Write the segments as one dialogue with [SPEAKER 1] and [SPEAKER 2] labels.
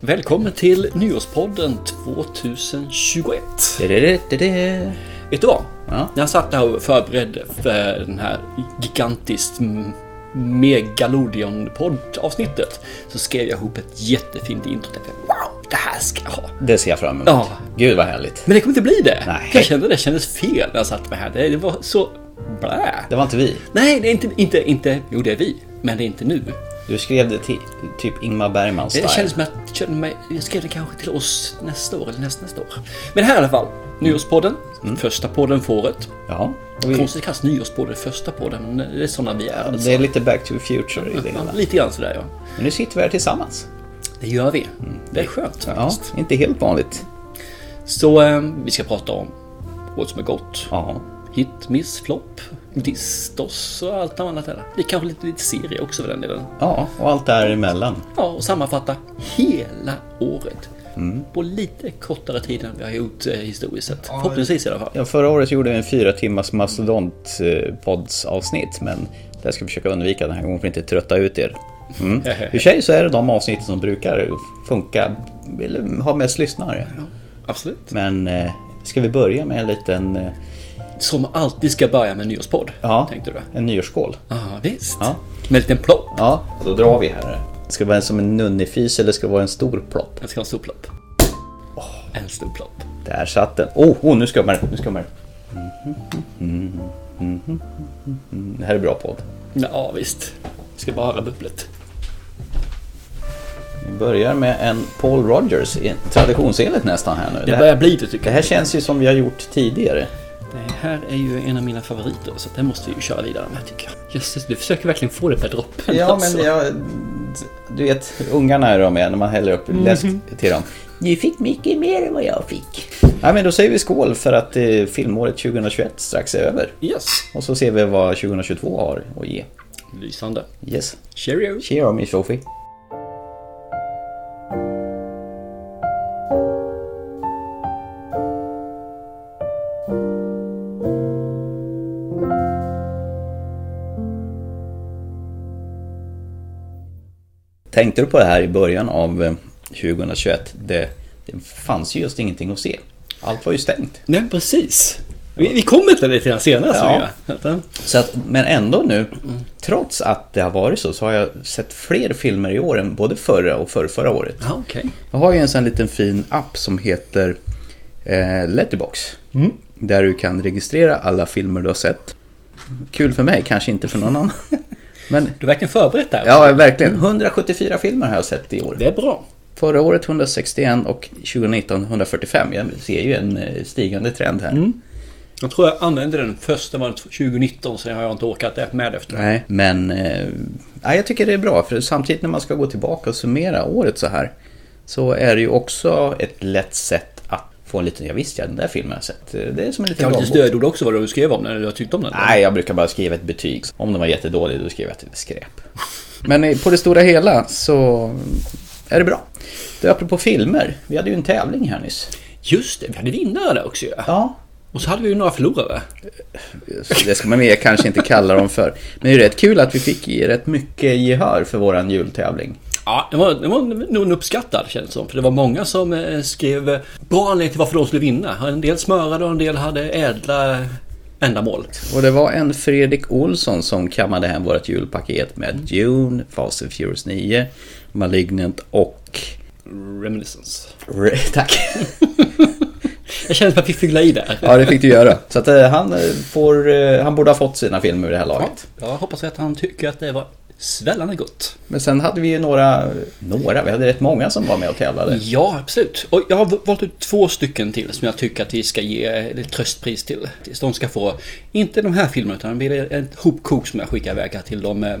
[SPEAKER 1] Välkommen till Nyårspodden 2021.
[SPEAKER 2] Det-det-det-det-det.
[SPEAKER 1] Vet du vad?
[SPEAKER 2] Ja.
[SPEAKER 1] När jag satt där och förberedde för den här gigantiskt m- Megalodion-poddavsnittet så skrev jag ihop ett jättefint intro. Jag tänkte, Wow, det här ska jag ha.
[SPEAKER 2] Det ser jag fram emot.
[SPEAKER 1] Ja.
[SPEAKER 2] Gud vad härligt.
[SPEAKER 1] Men det kommer inte bli det.
[SPEAKER 2] Nej.
[SPEAKER 1] Jag kände det kändes fel när jag satt mig här. Det det var så blä.
[SPEAKER 2] Det var inte vi.
[SPEAKER 1] Nej, det är inte, inte, inte, jo det är vi, men det är inte nu.
[SPEAKER 2] Du skrev det till typ Ingmar Bergman
[SPEAKER 1] Det
[SPEAKER 2] style.
[SPEAKER 1] kändes som att jag kände mig, jag skrev det kanske till oss nästa år eller nästa, nästa år. Men här i alla fall, Nyårspodden, första podden för året.
[SPEAKER 2] Ja. Mm. och Vi...
[SPEAKER 1] Konstigt kallas Nyårspodden första podden, men det är sådana vi är. Alltså.
[SPEAKER 2] Det är lite back to the future i det
[SPEAKER 1] Ja,
[SPEAKER 2] hela.
[SPEAKER 1] lite grann sådär ja.
[SPEAKER 2] Men nu sitter vi här tillsammans.
[SPEAKER 1] Det gör vi. Det är skönt
[SPEAKER 2] Mm. Ja,
[SPEAKER 1] faktiskt.
[SPEAKER 2] inte helt vanligt.
[SPEAKER 1] Så eh, vi ska prata om vad som är gott.
[SPEAKER 2] Ja.
[SPEAKER 1] Hit, miss, flopp, diss, doss och allt annat där. Det är kanske lite, lite serie också för den delen.
[SPEAKER 2] Ja, och allt däremellan.
[SPEAKER 1] Ja, och sammanfatta hela året. På lite kortare tid än vi har gjort eh, historiskt sett. Förhoppningsvis i alla fall.
[SPEAKER 2] Mm. Ja, förra året gjorde vi en fyra timmars mastodont-poddsavsnitt, men det ska vi försöka undvika den här gången för att inte trötta ut er. Mm. I och för sig så är det de avsnitten som brukar funka, eller ha mest lyssnare.
[SPEAKER 1] Absolut.
[SPEAKER 2] Men eh, ska vi börja med en liten eh,
[SPEAKER 1] Som alltid ska börja med en nyårspodd.
[SPEAKER 2] ja,
[SPEAKER 1] Tänkte du?
[SPEAKER 2] en nyårsskål?
[SPEAKER 1] Ja, visst.
[SPEAKER 2] Ja.
[SPEAKER 1] Med en liten plopp.
[SPEAKER 2] Ja, då drar vi här. Ska det vara en som en nunnifis eller ska det vara en stor plopp?
[SPEAKER 1] Jag ska ha en stor plopp. En stor plopp.
[SPEAKER 2] Där satt den. Oh, oh nu skummar det. Nu skummar det. Mm-hmm. Mhm, mhm, mhm, mhm, mhm. Det här är bra podd.
[SPEAKER 1] Ja, visst. Jag ska bara höra bubblet.
[SPEAKER 2] Vi börjar med en Paul Rogers, i- traditionsenligt nästan här nu. Det
[SPEAKER 1] Det
[SPEAKER 2] här,
[SPEAKER 1] börjar bli det tycker
[SPEAKER 2] det
[SPEAKER 1] jag.
[SPEAKER 2] här känns ju som vi har gjort tidigare.
[SPEAKER 1] Det här är ju en av mina favoriter så det måste vi ju köra vidare med tycker jag. Jösses, du försöker verkligen få det per droppen
[SPEAKER 2] Ja,
[SPEAKER 1] alltså.
[SPEAKER 2] men jag... Du vet, ungarna är de är när man häller upp läsk till dem. Du fick mycket mer än vad jag fick. Nej, men då säger vi skål för att eh, filmåret 2021 strax är över.
[SPEAKER 1] Yes.
[SPEAKER 2] Och så ser vi vad 2022 har att ge.
[SPEAKER 1] Lysande.
[SPEAKER 2] Yes.
[SPEAKER 1] Cheerio.
[SPEAKER 2] Cheer me Sophie. Tänkte du på det här i början av eh, 2021? Det, det fanns ju just ingenting att se. Allt var ju stängt.
[SPEAKER 1] Nej, precis. Vi, vi kommer till det lite grann senare.
[SPEAKER 2] Ja.
[SPEAKER 1] Så vi gör.
[SPEAKER 2] Så att, men ändå nu, trots att det har varit så, så har jag sett fler filmer i år än både förra och förrförra året.
[SPEAKER 1] Ja, okej.
[SPEAKER 2] Jag har ju en sån liten fin app som heter eh, Letterbox.
[SPEAKER 1] Mm.
[SPEAKER 2] Där du kan registrera alla filmer du har sett. Kul för mig, kanske inte för någon annan. Men
[SPEAKER 1] Du är verkligen förberett där.
[SPEAKER 2] ja, verkligen. 174 filmer har jag sett i år.
[SPEAKER 1] Det är bra.
[SPEAKER 2] Förra året 161 och 2019 145. Jag ser ju en eh, stigande trend här.
[SPEAKER 1] Jag tror jag använde den första var 2019, sen har jag inte orkat det med efter.
[SPEAKER 2] Nej. Men eh, ja, jag tycker det är bra för samtidigt när man ska gå tillbaka och summera året så här så är det ju också ett lätt sätt att få en liten, ja visst ja den där filmen har jag sett. Eh, Det är som
[SPEAKER 1] Jag har
[SPEAKER 2] en liten
[SPEAKER 1] lite
[SPEAKER 2] dagbok.
[SPEAKER 1] stödord också vad du skrev om när du tyckte om den.
[SPEAKER 2] Nej, jag brukar bara skriva ett betyg. Om den var jättedålig då skriver jag att det är skräp. Men eh, på det stora hela så är det bra. Du, apropå filmer, vi hade ju en tävling här nyss.
[SPEAKER 1] Just det, vi hade vinnare där också ju.
[SPEAKER 2] Ja,
[SPEAKER 1] Och så hade vi ju några förlorare.
[SPEAKER 2] Så det ska man mer kanske inte kalla dem för. Men det är ju rätt kul att vi fick rätt mycket gehör för våran jultävling.
[SPEAKER 1] Ja, det var, det var nog en uppskattad känns det som. För det var många som eh, skrev eh, bra anledning till varför de skulle vinna. En del smörade och en del hade ädla ändamål.
[SPEAKER 2] Och det var en Fredrik Olsson som kammade hem vårt julpaket med Dune, Fast and Furious 9, Malignant och...
[SPEAKER 1] Reminiscence.
[SPEAKER 2] Re- Tack!
[SPEAKER 1] Jag känner att jag fick fylla i där.
[SPEAKER 2] Ja, det fick du göra. Så att eh, han, eh, får, eh, han borde ha fått sina filmer ur det här laget.
[SPEAKER 1] Jag hoppas att han tycker att det var svällande gott.
[SPEAKER 2] Men sen hade vi ju några, Mm. några, vi hade rätt många som var med och tävlade.
[SPEAKER 1] Ja, absolut. Och jag har valt ut två stycken till som jag tycker att vi ska ge ett tröstpris till. Tills De ska få, inte de här filmerna, utan det blir ett hopkok som jag skickar iväg här till dem. eh,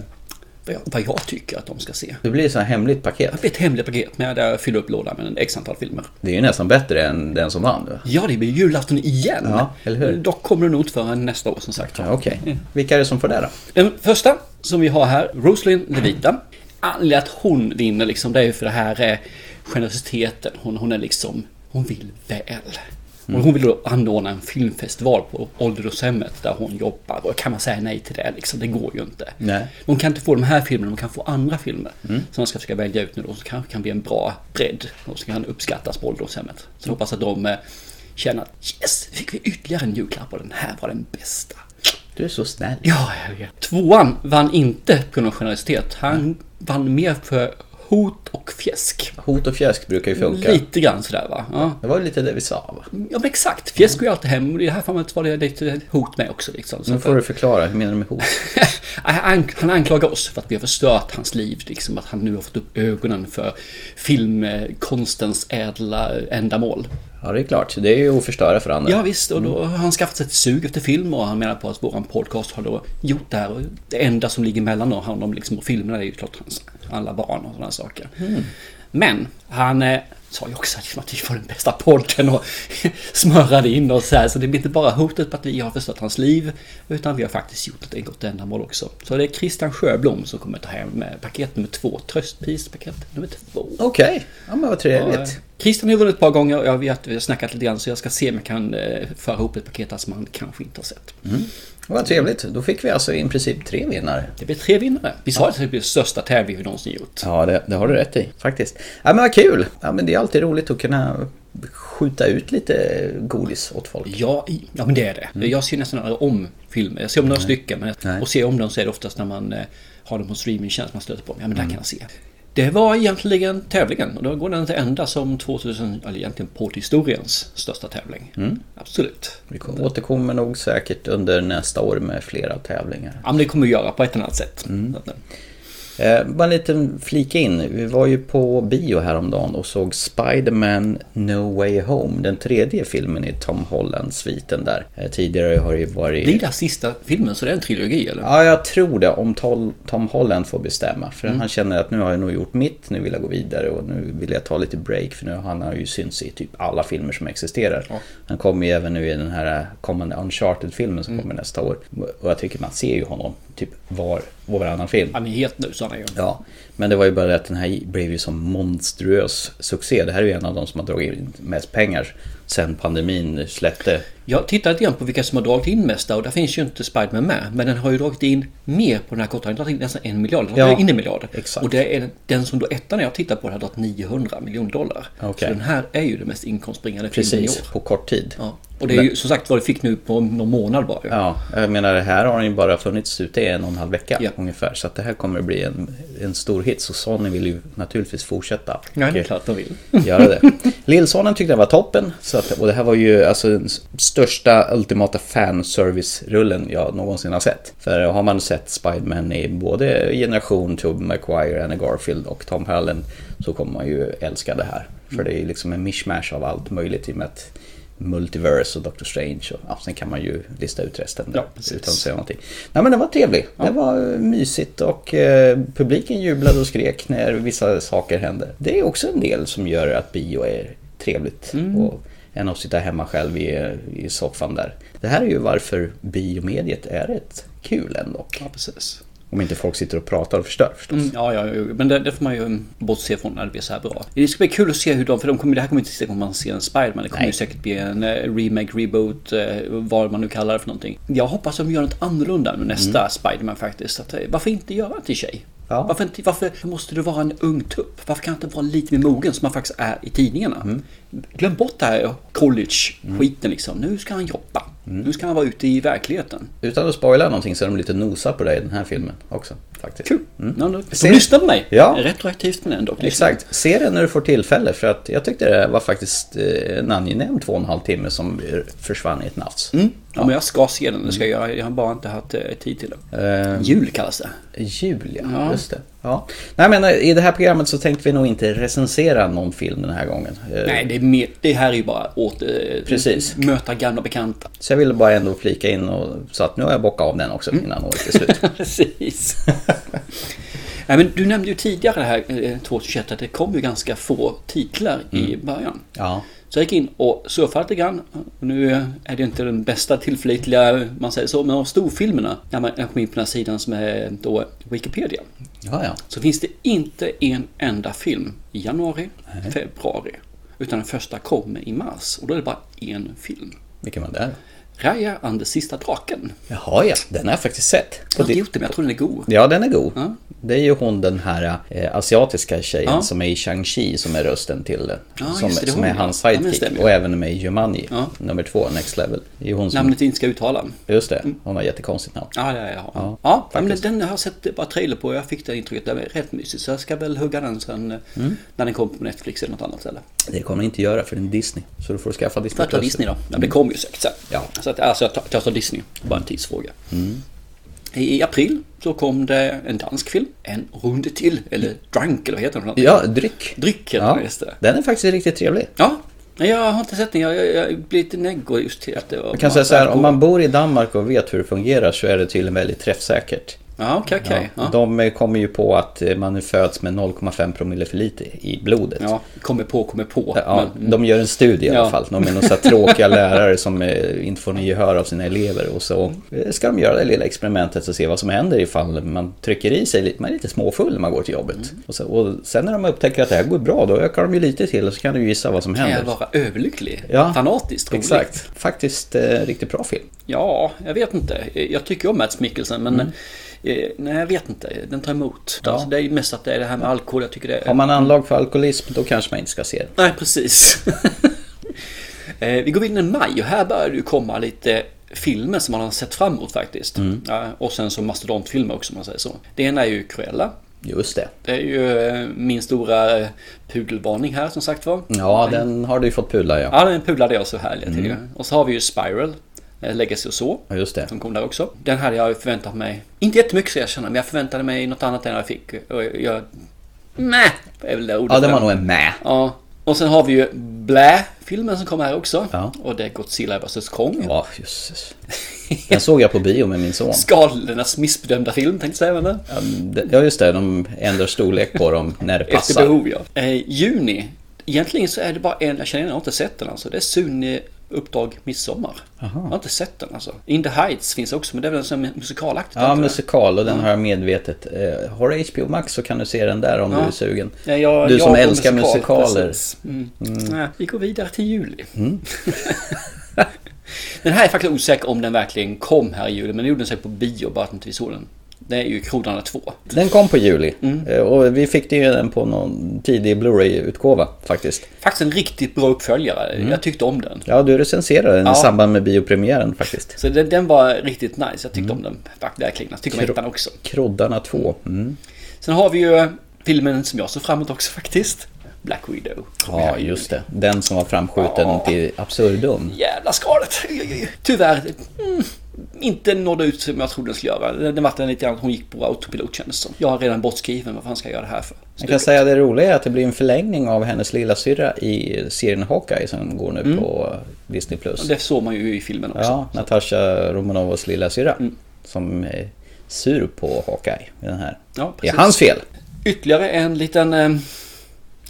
[SPEAKER 1] Vad jag, vad jag tycker att de ska se.
[SPEAKER 2] Det blir så här hemligt paket.
[SPEAKER 1] Ett hemligt paket med där jag fyller upp lådan med en x antal filmer.
[SPEAKER 2] Det är ju nästan bättre än den som vann.
[SPEAKER 1] Ja, det blir julafton igen.
[SPEAKER 2] Ja, eller hur?
[SPEAKER 1] Dock kommer det nog inte förrän nästa år som sagt.
[SPEAKER 2] Ja, Okej, vilka är det som får det då?
[SPEAKER 1] Den första som vi har här, Rosalind Levita. Anledningen att hon vinner liksom, det är ju för det här eh, generositeten. Hon, hon är liksom, hon vill väl. Och hon vill då anordna en filmfestival på ålderdomshemmet där hon jobbar. Och kan man säga nej till det liksom? Det går ju inte.
[SPEAKER 2] Nej.
[SPEAKER 1] De kan inte få de här filmerna, de kan få andra filmer. Som man ska försöka välja ut nu då, som kanske kan bli en bra bredd. Och som kan uppskattas på ålderdomshemmet. Så jag hoppas att de eh, känner att yes, nu fick vi ytterligare en julklapp och den här var den bästa.
[SPEAKER 2] Du är så snäll.
[SPEAKER 1] Ja, jag vet. Tvåan vann inte på någon generositet. Han vann mer för hot och fjäsk.
[SPEAKER 2] Hot och fjäsk brukar ju funka.
[SPEAKER 1] Lite grann sådär va. Ja.
[SPEAKER 2] Det var ju lite det vi sa va?
[SPEAKER 1] Ja men exakt, fjäsk går ju alltid hem. Och I det här fallet var det lite hot med också. Liksom. Så
[SPEAKER 2] Nu
[SPEAKER 1] att-
[SPEAKER 2] får du förklara, hur menar du med hot?
[SPEAKER 1] han han anklagar oss för att vi har förstört hans liv. Liksom, att han nu har fått upp ögonen för filmkonstens ädla ändamål.
[SPEAKER 2] Ja, det är klart. Det är ju att förstöra för andra.
[SPEAKER 1] Ja visst, och då har han skaffat sig ett sug efter film och han menar på att våran podcast har då gjort det här. Och det enda som ligger mellan honom liksom, och filmerna är ju klart hans alla barn och sådana saker. Men han eh, sa ju också liksom att vi var den bästa podden och smörade in oss här. Så det blir inte bara hotet på att vi har förstört hans liv utan vi har faktiskt gjort ett gott ändamål också. Så det är Christian Sjöblom som kommer ta hem eh, paket nummer två, tröstprispaket nummer två.
[SPEAKER 2] Okej, ja men vad
[SPEAKER 1] Ja,
[SPEAKER 2] trevligt.
[SPEAKER 1] Christian har ju vunnit ett par gånger och jag vet att vi har snackat lite grann så jag ska se om jag kan eh, föra ihop ett paket här som han kanske inte har sett.
[SPEAKER 2] Mm. Vad trevligt. Då fick vi alltså i princip tre vinnare.
[SPEAKER 1] Det blir tre vinnare. Vi sa att det blir största tävling vi någonsin gjort.
[SPEAKER 2] Ja, det, det har du rätt i faktiskt. Ja, men vad kul! Ja, men det är alltid roligt att kunna skjuta ut lite godis åt folk.
[SPEAKER 1] Ja, i- ja men det är det. Jag ser nästan aldrig om filmer. Jag ser om några stycken. Men,
[SPEAKER 2] Mm. Nej.
[SPEAKER 1] och ser om dem så är det oftast när man eh, har dem på streamingtjänst man stöter på dem. Ja
[SPEAKER 2] Mm.
[SPEAKER 1] men där kan jag se. Det var egentligen tävlingen och då går den till ända som 2000, eller egentligen poddhistoriens största tävling.
[SPEAKER 2] Mm.
[SPEAKER 1] Absolut.
[SPEAKER 2] Vi kom- återkommer nog säkert under nästa år med flera tävlingar.
[SPEAKER 1] Ja men det kommer vi göra på ett eller annat sätt.
[SPEAKER 2] Mm. Eh, bara en liten flika in. Vi var ju på bio häromdagen och såg Spider-Man No Way Home. Den tredje filmen i Tom Holland-sviten där. Eh, tidigare har det ju varit...
[SPEAKER 1] Det är den sista filmen så det är en trilogi eller?
[SPEAKER 2] Ja, jag tror det. Om Tol- Tom Holland får bestämma. För
[SPEAKER 1] Mm.
[SPEAKER 2] han känner att nu har jag nog gjort mitt, nu vill jag gå vidare och nu vill jag ta lite break. För nu har han har ju synts i typ alla filmer som existerar. Han kommer ju även nu i den här kommande Uncharted-filmen
[SPEAKER 1] Mm.
[SPEAKER 2] som kommer nästa år. Och jag tycker man ser ju honom typ var och varannan film.
[SPEAKER 1] Han är het nu så han är ju.
[SPEAKER 2] Ja, men det var ju bara det att den här blev ju som monstruös succé. Det här är ju en av de som har dragit in mest pengar sen pandemin släppte.
[SPEAKER 1] Jag tittar lite grann på vilka som har dragit in mest där, och där finns ju inte Spiderman med. Men den har ju dragit in mer på den här korta. Den har dragit in nästan en miljard. Den har
[SPEAKER 2] Ja,
[SPEAKER 1] dragit in en miljard.
[SPEAKER 2] exakt.
[SPEAKER 1] Och det är den som då ettan jag tittar på har dragit 900 miljoner dollar.
[SPEAKER 2] Okej.
[SPEAKER 1] Så den här är ju den mest inkomstbringande filmen i
[SPEAKER 2] Precis,
[SPEAKER 1] år.
[SPEAKER 2] på kort tid.
[SPEAKER 1] Ja. Och det är ju som sagt vad det fick nu på någon månad bara. ju.
[SPEAKER 2] Ja, jag menar det här har den ju bara funnits ute i en och en halv vecka
[SPEAKER 1] Ja.
[SPEAKER 2] ungefär. Så att det här kommer att bli en, en stor hit. Så Sony vill ju naturligtvis fortsätta.
[SPEAKER 1] Ja, det är
[SPEAKER 2] Och-
[SPEAKER 1] klart de vill.
[SPEAKER 2] göra det. Lillsonen tyckte den var toppen. Så att, och det här var ju alltså den s- största ultimata fanservice-rullen jag någonsin har sett. För har man sett Spiderman i både generation Tobey Maguire, Anna Garfield och Tom Holland så kommer man ju älska det här. För det är ju liksom en mishmash av allt möjligt i och med att Multiverse och Doctor Strange och ja, sen kan man ju lista ut resten där,
[SPEAKER 1] Ja, precis.
[SPEAKER 2] utan att säga någonting. Nej men den var trevlig. Det var eh, mysigt och eh, publiken jublade och skrek när vissa saker hände. Det är också en del som gör att bio är trevligt.
[SPEAKER 1] Mm.
[SPEAKER 2] Och än att sitta hemma själv i, i soffan där. Det här är ju varför biomediet är rätt kul ändå.
[SPEAKER 1] Ja, precis.
[SPEAKER 2] Om inte folk sitter och pratar och förstör förstås.
[SPEAKER 1] Mm, Ja, ja, jo, men det, det får man ju mm, bortse från när det blir så här bra. Det ska bli kul att se hur de, för de kommer, det här kommer inte sista gången man ser en Spiderman. Det kommer
[SPEAKER 2] Nej.
[SPEAKER 1] ju säkert bli en eh, remake, reboot, eh, vad man nu kallar det för någonting. Jag hoppas de gör något annorlunda med nästa Spiderman faktiskt. Att, eh, varför inte göra en till tjej?
[SPEAKER 2] Mm. Ja.
[SPEAKER 1] Varför, inte, varför måste du vara en ung tupp? Varför kan jag inte vara lite mer mogen som man faktiskt är i tidningarna?
[SPEAKER 2] Mm.
[SPEAKER 1] Glöm bort det här college-skiten liksom. Nu ska han jobba.
[SPEAKER 2] Mm.
[SPEAKER 1] Nu ska han vara ute i verkligheten.
[SPEAKER 2] Utan att spoila någonting så är de lite nosa på dig i den här filmen också. faktiskt. Mm.
[SPEAKER 1] Kul! Ja, nu- de
[SPEAKER 2] Se-
[SPEAKER 1] lyssnar på mig!
[SPEAKER 2] Ja.
[SPEAKER 1] Retroaktivt men ändå. liksom.
[SPEAKER 2] Exakt, se den när du får tillfälle för att jag tyckte det var faktiskt eh, en angenäm två och en halv timme som försvann i ett nafs.
[SPEAKER 1] Ja, men jag ska se den, det ska jag göra. Jag har bara inte haft eh, tid till det.
[SPEAKER 2] Eh,
[SPEAKER 1] Jul kallas det.
[SPEAKER 2] Julia, just det. Ja. Nej, men eh, I det här programmet så tänkte vi nog inte recensera någon film den här gången. Eh,
[SPEAKER 1] Nej, det, är mer, det här är ju bara åter...
[SPEAKER 2] Precis.
[SPEAKER 1] Möta gamla bekanta.
[SPEAKER 2] Så jag ville bara ändå flika in och, så att nu har jag bockat av den också
[SPEAKER 1] Mm.
[SPEAKER 2] innan året är slut.
[SPEAKER 1] Precis. Nej, men du nämnde ju tidigare det här eh, 2021 att det kom ju ganska få titlar i början.
[SPEAKER 2] Ja.
[SPEAKER 1] Så jag gick in och surfade lite grann. Och nu är det inte den bästa tillförlitliga, man säger så, men av storfilmerna. När man jag kom in på den här sidan som är då Wikipedia.
[SPEAKER 2] Ja, ja.
[SPEAKER 1] så finns det inte en enda film i januari, februari. Utan den första kommer i mars och då är det bara en film.
[SPEAKER 2] Vilken var det?
[SPEAKER 1] Raya and the sista draken.
[SPEAKER 2] Jaha ja, den har jag faktiskt sett.
[SPEAKER 1] Jag har inte gjort det men jag tror den är god.
[SPEAKER 2] Ja, den är god.
[SPEAKER 1] Ja.
[SPEAKER 2] Det är ju hon den här eh, asiatiska tjejen
[SPEAKER 1] Ja.
[SPEAKER 2] som är i Shang-Chi som är rösten till den.
[SPEAKER 1] Ja,
[SPEAKER 2] som
[SPEAKER 1] just det, det är
[SPEAKER 2] som
[SPEAKER 1] hon,
[SPEAKER 2] är
[SPEAKER 1] ja.
[SPEAKER 2] hans
[SPEAKER 1] Ja, men det
[SPEAKER 2] sidekick
[SPEAKER 1] stämmer ju.
[SPEAKER 2] och även med i Jumanji,
[SPEAKER 1] Ja.
[SPEAKER 2] nummer två, Next Level. Det är ju hon som...
[SPEAKER 1] Namnet inte ska uttala.
[SPEAKER 2] Just det,
[SPEAKER 1] Mm.
[SPEAKER 2] hon har jättekonstigt namn.
[SPEAKER 1] Ja, ja, ja.
[SPEAKER 2] Ja,
[SPEAKER 1] ja, ja men
[SPEAKER 2] faktiskt.
[SPEAKER 1] den har jag sett bara trailer på och jag fick det intrycket. Den är rätt mysig. Så jag ska väl hugga den sen eh, när den kommer på Netflix eller något annat ställe.
[SPEAKER 2] Det kommer hon inte göra för den är Disney. Så du får skaffa Disney+.
[SPEAKER 1] För att ta Disney då. Ja, det kommer ju säkert sen.
[SPEAKER 2] Ja. Mm.
[SPEAKER 1] Så att, alltså, jag tar, jag tar Disney. Bara en tidsfråga. I, I april så kom det en dansk film. En runde till. Eller Drunk eller vad heter den? för någonting?
[SPEAKER 2] Ja, dryck.
[SPEAKER 1] Dryck heter
[SPEAKER 2] Ja,
[SPEAKER 1] den, just det.
[SPEAKER 2] den är faktiskt riktigt trevlig.
[SPEAKER 1] Ja. Nej, jag har inte sett den. Jag, jag, jag blir lite neggo just till att det var...
[SPEAKER 2] Jag kan säga så här, om man bor i Danmark och vet hur det fungerar så är det tydligen väldigt träffsäkert.
[SPEAKER 1] Ja, okej, okej.
[SPEAKER 2] Ja,
[SPEAKER 1] Ja.
[SPEAKER 2] De eh, kommer ju på att eh, man föds med 0,5 promille för lite i blodet.
[SPEAKER 1] ja, kommer på, kommer på.
[SPEAKER 2] Ja,
[SPEAKER 1] Men,
[SPEAKER 2] de gör en studie i alla
[SPEAKER 1] Ja.
[SPEAKER 2] fall. De är några så här tråkiga lärare som eh, inte får något gehör av sina elever. Och så eh, ska de göra det lilla experimentet och se vad som händer ifall man trycker i sig lite. Man är lite småfull när man går till jobbet.
[SPEAKER 1] Mm.
[SPEAKER 2] Och, så, och sen när de upptäcker att det här går bra, då ökar de ju lite till och så kan du gissa vad som
[SPEAKER 1] kan jag
[SPEAKER 2] händer.
[SPEAKER 1] vara överlycklig?
[SPEAKER 2] Ja,
[SPEAKER 1] Fanatiskt rolig?
[SPEAKER 2] Exakt. Faktiskt eh, riktigt bra film.
[SPEAKER 1] Ja, jag vet inte. Jag tycker om Mats Mikkelsen men
[SPEAKER 2] Mm.
[SPEAKER 1] eh, nej, jag vet inte. Den tar emot. Alltså, det är ju mest att det är det här med alkohol. Jag tycker det är...
[SPEAKER 2] Har man anlag för alkoholism, då kanske man inte ska se den.
[SPEAKER 1] Nej, precis. eh, vi går in i maj och här börjar det ju komma lite filmer som man har sett fram emot faktiskt.
[SPEAKER 2] Mm.
[SPEAKER 1] Ja, och sen så mastodontfilmer också om man säger så. Det ena är ju Cruella.
[SPEAKER 2] Just det.
[SPEAKER 1] Det är ju eh, min stora eh, pudelvarning här som sagt var.
[SPEAKER 2] Ja, Mm. den har du ju fått pula ja.
[SPEAKER 1] Ja, den pudlade jag så härligt till ju. Och så har vi ju Spiral, eh, Legacy och så.
[SPEAKER 2] Ja, just det.
[SPEAKER 1] som kom där också. Den hade jag ju förväntat mig, inte jättemycket ska jag känna, men jag förväntade mig något annat än jag fick. Och jag... Mäh! är väl det ordet.
[SPEAKER 2] Ja, den var nog en med.
[SPEAKER 1] Ja. Och sen har vi ju Blä, filmen som kom här också.
[SPEAKER 2] Ja.
[SPEAKER 1] Och det är Godzilla vs Kong.
[SPEAKER 2] Ja, jösses. Den såg jag på bio med min son.
[SPEAKER 1] Skaldenas missbedömda film tänkte jag säga. men det-
[SPEAKER 2] Ja just det, de ändrar storlek på dem när det
[SPEAKER 1] Efter
[SPEAKER 2] passar.
[SPEAKER 1] behov ja. Eh, juni. Egentligen så är det bara en jag känner, igen, jag har inte sett den alltså. Det är Sune Uppdrag Midsommar. Jag har inte sett den alltså. In the Heights finns också, men det är väl en sån musikalaktigt?
[SPEAKER 2] Ja,
[SPEAKER 1] antar jag.
[SPEAKER 2] musikal och den har jag medvetet. Eh, Har du HBO Max så kan du se den där om du är sugen.
[SPEAKER 1] Ja, jag,
[SPEAKER 2] du
[SPEAKER 1] jag
[SPEAKER 2] som
[SPEAKER 1] och
[SPEAKER 2] älskar
[SPEAKER 1] musikal,
[SPEAKER 2] musikaler.
[SPEAKER 1] precis. Mm. Nej, vi går vidare till juli.
[SPEAKER 2] Mm.
[SPEAKER 1] den här är faktiskt osäker om den verkligen kom här i juli, men den gjorde den sig på bio bara att inte vi såg den. Det är ju Krodarna 2.
[SPEAKER 2] Den kom på juli
[SPEAKER 1] Mm.
[SPEAKER 2] Eh, och vi fick ju den på någon tidig Blu-ray-utgåva faktiskt.
[SPEAKER 1] Faktiskt en riktigt bra uppföljare.
[SPEAKER 2] Mm.
[SPEAKER 1] Jag tyckte om den.
[SPEAKER 2] Ja, du recenserade den i
[SPEAKER 1] Ja.
[SPEAKER 2] samband med biopremiären faktiskt.
[SPEAKER 1] Så den, den var riktigt nice. Jag tyckte
[SPEAKER 2] Mm.
[SPEAKER 1] om den fakt- verkligen. Jag tycker om ettan också.
[SPEAKER 2] Kroddarna 2. Mm.
[SPEAKER 1] Sen har vi ju eh, filmen som jag såg fram emot också faktiskt. Black Widow.
[SPEAKER 2] Ja, just det. Den som var framskjuten
[SPEAKER 1] Ja.
[SPEAKER 2] till absurdum.
[SPEAKER 1] Jävla skalet. Oj, oj, oj. Tyvärr. Mm, inte nådde ut som jag trodde den skulle göra. Den den vart den lite grann att hon gick på autopilot kändes det som. Jag har redan bortskriven. Vad fan ska jag göra det här för?
[SPEAKER 2] Jag kan säga att det roliga är att det blir en förlängning av hennes lilla syrra i serien Hawkeye som går nu på Disney+. Plus.
[SPEAKER 1] Mm. Det såg man ju i filmen också. Mm.
[SPEAKER 2] Ja, Natasha Romanovas lilla syrra som är sur på Hawkeye i den här.
[SPEAKER 1] Ja,
[SPEAKER 2] det är
[SPEAKER 1] precis.
[SPEAKER 2] hans fel!
[SPEAKER 1] Ytterligare en liten eh,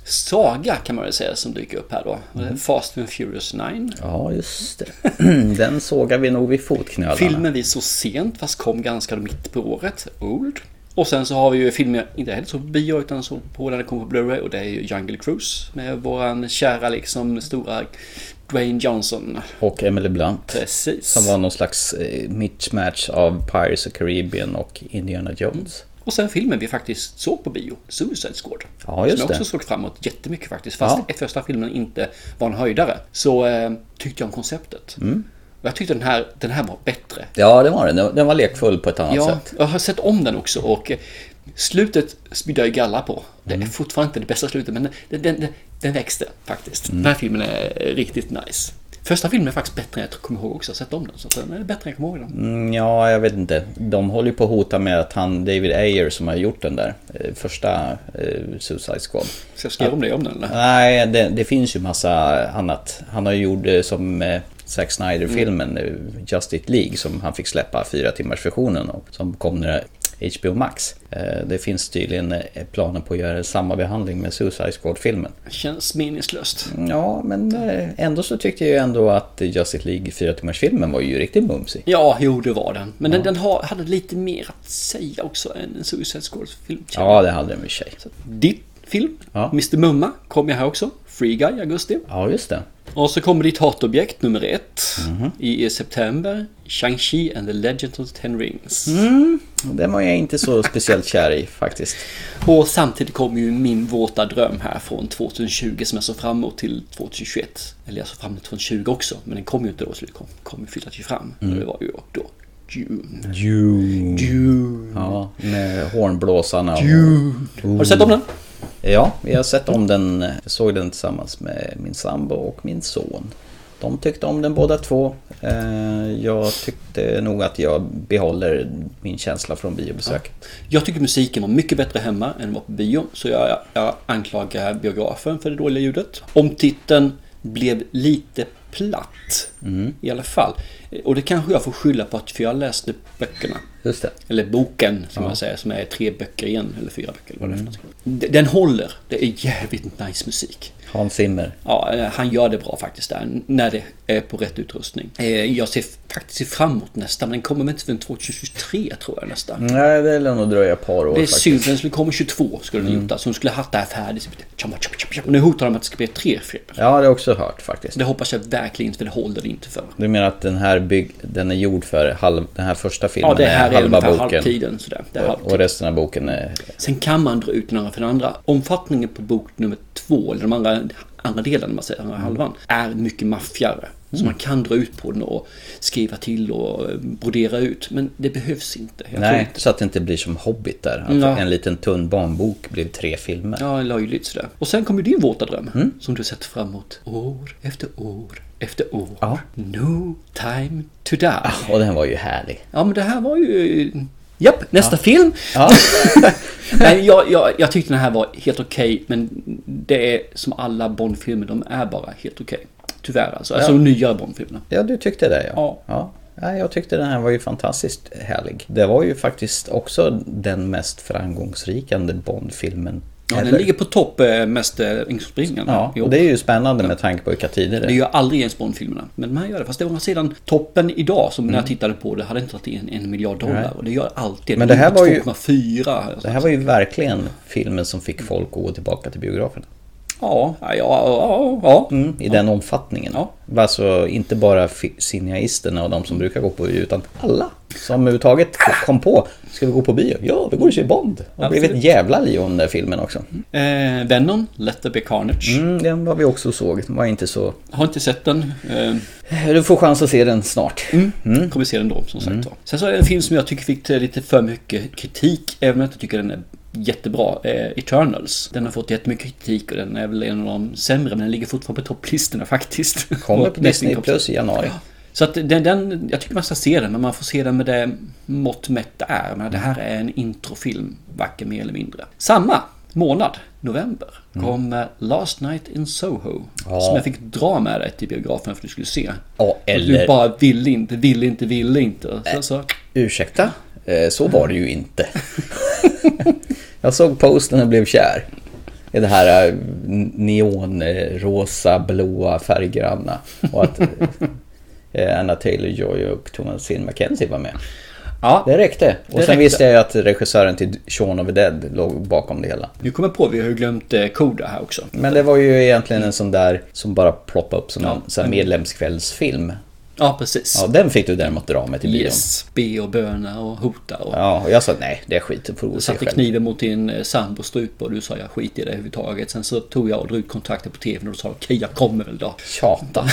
[SPEAKER 1] saga kan man väl säga som dyker upp här då. Och
[SPEAKER 2] Mm.
[SPEAKER 1] det är Fast and Furious 9.
[SPEAKER 2] Ja, just det. Den sågar vi nog vid fotknölarna.
[SPEAKER 1] Filmen vi såg sent fast kom ganska mitt på året. Old. Och sen så har vi ju filmer, inte heller så på bio utan så på när den kom på Blu-ray och det är ju Jungle Cruise med våran kära liksom stora Dwayne Johnson.
[SPEAKER 2] Och Emily Blunt.
[SPEAKER 1] Precis.
[SPEAKER 2] Som var någon slags eh, mismatch av Pirates of Caribbean och Indiana Jones.
[SPEAKER 1] Och sen filmen vi faktiskt såg på bio, Suicide Squad.
[SPEAKER 2] Ja, just
[SPEAKER 1] som jag också
[SPEAKER 2] det.
[SPEAKER 1] såg framåt jättemycket faktiskt. Fast
[SPEAKER 2] Ja.
[SPEAKER 1] första filmen inte var en höjdare så eh, tyckte jag om konceptet.
[SPEAKER 2] Mm.
[SPEAKER 1] Och jag tyckte den här, den här var bättre.
[SPEAKER 2] Ja, det var den. Den- Den var lekfull på ett annat
[SPEAKER 1] Ja,
[SPEAKER 2] sätt.
[SPEAKER 1] Alltså, jag har sett om den också och eh, slutet spydde jag ju galla på. Det är fortfarande inte det bästa slutet men den, den, den, den växte faktiskt. Den här filmen är riktigt nice. Första filmen är faktiskt bättre än jag kommer ihåg också. Jag har sett om den. Så att den är bättre än jag kommer ihåg den.
[SPEAKER 2] Mm, Ja, jag vet inte. De håller ju på att hota med att han, David Ayer som har gjort den där eh, första eh, Suicide Squad.
[SPEAKER 1] Ska jag skriva om det om den eller?
[SPEAKER 2] Nej, det, det finns ju massa annat. Han har ju gjort eh, som eh, Zack Snyder-filmen eh, Justice League som han fick släppa fyra timmars versionen av. Som kom när HBO Max. Eh, Det finns tydligen eh, planer på att göra samma behandling med Suicide Squad-filmen.
[SPEAKER 1] Känns meningslöst.
[SPEAKER 2] Ja, men eh, ändå så tyckte jag ju ändå att Justice League fyra timmars filmen var ju riktigt mumsig.
[SPEAKER 1] Ja, jo det var den. Men den, den har, hade lite mer att säga också än en Suicide Squad-film.
[SPEAKER 2] Ja, det hade den i och för sig.
[SPEAKER 1] Ditt film,
[SPEAKER 2] Ja.
[SPEAKER 1] Mr Mumma, kom jag här också. Free Guy i augusti.
[SPEAKER 2] Ja, just det.
[SPEAKER 1] Och så kommer ditt hatobjekt nummer ett i i september. Shang-Chi and the Legend of the Ten Rings.
[SPEAKER 2] Den Mm. var jag inte så speciellt kär i faktiskt.
[SPEAKER 1] Och samtidigt kommer ju min våta dröm här från 2020 som jag såg fram emot till 2021. Eller jag såg fram emot 2020 också, men den kom ju inte då så den kom, kom ju flyttat ju fram. Och det var ju då June.
[SPEAKER 2] June.
[SPEAKER 1] June.
[SPEAKER 2] Ja, med hornblåsarna. och- Oh.
[SPEAKER 1] Har du sett om den?
[SPEAKER 2] Ja, vi har sett om den. Jag såg den tillsammans med min sambo och min son. De tyckte om den båda två. Eh, Jag tyckte nog att jag behåller min känsla från biobesök.
[SPEAKER 1] Jag tycker musiken var mycket bättre hemma än den var på bio. Så jag, jag anklagar biografen för det dåliga ljudet. Om titeln blev lite platt i alla fall. Och det kanske jag får skylla på att för jag läste böckerna.
[SPEAKER 2] Just det.
[SPEAKER 1] Eller boken som man säger, som är tre böcker igen. Eller fyra böcker eller vad det är för någonting. D- Den håller. Det är jävligt nice musik.
[SPEAKER 2] Hans Zimmer.
[SPEAKER 1] Ja, eh, han gör det bra faktiskt där. n- När det är på rätt utrustning. Eh, Jag ser f- faktiskt fram emot nästa. Men den kommer väl inte förrän 2023 tror jag nästa.
[SPEAKER 2] Nej, det lär nog dröja ett par år
[SPEAKER 1] Det är
[SPEAKER 2] faktiskt. Mm.
[SPEAKER 1] synd för den skulle komma 22 skulle den gjort. Så de skulle haft det här färdigt. Tjomma, tjomma, tjomma, tjomma. Och nu hotar de att det ska bli tre filmer.
[SPEAKER 2] Ja, det har jag också hört faktiskt.
[SPEAKER 1] Det hoppas jag verkligen inte för det håller inte för.
[SPEAKER 2] Du menar att den här, bygg, den är gjord för halv, den här första filmen
[SPEAKER 1] Ja, det här
[SPEAKER 2] är
[SPEAKER 1] är
[SPEAKER 2] halva
[SPEAKER 1] ungefär
[SPEAKER 2] boken
[SPEAKER 1] eh, halvtiden. Sådär. Det är halvtid.
[SPEAKER 2] och resten av boken är...
[SPEAKER 1] Sen kan man dra ut den andra för den andra. Omfattningen på bok nummer två, eller de andra, andra delarna, man säger, andra halvan, är mycket maffigare.
[SPEAKER 2] Mm.
[SPEAKER 1] Så man kan dra ut på den och skriva till och eh, brodera ut. Men det behövs inte. Jag tror
[SPEAKER 2] Nej,
[SPEAKER 1] inte.
[SPEAKER 2] så att det inte blir som Hobbit där. Att
[SPEAKER 1] Ja.
[SPEAKER 2] en liten tunn barnbok blev tre filmer.
[SPEAKER 1] Ja, löjligt sådär. Och sen kommer din våta dröm.
[SPEAKER 2] Mm.
[SPEAKER 1] Som du sett fram emot år efter år efter år.
[SPEAKER 2] Ja.
[SPEAKER 1] No time to die.
[SPEAKER 2] Och den var ju härlig.
[SPEAKER 1] Ja, men det här var ju... Japp, nästa film!
[SPEAKER 2] Ja.
[SPEAKER 1] Nej, jag, jag, jag tyckte den här var helt okej, men det är som alla Bond-filmer, de är bara helt okej. Tyvärr alltså. Alltså de nyare Bond-filmerna.
[SPEAKER 2] Ja, du tyckte det ja.
[SPEAKER 1] Ja.
[SPEAKER 2] Nej, jag tyckte den här var ju fantastiskt härlig. Det var ju faktiskt också den mest framgångsrikande Bond-filmen.
[SPEAKER 1] Ja, den
[SPEAKER 2] ever.
[SPEAKER 1] ligger på topp eh, mest ängspringande.
[SPEAKER 2] ja, och det är ju spännande med tanke på vilka tider det
[SPEAKER 1] Det
[SPEAKER 2] är.
[SPEAKER 1] gör aldrig ens Bond-filmerna. Men de här gör det. Fast det var sedan toppen idag som när jag tittade på det hade inte tagit in en miljard dollar. Och det gör alltid.
[SPEAKER 2] Mm. Men det här var ju-
[SPEAKER 1] 2,4.
[SPEAKER 2] Det här var ju verkligen filmen som fick folk att gå tillbaka till biograferna.
[SPEAKER 1] Ja, ja, ja, ja. Mm. ja.
[SPEAKER 2] Mm, I den omfattningen.
[SPEAKER 1] Ja.
[SPEAKER 2] Alltså inte bara fi- cineasterna och de som brukar gå på bio, utan alla som överhuvudtaget kom på. Ska vi gå på bio? Ja, vi går och ser Bond. Och det blev ett
[SPEAKER 1] Absolut.
[SPEAKER 2] jävla liv om den där filmen också.
[SPEAKER 1] Eh, Venom, Let there be carnage.
[SPEAKER 2] Mm, den var vi också och såg. Den var inte så...
[SPEAKER 1] Har inte sett den. Eh,
[SPEAKER 2] Du får chans att se den snart.
[SPEAKER 1] Kommer se den då som
[SPEAKER 2] Mm.
[SPEAKER 1] sagt var. Sen så är det en film som jag tycker fick eh, lite för mycket kritik. Även om jag inte tycker den är jättebra. Eh, Eternals. Den har fått jättemycket kritik och den är väl en av de sämre. Men den ligger fortfarande på topplistorna faktiskt.
[SPEAKER 2] Kommer
[SPEAKER 1] Och
[SPEAKER 2] på Disney
[SPEAKER 1] Netflix också.
[SPEAKER 2] Plus i januari.
[SPEAKER 1] Så att den, den, jag tycker man ska se den, men man får se den med det mått mätt det är. Men det här är en introfilm, varken mer eller mindre. Samma månad, november,
[SPEAKER 2] Mm.
[SPEAKER 1] kom eh, Last Night in Soho. Som jag fick dra med dig till biografen för att du skulle se.
[SPEAKER 2] Ja,
[SPEAKER 1] Och du
[SPEAKER 2] eller... Äh.
[SPEAKER 1] bara ville inte, ville inte, ville inte. Så, så.
[SPEAKER 2] Ursäkta? Eh, Så var det ju inte. Jag såg posten och blev kär. I det här eh, neonrosa, blåa, färggranna. Och att eh, Anna Taylor-Joy och Thomasin McKenzie var med.
[SPEAKER 1] Ja,
[SPEAKER 2] Det räckte. Och sen
[SPEAKER 1] räckte.
[SPEAKER 2] visste jag ju att regissören till Shaun of the Dead låg bakom det hela.
[SPEAKER 1] nu kommer jag på att vi har ju glömt eh, Koda här också.
[SPEAKER 2] Men det var ju egentligen en sån där som bara ploppade upp som en sån här medlemskvällsfilm.
[SPEAKER 1] Ja, precis.
[SPEAKER 2] Ja, den fick du däremot dra med till bion.
[SPEAKER 1] yes. Be och böna och hota och...
[SPEAKER 2] Ja, och jag sa nej, det är skit. Du får gå och se
[SPEAKER 1] satte
[SPEAKER 2] själv.
[SPEAKER 1] kniven mot din eh, sambos strupe och du sa jag skiter i det överhuvudtaget. Sen så tog jag och drog ut kontakten på tvn och du sa okej jag kommer väl då.
[SPEAKER 2] Tjata.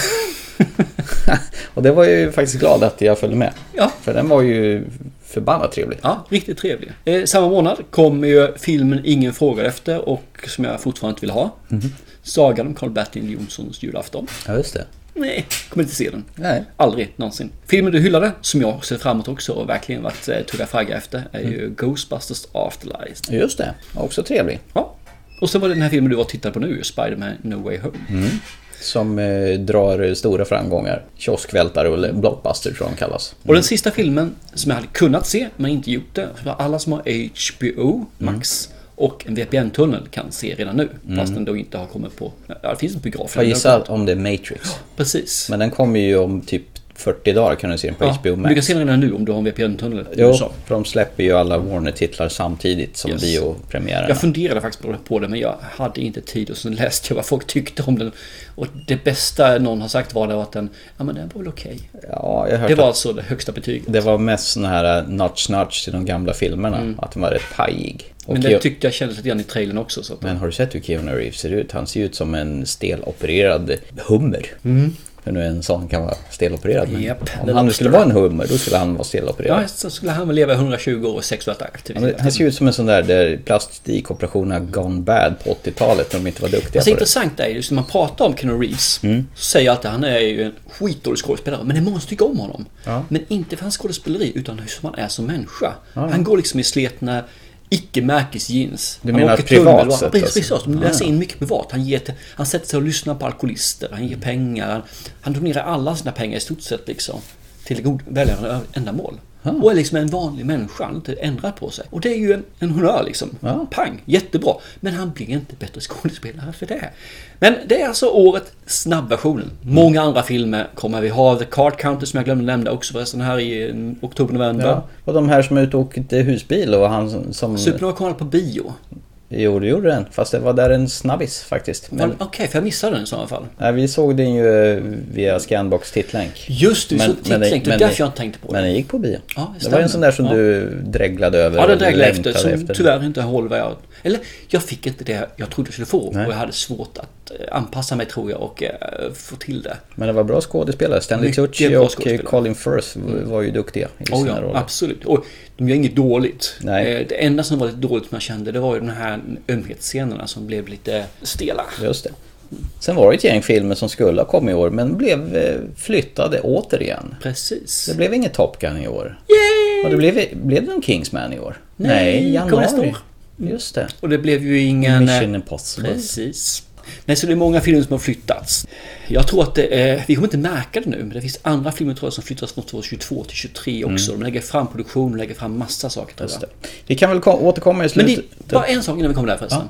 [SPEAKER 2] och det var jag ju faktiskt glad att jag följde med.
[SPEAKER 1] Ja.
[SPEAKER 2] För den var ju förbannat trevlig.
[SPEAKER 1] Ja, riktigt trevlig. Eh, samma månad kom ju filmen Ingen frågar efter och som jag fortfarande inte vill ha.
[SPEAKER 2] Mhm.
[SPEAKER 1] Sagan om Karl-Bertil Jonssons julafton.
[SPEAKER 2] Ja, just det.
[SPEAKER 1] Nej, kommer inte se den.
[SPEAKER 2] Nej.
[SPEAKER 1] Aldrig någonsin. Filmen du hyllade, som jag ser fram emot också och verkligen varit eh, tugga fragga efter, är ju
[SPEAKER 2] Mm.
[SPEAKER 1] Ghostbusters Afterlife.
[SPEAKER 2] Just det. Också trevlig.
[SPEAKER 1] Ja. Och sen var det den här filmen du var och tittade på nu, Spider-Man No Way Home.
[SPEAKER 2] Mm. Som eh, drar stora framgångar. Kioskvältarrulle, blockbuster tror jag de kallas.
[SPEAKER 1] Och den sista filmen som jag hade kunnat se men inte gjort det. För alla som har HBO
[SPEAKER 2] Mm.
[SPEAKER 1] Max och en VPN-tunnel kan se redan nu. Fast den då inte har kommit på... Ja, det finns en biograf.
[SPEAKER 2] Jag gissar om det är Matrix.
[SPEAKER 1] Precis.
[SPEAKER 2] Men den kommer ju om typ 40 dagar kan du se den på
[SPEAKER 1] Ja,
[SPEAKER 2] HBO
[SPEAKER 1] men Du kan
[SPEAKER 2] Max.
[SPEAKER 1] se den redan nu om du har en VPN-tunnel i
[SPEAKER 2] Jo,
[SPEAKER 1] USA.
[SPEAKER 2] för de släpper ju alla Warner-titlar samtidigt som
[SPEAKER 1] Yes.
[SPEAKER 2] biopremiärerna.
[SPEAKER 1] Jag funderade faktiskt på- på det men jag hade inte tid och sen läste jag vad folk tyckte om den. Och det bästa någon har sagt var det att den, ja men den var väl okej.
[SPEAKER 2] Ja, jag har hört
[SPEAKER 1] Det
[SPEAKER 2] att
[SPEAKER 1] var alltså det högsta betyget.
[SPEAKER 2] det var mest såna här nudge-nudge till de gamla filmerna. Att den var rätt pajig. Och
[SPEAKER 1] Mm. Men det
[SPEAKER 2] Keo-
[SPEAKER 1] tyckte jag kändes lite grann i trailern också. Så att,
[SPEAKER 2] Men har du sett hur Keanu Reeves ser ut? Han ser ut som en stelopererad hummer. Hur nu en sån kan vara stelopererad. Men
[SPEAKER 1] Mm. Japp,
[SPEAKER 2] om
[SPEAKER 1] det
[SPEAKER 2] han nu
[SPEAKER 1] låter
[SPEAKER 2] skulle vara en hummer, då skulle han vara stelopererad.
[SPEAKER 1] ja, så skulle han väl leva 120 år och sexuellt aktiv. Alltså,
[SPEAKER 2] Han- Han ser ut som en sån där, där plastikoperationerna gone bad på 80-talet när de inte var duktiga
[SPEAKER 1] Alltså
[SPEAKER 2] på det. Mm.
[SPEAKER 1] intressant är ju, just när man pratar om Keanu Reeves så säger jag alltid att han är ju en skitdålig skådespelare. Men det är många som tycker om honom.
[SPEAKER 2] Ja.
[SPEAKER 1] Men inte för hans skådespeleri utan hur som han är som människa. Han går liksom i sletna icke-märkesjeans.
[SPEAKER 2] Du
[SPEAKER 1] Han
[SPEAKER 2] menar
[SPEAKER 1] åker
[SPEAKER 2] privat
[SPEAKER 1] tunnel och-
[SPEAKER 2] sett
[SPEAKER 1] Precis,
[SPEAKER 2] alltså?
[SPEAKER 1] precis. De läser in mycket privat. Han, ger till, han sätter sig och lyssnar på alkoholister, han ger pengar. Han, han donerar alla sina pengar i stort sett liksom. Till god, välgörande ändamål. Och är liksom en vanlig människa, han har inte ändrat på sig. Och det är ju en, en honnör liksom.
[SPEAKER 2] Ja.
[SPEAKER 1] Pang, jättebra. Men han blir inte bättre skådespelare för det. Men det är alltså året snabbversionen.
[SPEAKER 2] Mm.
[SPEAKER 1] Många andra filmer kommer vi ha. The Card Counter som jag glömde nämna också förresten här i eh, oktober-november.
[SPEAKER 2] Ja. Och de här som är ute och åkte husbil och han som- som...
[SPEAKER 1] Supernova kommer på bio.
[SPEAKER 2] Jo, det gjorde den. Fast det var där en snabbis faktiskt. Men,
[SPEAKER 1] Men... Okej, för jag missade den i sådana fall.
[SPEAKER 2] nej, vi såg den ju eh, via Scanbox tittlänk.
[SPEAKER 1] Just det,
[SPEAKER 2] Men-
[SPEAKER 1] så
[SPEAKER 2] men-
[SPEAKER 1] tittlänk. Det är
[SPEAKER 2] men-
[SPEAKER 1] därför jag inte tänkte på
[SPEAKER 2] Men
[SPEAKER 1] det.
[SPEAKER 2] den gick på bio.
[SPEAKER 1] Ja, det
[SPEAKER 2] det var ju en
[SPEAKER 1] stämmer.
[SPEAKER 2] sån där som
[SPEAKER 1] Ja.
[SPEAKER 2] du dreglade över.
[SPEAKER 1] Ja, den
[SPEAKER 2] och
[SPEAKER 1] dreglade jag efter.
[SPEAKER 2] längtade
[SPEAKER 1] Som
[SPEAKER 2] efter.
[SPEAKER 1] tyvärr inte höll vad jag... Eller, jag fick inte det jag trodde jag skulle få.
[SPEAKER 2] Nej.
[SPEAKER 1] Och jag hade svårt att eh, anpassa mig tror jag och eh, få till det.
[SPEAKER 2] Men det var bra skådespelare. Stanley
[SPEAKER 1] Mycket
[SPEAKER 2] Tucci
[SPEAKER 1] bra
[SPEAKER 2] och eh,
[SPEAKER 1] skådespelare.
[SPEAKER 2] Colin Firth v- var ju duktiga i
[SPEAKER 1] Oh,
[SPEAKER 2] sina
[SPEAKER 1] ja,
[SPEAKER 2] roller.
[SPEAKER 1] absolut. Och de gör inget dåligt.
[SPEAKER 2] Nej.
[SPEAKER 1] Eh, Det enda som var lite dåligt som jag kände det var ju de här ömhetsscenerna som blev lite stela.
[SPEAKER 2] Just det. Sen var det ett gäng filmer som skulle ha kommit i år men blev eh, flyttade återigen.
[SPEAKER 1] Precis.
[SPEAKER 2] Det blev inget Top Gun i år.
[SPEAKER 1] Yay!
[SPEAKER 2] Och det blev, blev det någon Kingsman i år?
[SPEAKER 1] Nej, kom nästa år. Mm. eh,
[SPEAKER 2] Just det.
[SPEAKER 1] Och det blev ju ingen...
[SPEAKER 2] Mission Impossible.
[SPEAKER 1] Precis. Nej, så det är många filmer som har flyttats. Jag tror att det är, vi kommer inte märka det nu, men det finns andra filmer tror jag som flyttas från 2022 till 2023 också.
[SPEAKER 2] Mm.
[SPEAKER 1] De lägger fram produktion, de lägger fram massa saker tror
[SPEAKER 2] Just
[SPEAKER 1] jag.
[SPEAKER 2] det. Vi kan väl ko- återkomma i
[SPEAKER 1] Men det,
[SPEAKER 2] slutet.
[SPEAKER 1] bara en sak innan vi kommer där förresten.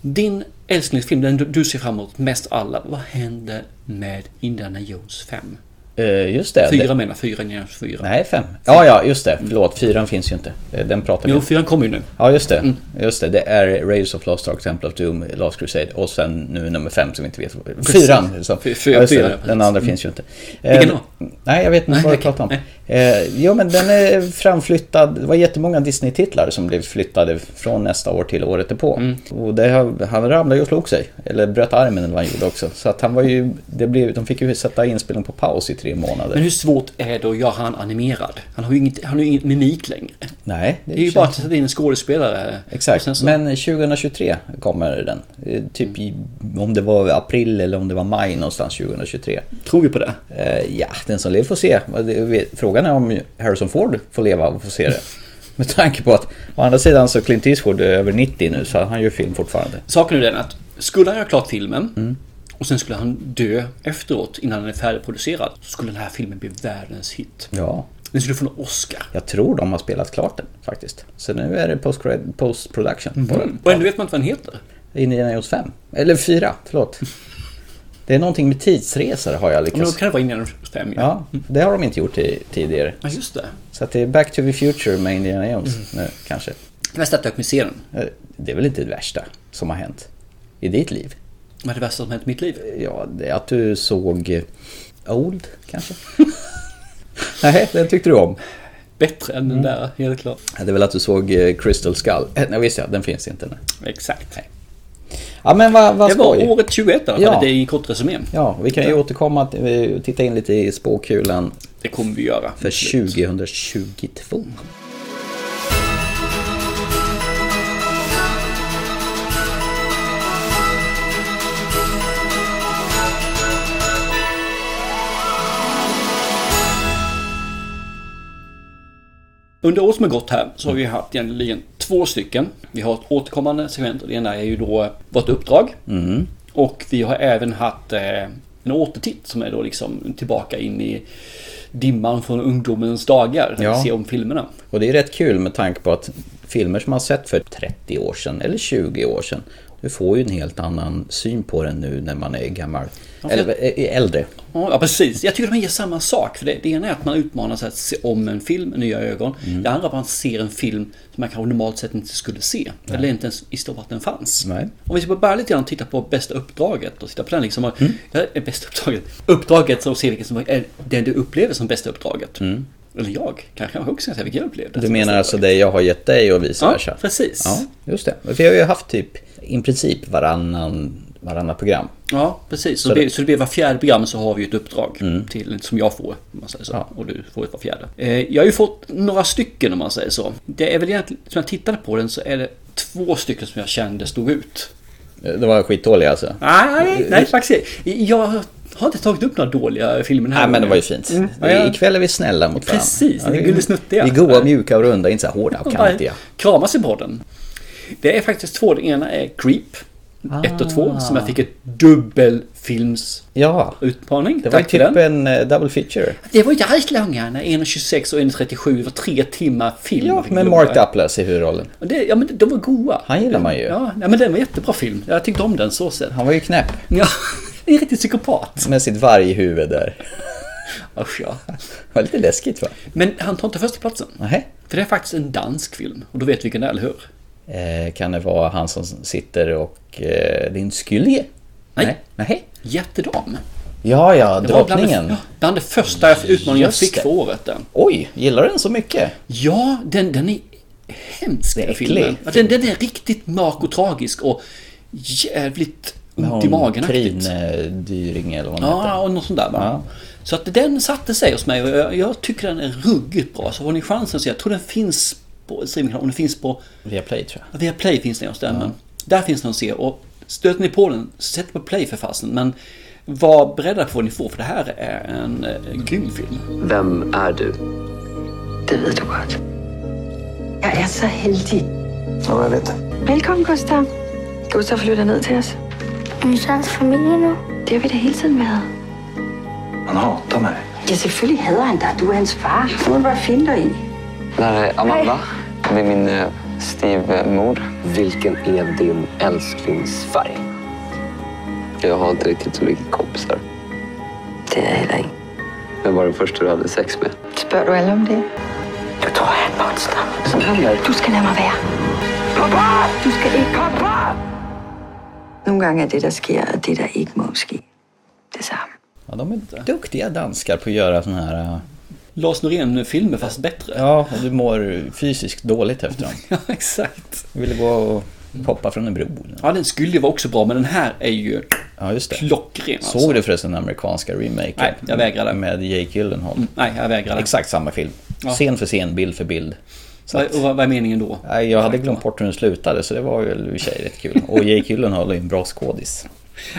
[SPEAKER 1] Din älsklingsfilm, den du- du ser fram emot mest alla, vad händer med Indiana Jones 5?
[SPEAKER 2] Eh, just det.
[SPEAKER 1] Fyra
[SPEAKER 2] Det-
[SPEAKER 1] menar fyra, Indiana Jones 4.
[SPEAKER 2] Nej, fem. Ja, ja, just det. Förlåt, fyran finns ju inte. Eh, Den pratar vi
[SPEAKER 1] Jo,
[SPEAKER 2] om.
[SPEAKER 1] fyran kommer ju nu.
[SPEAKER 2] Ja, just
[SPEAKER 1] Mm.
[SPEAKER 2] det. Just det. det är Raiders of Lost Ark, Temple of Doom, Last Crusade och sen nu nummer fem som vi inte vet. vad- Fyran! Så.
[SPEAKER 1] Fy- fyra,
[SPEAKER 2] Ja, just det.
[SPEAKER 1] fyra, ja, precis.
[SPEAKER 2] den andra finns ju inte.
[SPEAKER 1] Vilken
[SPEAKER 2] då? Nej, jag vet inte
[SPEAKER 1] Nej,
[SPEAKER 2] vad du
[SPEAKER 1] okej,
[SPEAKER 2] pratar om. Eh, jo, men den är framflyttad. Det var jättemånga Disney-titlar som blev flyttade från nästa år till året därpå.
[SPEAKER 1] Mm.
[SPEAKER 2] Och det, har- han ramlade ju och slog sig. Eller bröt armen eller vad han gjorde också. Så att han var ju... Det blev, de fick ju sätta inspelningen på paus i tre månader.
[SPEAKER 1] Men hur svårt är det att göra han animerad? Han har ju inget, han har ju ingen mimik längre.
[SPEAKER 2] Nej,
[SPEAKER 1] Det är ju
[SPEAKER 2] känns-
[SPEAKER 1] bara att sätta in en skådespelare. Och sen
[SPEAKER 2] Exakt,
[SPEAKER 1] så-
[SPEAKER 2] men 2023 kommer den. Eh, Typ i, om det var april eller om det var maj någonstans 2023.
[SPEAKER 1] Tror vi på det?
[SPEAKER 2] Eh, ja, den som lever får se. Vad det- vet- Frågan är om Harrison Ford får leva och får se det. Med tanke på att å andra sidan så Clint Eastwood är över 90 nu så han gör film fortfarande.
[SPEAKER 1] Saken är den att skulle han göra klart filmen och sen skulle han dö efteråt innan den är färdigproducerad så skulle den här filmen bli världens hit.
[SPEAKER 2] Ja,
[SPEAKER 1] Den skulle få en Oscar.
[SPEAKER 2] jag tror de har spelat klart den faktiskt. Så nu är det post-cred- post-production på den.
[SPEAKER 1] Och ändå vet man inte vad den heter.
[SPEAKER 2] Indiana Jones 5. Eller 4, förlåt. Det är någonting med tidsresor har jag
[SPEAKER 1] Men då
[SPEAKER 2] lyckats...
[SPEAKER 1] kan det vara Indiana Jones 5 ja.
[SPEAKER 2] Ja, det har de inte gjort i, tidigare.
[SPEAKER 1] ja, just det.
[SPEAKER 2] Så att det är Back to the Future med Indiana Jones
[SPEAKER 1] Mm.
[SPEAKER 2] nu kanske.
[SPEAKER 1] Det värsta är att jag missade den.
[SPEAKER 2] Eh, Det är väl inte det värsta som har hänt i ditt liv?
[SPEAKER 1] Vad är det värsta som hänt i mitt liv?
[SPEAKER 2] Ja, det är att du såg eh, Old kanske? Nej, den tyckte du om.
[SPEAKER 1] Bättre än
[SPEAKER 2] Mm.
[SPEAKER 1] den där, helt klart.
[SPEAKER 2] Ja, Det är väl att du såg eh, Crystal Skull. Eh, Nej, visst ja, den finns inte. Nej.
[SPEAKER 1] Exakt.
[SPEAKER 2] Ja, men vad, vad
[SPEAKER 1] Det var
[SPEAKER 2] skoj.
[SPEAKER 1] året 21 i alla fall.
[SPEAKER 2] Ja.
[SPEAKER 1] Det är en kort resumé.
[SPEAKER 2] Ja, vi kan ju återkomma till- eh, titta in lite i spåkulan
[SPEAKER 1] Det kommer vi göra.
[SPEAKER 2] för 2022.
[SPEAKER 1] Under året som har gått här så har vi haft egentligen två stycken. Vi har ett återkommande segment och det ena är ju då vårt uppdrag.
[SPEAKER 2] Mm.
[SPEAKER 1] Och vi har även haft eh, en återtitt som är då liksom tillbaka in i dimman från ungdomens dagar. Där
[SPEAKER 2] Ja.
[SPEAKER 1] vi ser om filmerna.
[SPEAKER 2] Och det är rätt kul med tanke på att filmer som man sett för 30 år sedan eller 20 år sedan Du får ju en helt annan syn på den nu när man är gammal.
[SPEAKER 1] Ja, för-
[SPEAKER 2] Eller ä- ä- äldre.
[SPEAKER 1] Ja, precis. Jag tycker de ger samma sak. För det, det ena är att man utmanar sig att se om en film med nya ögon.
[SPEAKER 2] Mm.
[SPEAKER 1] Det andra är att man ser en film som man kanske normalt sett inte skulle se. Eller inte ens visste om att den fanns.
[SPEAKER 2] Nej.
[SPEAKER 1] Om vi ska bara lite grann och titta på bästa uppdraget och titta på den liksom. och-
[SPEAKER 2] Mm.
[SPEAKER 1] Ja, det är bästa uppdraget. Uppdraget som ser vilket som är det du upplever som bästa uppdraget. Eller jag kanske också kan säga vilket jag upplevde.
[SPEAKER 2] Mm. Du
[SPEAKER 1] som
[SPEAKER 2] menar
[SPEAKER 1] bästa
[SPEAKER 2] alltså
[SPEAKER 1] uppdraget.
[SPEAKER 2] det jag har gett dig och vice
[SPEAKER 1] Ja,
[SPEAKER 2] versa?
[SPEAKER 1] precis.
[SPEAKER 2] Ja, just det. För jag har ju haft typ i princip varannan, varannan program.
[SPEAKER 1] Ja, precis. Så, det,
[SPEAKER 2] Så det- Mm.
[SPEAKER 1] så det blir var fjärde program så har vi ju ett uppdrag till, som jag får. Om man säger så.
[SPEAKER 2] Ja.
[SPEAKER 1] Och du får ett var fjärde. Eh, jag har ju fått några stycken om man säger så. Det är väl egentligen, som jag tittade på den så är det två stycken som jag kände stod ut.
[SPEAKER 2] Det var skitdålig alltså.
[SPEAKER 1] Nej, nej, nej faktiskt Jag har inte tagit upp några dåliga filmer den här
[SPEAKER 2] Nej men det
[SPEAKER 1] gången.
[SPEAKER 2] var ju fint.
[SPEAKER 1] Mm.
[SPEAKER 2] Vi-
[SPEAKER 1] Ja, ja.
[SPEAKER 2] Ikväll är vi snälla mot varandra.
[SPEAKER 1] Precis,
[SPEAKER 2] Ja,
[SPEAKER 1] vi är
[SPEAKER 2] vi-
[SPEAKER 1] gullisnuttiga.
[SPEAKER 2] Vi är goa, mjuka och runda, inte så här hårda och
[SPEAKER 1] De bara
[SPEAKER 2] kantiga.
[SPEAKER 1] Kramas i podden. Det är faktiskt två. Det ena är Creep 1 och
[SPEAKER 2] Ah.
[SPEAKER 1] 2 som jag fick ett dubbelfilmsutmaning.
[SPEAKER 2] Ja, det var
[SPEAKER 1] Tack för den.
[SPEAKER 2] typ en eh, double feature.
[SPEAKER 1] Det var jävligt långa, när 1.26 och 1.37 det var tre timmar film.
[SPEAKER 2] Ja, med Mark Duplass i huvudrollen.
[SPEAKER 1] Och Det, ja men de var goa.
[SPEAKER 2] Han gillar man ju.
[SPEAKER 1] Ja, nej, men den var jättebra film. Jag tyckte om den så sett.
[SPEAKER 2] Han var ju knäpp
[SPEAKER 1] Ja, en riktig psykopat.
[SPEAKER 2] med sitt varghuvud där.
[SPEAKER 1] Usch, ja.
[SPEAKER 2] Det var lite läskigt va?
[SPEAKER 1] Men han tar inte första platsen.
[SPEAKER 2] Nej.
[SPEAKER 1] För det är faktiskt en dansk film. Och du vet vilken det är, eller hur?
[SPEAKER 2] Eh, kan det vara han som sitter och... Eh, din skylje?
[SPEAKER 1] Nej.
[SPEAKER 2] Nej.
[SPEAKER 1] Jättedam.
[SPEAKER 2] Ja, ja,
[SPEAKER 1] Det var bland det-
[SPEAKER 2] drottningen.
[SPEAKER 1] ja, Bland det första utmaningen jag
[SPEAKER 2] Just
[SPEAKER 1] fick
[SPEAKER 2] det.
[SPEAKER 1] för året. Den.
[SPEAKER 2] Oj, gillar du den så mycket?
[SPEAKER 1] Ja, den, den är hemsk
[SPEAKER 2] är
[SPEAKER 1] den
[SPEAKER 2] äcklig.
[SPEAKER 1] filmen. Ja, den, den är riktigt mörk och tragisk och jävligt ont i magen.
[SPEAKER 2] Trinedyring eller vad hon
[SPEAKER 1] Ja,
[SPEAKER 2] heter.
[SPEAKER 1] och något sånt där va?
[SPEAKER 2] Ja.
[SPEAKER 1] Så att den satte sig hos mig och jag, jag tycker den är ruggigt bra. Så har ni chansen så jag tror den finns på streamingkanalen. Om den finns på
[SPEAKER 2] Via Play tror jag.
[SPEAKER 1] via Play finns den hos den. men Där finns den att se och stöter ni på den, sätt på Play för fasen. Men var beredda på vad ni får för det här är en eh, grym film.
[SPEAKER 3] Vem är du?
[SPEAKER 4] Det ved du godt.
[SPEAKER 5] Jeg er så heldig.
[SPEAKER 3] Ja, jag vet.
[SPEAKER 4] Velkommen, Gustav. Gustav flytter ned til os.
[SPEAKER 6] Er min sons familie nu?
[SPEAKER 4] Det har vi da hele tiden været.
[SPEAKER 3] Han hatar mig.
[SPEAKER 5] Ja, selvfølgelig hader han dig. Du er hans far. Det må du bare finde dig i.
[SPEAKER 7] Där är Amanda. Det är min eh, styvmor.
[SPEAKER 3] Vilken är din älsklingsfärg?
[SPEAKER 7] Jag har inte riktigt så mycket kompisar.
[SPEAKER 5] Det er jeg heller ikke.
[SPEAKER 7] Vem var den första du hade sex med?
[SPEAKER 4] Spørger du alle om det?
[SPEAKER 5] Du tror, jeg er et monster.
[SPEAKER 7] Som händer?
[SPEAKER 4] Du skal lade mig være. Papa! Du skal ikke... Papa! Nogle gange er det, der sker, og det, der ikke må ske. Det samme.
[SPEAKER 2] Ja, de är duktiga danskar på att göra sådana här... eh,
[SPEAKER 1] Lars Norén-filmer fast bättre.
[SPEAKER 2] Ja, och du mår fysiskt dåligt efter dem.
[SPEAKER 1] Ja, exakt.
[SPEAKER 2] Jag ville gå och hoppa från en bro. eller något.
[SPEAKER 1] Ja, den skulle ju vara också bra, men den här är ju
[SPEAKER 2] Ja, just det.
[SPEAKER 1] klockren. Alltså.
[SPEAKER 2] Såg du förresten den amerikanska remaken?
[SPEAKER 1] Nej, jag vägrade.
[SPEAKER 2] Med Jake Gyllenhaal.
[SPEAKER 1] Nej, jag vägrar. det.
[SPEAKER 2] Exakt samma film. Scen för scen, bild för bild. Så
[SPEAKER 1] Vad-
[SPEAKER 2] att,
[SPEAKER 1] Och vad, vad är meningen då?
[SPEAKER 2] nej, jag hade glömt bort hur den slutade, så det var väl i och för sig rätt kul. Och Jake Gyllenhaal är ju en bra skådis.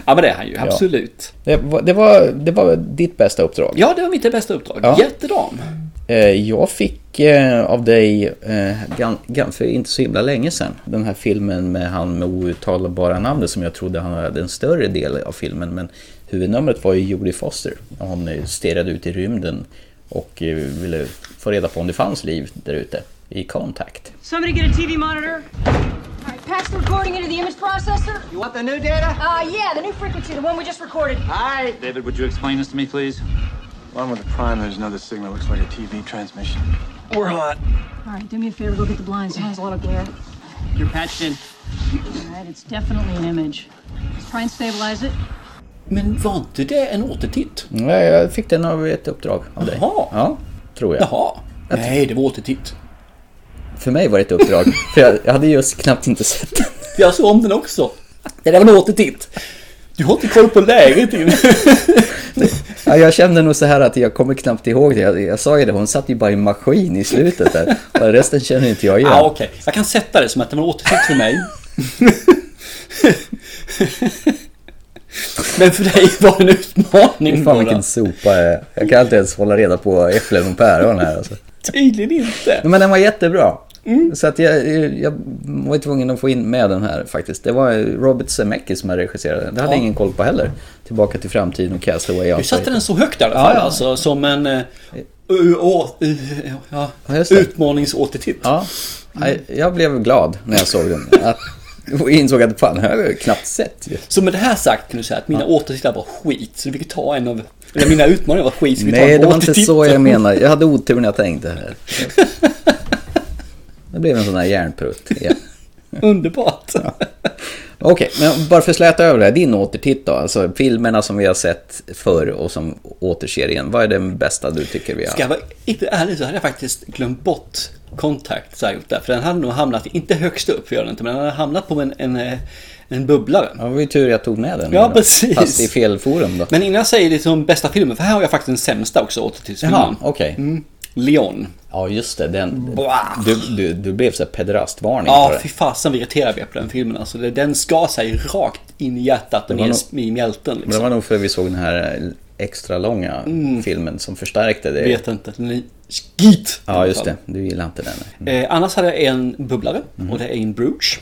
[SPEAKER 1] Ja, men det är han ju. Absolut.
[SPEAKER 2] Det var, det var, det var ditt bästa uppdrag.
[SPEAKER 1] Ja, det var mitt bästa uppdrag.
[SPEAKER 2] Ja.
[SPEAKER 1] Jättedam.
[SPEAKER 2] Eh, Jag fick eh, av dig, eh, gan- gan- för inte så himla länge sedan, den här filmen med han med outtalbara namnet som jag trodde han hade en större del av filmen. Men huvudnumret var ju Jodie Foster. Hon eh, stirrade ut i rymden och eh, ville få reda på om det fanns liv där ute i Contact.
[SPEAKER 8] Somebody get a TV monitor.
[SPEAKER 9] All right, patch the recording into the image processor.
[SPEAKER 10] You want the new data?
[SPEAKER 9] Uh, yeah, the new frequency, the one we just recorded.
[SPEAKER 10] Aye.
[SPEAKER 11] David, would you explain this to me, please?
[SPEAKER 10] Along with the prime, there's another signal looks like a TV transmission. We're hot.
[SPEAKER 9] All right, do me a favor, go get the blinds. It has a lot of glare.
[SPEAKER 11] You're patched in.
[SPEAKER 9] All right, it's definitely an image. Let's try and stabilize it.
[SPEAKER 1] Men var inte det en återtitt?
[SPEAKER 2] Nej, Jag fick den av ett uppdrag av dig.
[SPEAKER 1] Jaha.
[SPEAKER 2] Ja, tror jag.
[SPEAKER 1] Jaha. Nej, det var återtitt.
[SPEAKER 2] För mig var det ett uppdrag, för jag, jag hade just knappt inte sett den.
[SPEAKER 1] Jag såg om den också. Det där var en återtitt. Du har inte koll på läget. Tim.
[SPEAKER 2] Ja, jag kände nog så här att jag kommer knappt ihåg det. Jag, jag sa ju det, hon satt ju bara i en maskin i slutet där. Och resten känner inte jag igen.
[SPEAKER 1] Ja, Ah, okej. Jag kan sätta det som att det var en återtitt för mig. Men för dig var det en utmaning.
[SPEAKER 2] Fy Fan
[SPEAKER 1] Nora.
[SPEAKER 2] vilken sopa jag är. Jag kan inte ens hålla reda på äpplen och päron här alltså.
[SPEAKER 1] Tydligen inte.
[SPEAKER 2] Men den var jättebra.
[SPEAKER 1] Mm.
[SPEAKER 2] Så att jag, jag var ju tvungen att få in med den här faktiskt. Det var Robert Zemeckis som regisserade den. Det hade jag
[SPEAKER 1] Ja.
[SPEAKER 2] ingen koll på heller. Tillbaka till framtiden och Castaway.
[SPEAKER 1] Du satte den så högt i alla fall
[SPEAKER 2] Ja, ja.
[SPEAKER 1] alltså. Som en... eh, ö- å- ö- ja,
[SPEAKER 2] Ja, just det.
[SPEAKER 1] utmaningsåtertitt.
[SPEAKER 2] Ja, Nej, jag blev glad när jag såg den. Att Och insåg att fan, här har jag knappt sett ju.
[SPEAKER 1] Så med det här sagt kan du säga att mina återtittare var skit. Så vi fick ta en av... Eller mina utmaningar var skit. Så vi tar
[SPEAKER 2] Nej,
[SPEAKER 1] en
[SPEAKER 2] det var inte
[SPEAKER 1] återtitt.
[SPEAKER 2] så jag menar. Jag hade otur när jag tänkte här. Det blev en sån här järnprutt. Ja.
[SPEAKER 1] Underbart.
[SPEAKER 2] Okej, men bara för att släta över det här. Din återtitt då, alltså filmerna som vi har sett förr och som återser igen. Vad är den bästa du tycker vi har?
[SPEAKER 1] Ska jag vara inte ärlig så hade jag faktiskt glömt bort kontakt så jag gjort där. För den hade nog hamnat, inte högst upp gör den inte, men den hade hamnat på en, en, eh, en bubblare.
[SPEAKER 2] Ja, det var ju tur jag tog med den.
[SPEAKER 1] Ja,
[SPEAKER 2] då.
[SPEAKER 1] precis.
[SPEAKER 2] Fast i fel forum då.
[SPEAKER 1] Men innan jag säger det som bästa filmen, för här har jag faktiskt den sämsta också återtidsfilmen.
[SPEAKER 2] Jaha, Mm, okej.
[SPEAKER 1] Mm. Leon.
[SPEAKER 2] Ja, just det. Den,
[SPEAKER 1] Blah.
[SPEAKER 2] du, du, du blev så här pederastvarning på
[SPEAKER 1] Ja,
[SPEAKER 2] det.
[SPEAKER 1] fy fasen vi irriterar vi är på den filmen. Alltså, det, den ska sig rakt in i hjärtat och
[SPEAKER 2] var
[SPEAKER 1] ner
[SPEAKER 2] nog-
[SPEAKER 1] i mjälten. Liksom.
[SPEAKER 2] Men det var nog för vi såg den här extra långa filmen som förstärkte det.
[SPEAKER 1] Jag Mm. vet inte, den är skit. i
[SPEAKER 2] Ja,
[SPEAKER 1] alla
[SPEAKER 2] just
[SPEAKER 1] fall.
[SPEAKER 2] det. Du gillar inte den. nej.
[SPEAKER 1] Eh, annars hade jag en bubblare
[SPEAKER 2] Mhm.
[SPEAKER 1] och det är In Bruges.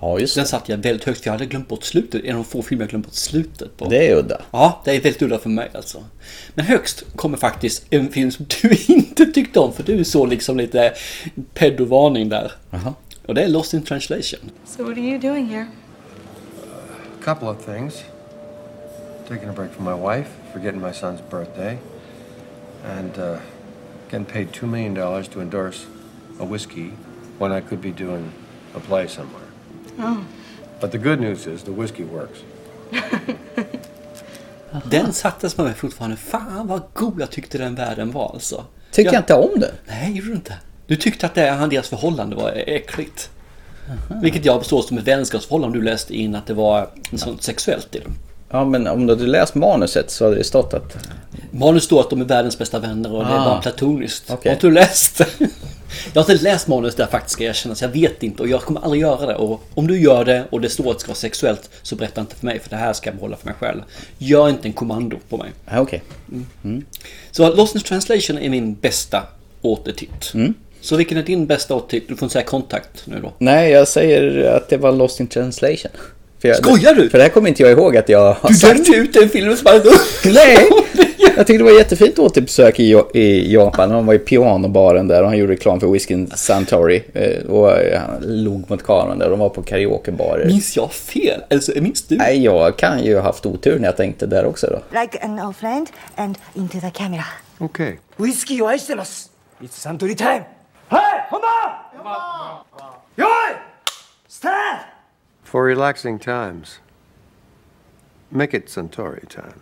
[SPEAKER 2] Ja, just
[SPEAKER 1] Den
[SPEAKER 2] det.
[SPEAKER 1] satt jag väldigt högt för jag hade glömt bort slutet. En av de få filmer jag glömt bort slutet på.
[SPEAKER 2] Det är udda.
[SPEAKER 1] Ja, det är väldigt udda för mig alltså. Men högst kommer faktiskt en film som du inte tyckte om för du såg liksom lite pedovarning där.
[SPEAKER 2] Jaha.
[SPEAKER 1] Och det är Lost in translation.
[SPEAKER 5] So what are you doing here?
[SPEAKER 10] Couple of things. Taking a break from my wife, forgetting my son's birthday, and uh, getting paid $2 million to endorse a whiskey when I could be doing a play somewhere. But the good news is the whiskey works.
[SPEAKER 1] Den sattes man med fortfarande. Fan vad god jag tyckte den världen var alltså.
[SPEAKER 2] Tycker
[SPEAKER 1] Ja.
[SPEAKER 2] jag inte om den.
[SPEAKER 1] Nej, gjorde du inte? Du tyckte att det, han- deras förhållande var äckligt. Vilket jag förstår som ett vänskapsförhållande. Du läste in att det var sånt sexuellt i det.
[SPEAKER 2] Ja, men om du hade läst manuset så hade det stått att...
[SPEAKER 1] Manus står att de är världens bästa vänner och det är
[SPEAKER 2] Ah.
[SPEAKER 1] bara platoniskt.
[SPEAKER 2] Okej.
[SPEAKER 1] Har inte du läst? jag har inte läst manus där faktiskt ska jag erkänna, så jag vet inte och jag kommer aldrig göra det. Och om du gör det och det står att det ska vara sexuellt så berätta inte för mig för det här ska jag behålla för mig själv. Gör inte en kommando på mig.
[SPEAKER 2] Ja, okej.
[SPEAKER 1] Så Lost in translation är min bästa återtitt.
[SPEAKER 2] Mm.
[SPEAKER 1] Så vilken är din bästa återtitt? Du får inte säga kontakt nu då.
[SPEAKER 2] Nej, jag säger att det var Lost in translation. För jag,
[SPEAKER 1] Skojar du?
[SPEAKER 2] För det här kommer inte jag ihåg att jag har
[SPEAKER 1] Du
[SPEAKER 2] sagt.
[SPEAKER 1] dömde ut en film som hade...
[SPEAKER 2] Nej! Jag tyckte det var jättefint återbesök i, Ja- i Japan. Han var i pianobaren där och han gjorde reklam för whiskyn Santori. Eh, Och eh, han log mot kameran där. De var på karaokebarer.
[SPEAKER 1] Minns jag fel? Alltså, minns du?
[SPEAKER 2] Nej, jag kan ju ha haft otur när jag tänkte där också då.
[SPEAKER 5] Like an old friend and into the camera.
[SPEAKER 10] Okay.
[SPEAKER 8] ウイスキーを愛してますいつサントリータイムはい本番よいスター
[SPEAKER 10] For relaxing times, make it Centauri time.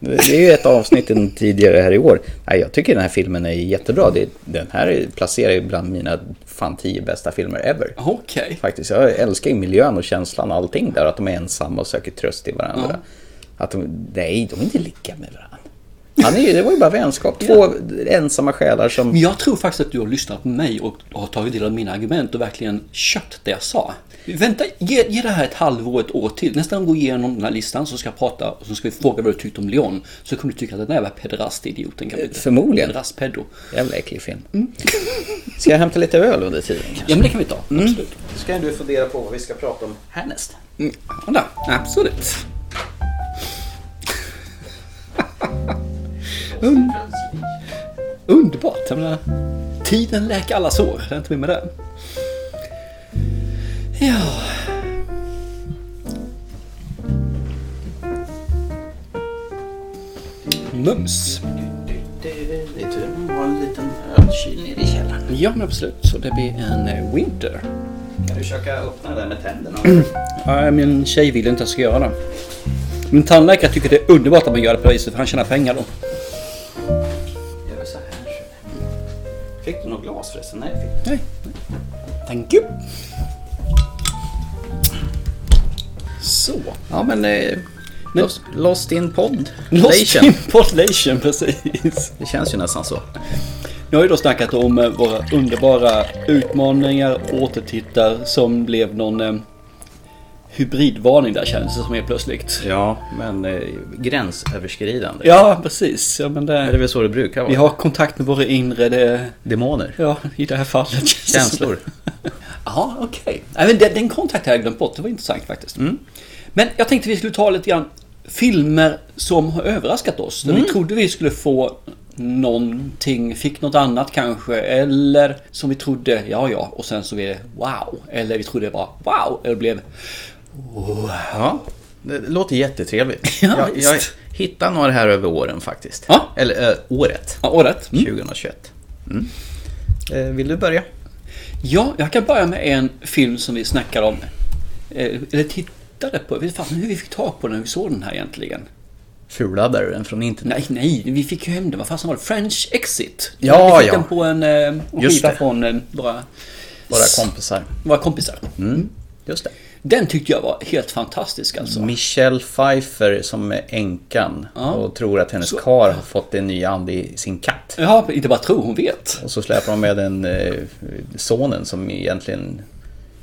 [SPEAKER 2] Det det är ju ett avsnitt än tidigare här i år. Nej, jag tycker den här filmen är jättebra. Det, den här är- placerar ju bland mina fan tio bästa filmer ever.
[SPEAKER 1] Okej.
[SPEAKER 2] Faktiskt, jag älskar ju miljön och känslan och allting där. Att de är ensamma och söker tröst i varandra. Att de, nej, de är inte lika med varandra. Han är ju, det var ju bara vänskap. Två ensamma själar som...
[SPEAKER 1] Men jag tror faktiskt att du har lyssnat på mig och har tagit del av mina argument och verkligen kört det jag sa. Vänta, ge, ge det här ett halvår, ett år till. Nästa gång vi går igenom den här listan så ska jag prata och så ska vi fråga vad du tyckte om Leon. Så kommer du tycka att den där var pederast-idioten. kan vi-
[SPEAKER 2] Förmodligen.
[SPEAKER 1] Pederast-pedo.
[SPEAKER 2] Jävla äcklig film. Ska jag hämta lite öl under tiden?
[SPEAKER 1] Ja, men det kan vi ta. Absolut.
[SPEAKER 2] Ska du fundera på vad vi ska prata om härnäst?
[SPEAKER 1] Ja, då. absolut. Un- Underbart. Jag menar, tiden läker alla sår. Det är inte mer med det. Ja. Mums.
[SPEAKER 2] Det är tur man har en liten ölkyl nere i källaren.
[SPEAKER 1] Ja, men absolut. Så det blir en eh, winter.
[SPEAKER 2] Kan du försöka öppna den med tänderna?
[SPEAKER 1] Nej, min tjej vill inte att jag ska göra det. Min tandläkare tycker det är underbart att man gör det på det viset för han tjänar pengar då.
[SPEAKER 2] Gör så här. Fick du något glas förresten? Nej, fick
[SPEAKER 1] Nej. Thank you. Så.
[SPEAKER 2] Ja, men... Eh, lost, lost in pod.
[SPEAKER 1] Lost
[SPEAKER 2] Station.
[SPEAKER 1] in Podlation, precis.
[SPEAKER 2] Det känns ju nästan så.
[SPEAKER 1] Nu har ju då snackat om eh, våra underbara utmaningar, återtittar som blev någon eh, hybridvarning där kändes det som helt plötsligt.
[SPEAKER 2] Ja, men eh, gränsöverskridande.
[SPEAKER 1] Ja, precis. Ja, men
[SPEAKER 2] Är det
[SPEAKER 1] det,
[SPEAKER 2] väl så det brukar vara?
[SPEAKER 1] vi har kontakt med våra inre, det,
[SPEAKER 2] Demoner.
[SPEAKER 1] ja, i det här fallet.
[SPEAKER 2] Känslor.
[SPEAKER 1] Ja, okej. Nej, men Den, den kontakten hade jag glömt bort. Det var intressant faktiskt. Mm. Men jag Mm. tänkte vi skulle ta lite grann filmer som har överraskat oss. Vi trodde vi skulle få någonting, fick något annat kanske. Eller som vi trodde, ja ja. Och sen så blev det wow. Eller vi trodde det var wow. Eller blev wow.
[SPEAKER 2] Ja, det låter jättetrevligt. Ja, jag, jag hittar några här över åren faktiskt. Ja. Eller äh, året.
[SPEAKER 1] Ja, året.
[SPEAKER 2] Mm. 2021. Mm. Eh, vill du börja?
[SPEAKER 1] Ja, jag kan börja med en film som vi snackade om. Eh, eller tittade på. Jag vet fan hur vi fick tag på den, hur vi såg den här egentligen.
[SPEAKER 2] Fulade du den från
[SPEAKER 1] Nej,
[SPEAKER 2] internet?
[SPEAKER 1] nej, vi fick ju hem den. Vad fasen var det? French Exit.
[SPEAKER 2] Ja,
[SPEAKER 1] vi fick
[SPEAKER 2] ja.
[SPEAKER 1] den på en, eh, en
[SPEAKER 2] Just
[SPEAKER 1] skiva
[SPEAKER 2] det.
[SPEAKER 1] från eh, våra,
[SPEAKER 2] Våra kompisar.
[SPEAKER 1] våra kompisar.
[SPEAKER 2] Mm. Just det.
[SPEAKER 1] Den tyckte jag var helt fantastisk alltså.
[SPEAKER 2] Michelle Pfeiffer som är änkan
[SPEAKER 1] Ja.
[SPEAKER 2] och tror att hennes
[SPEAKER 1] Så-
[SPEAKER 2] karl har fått en ny ande i sin katt.
[SPEAKER 1] Ja, inte bara tro, hon vet.
[SPEAKER 2] Och så släpar hon med den eh, sonen som egentligen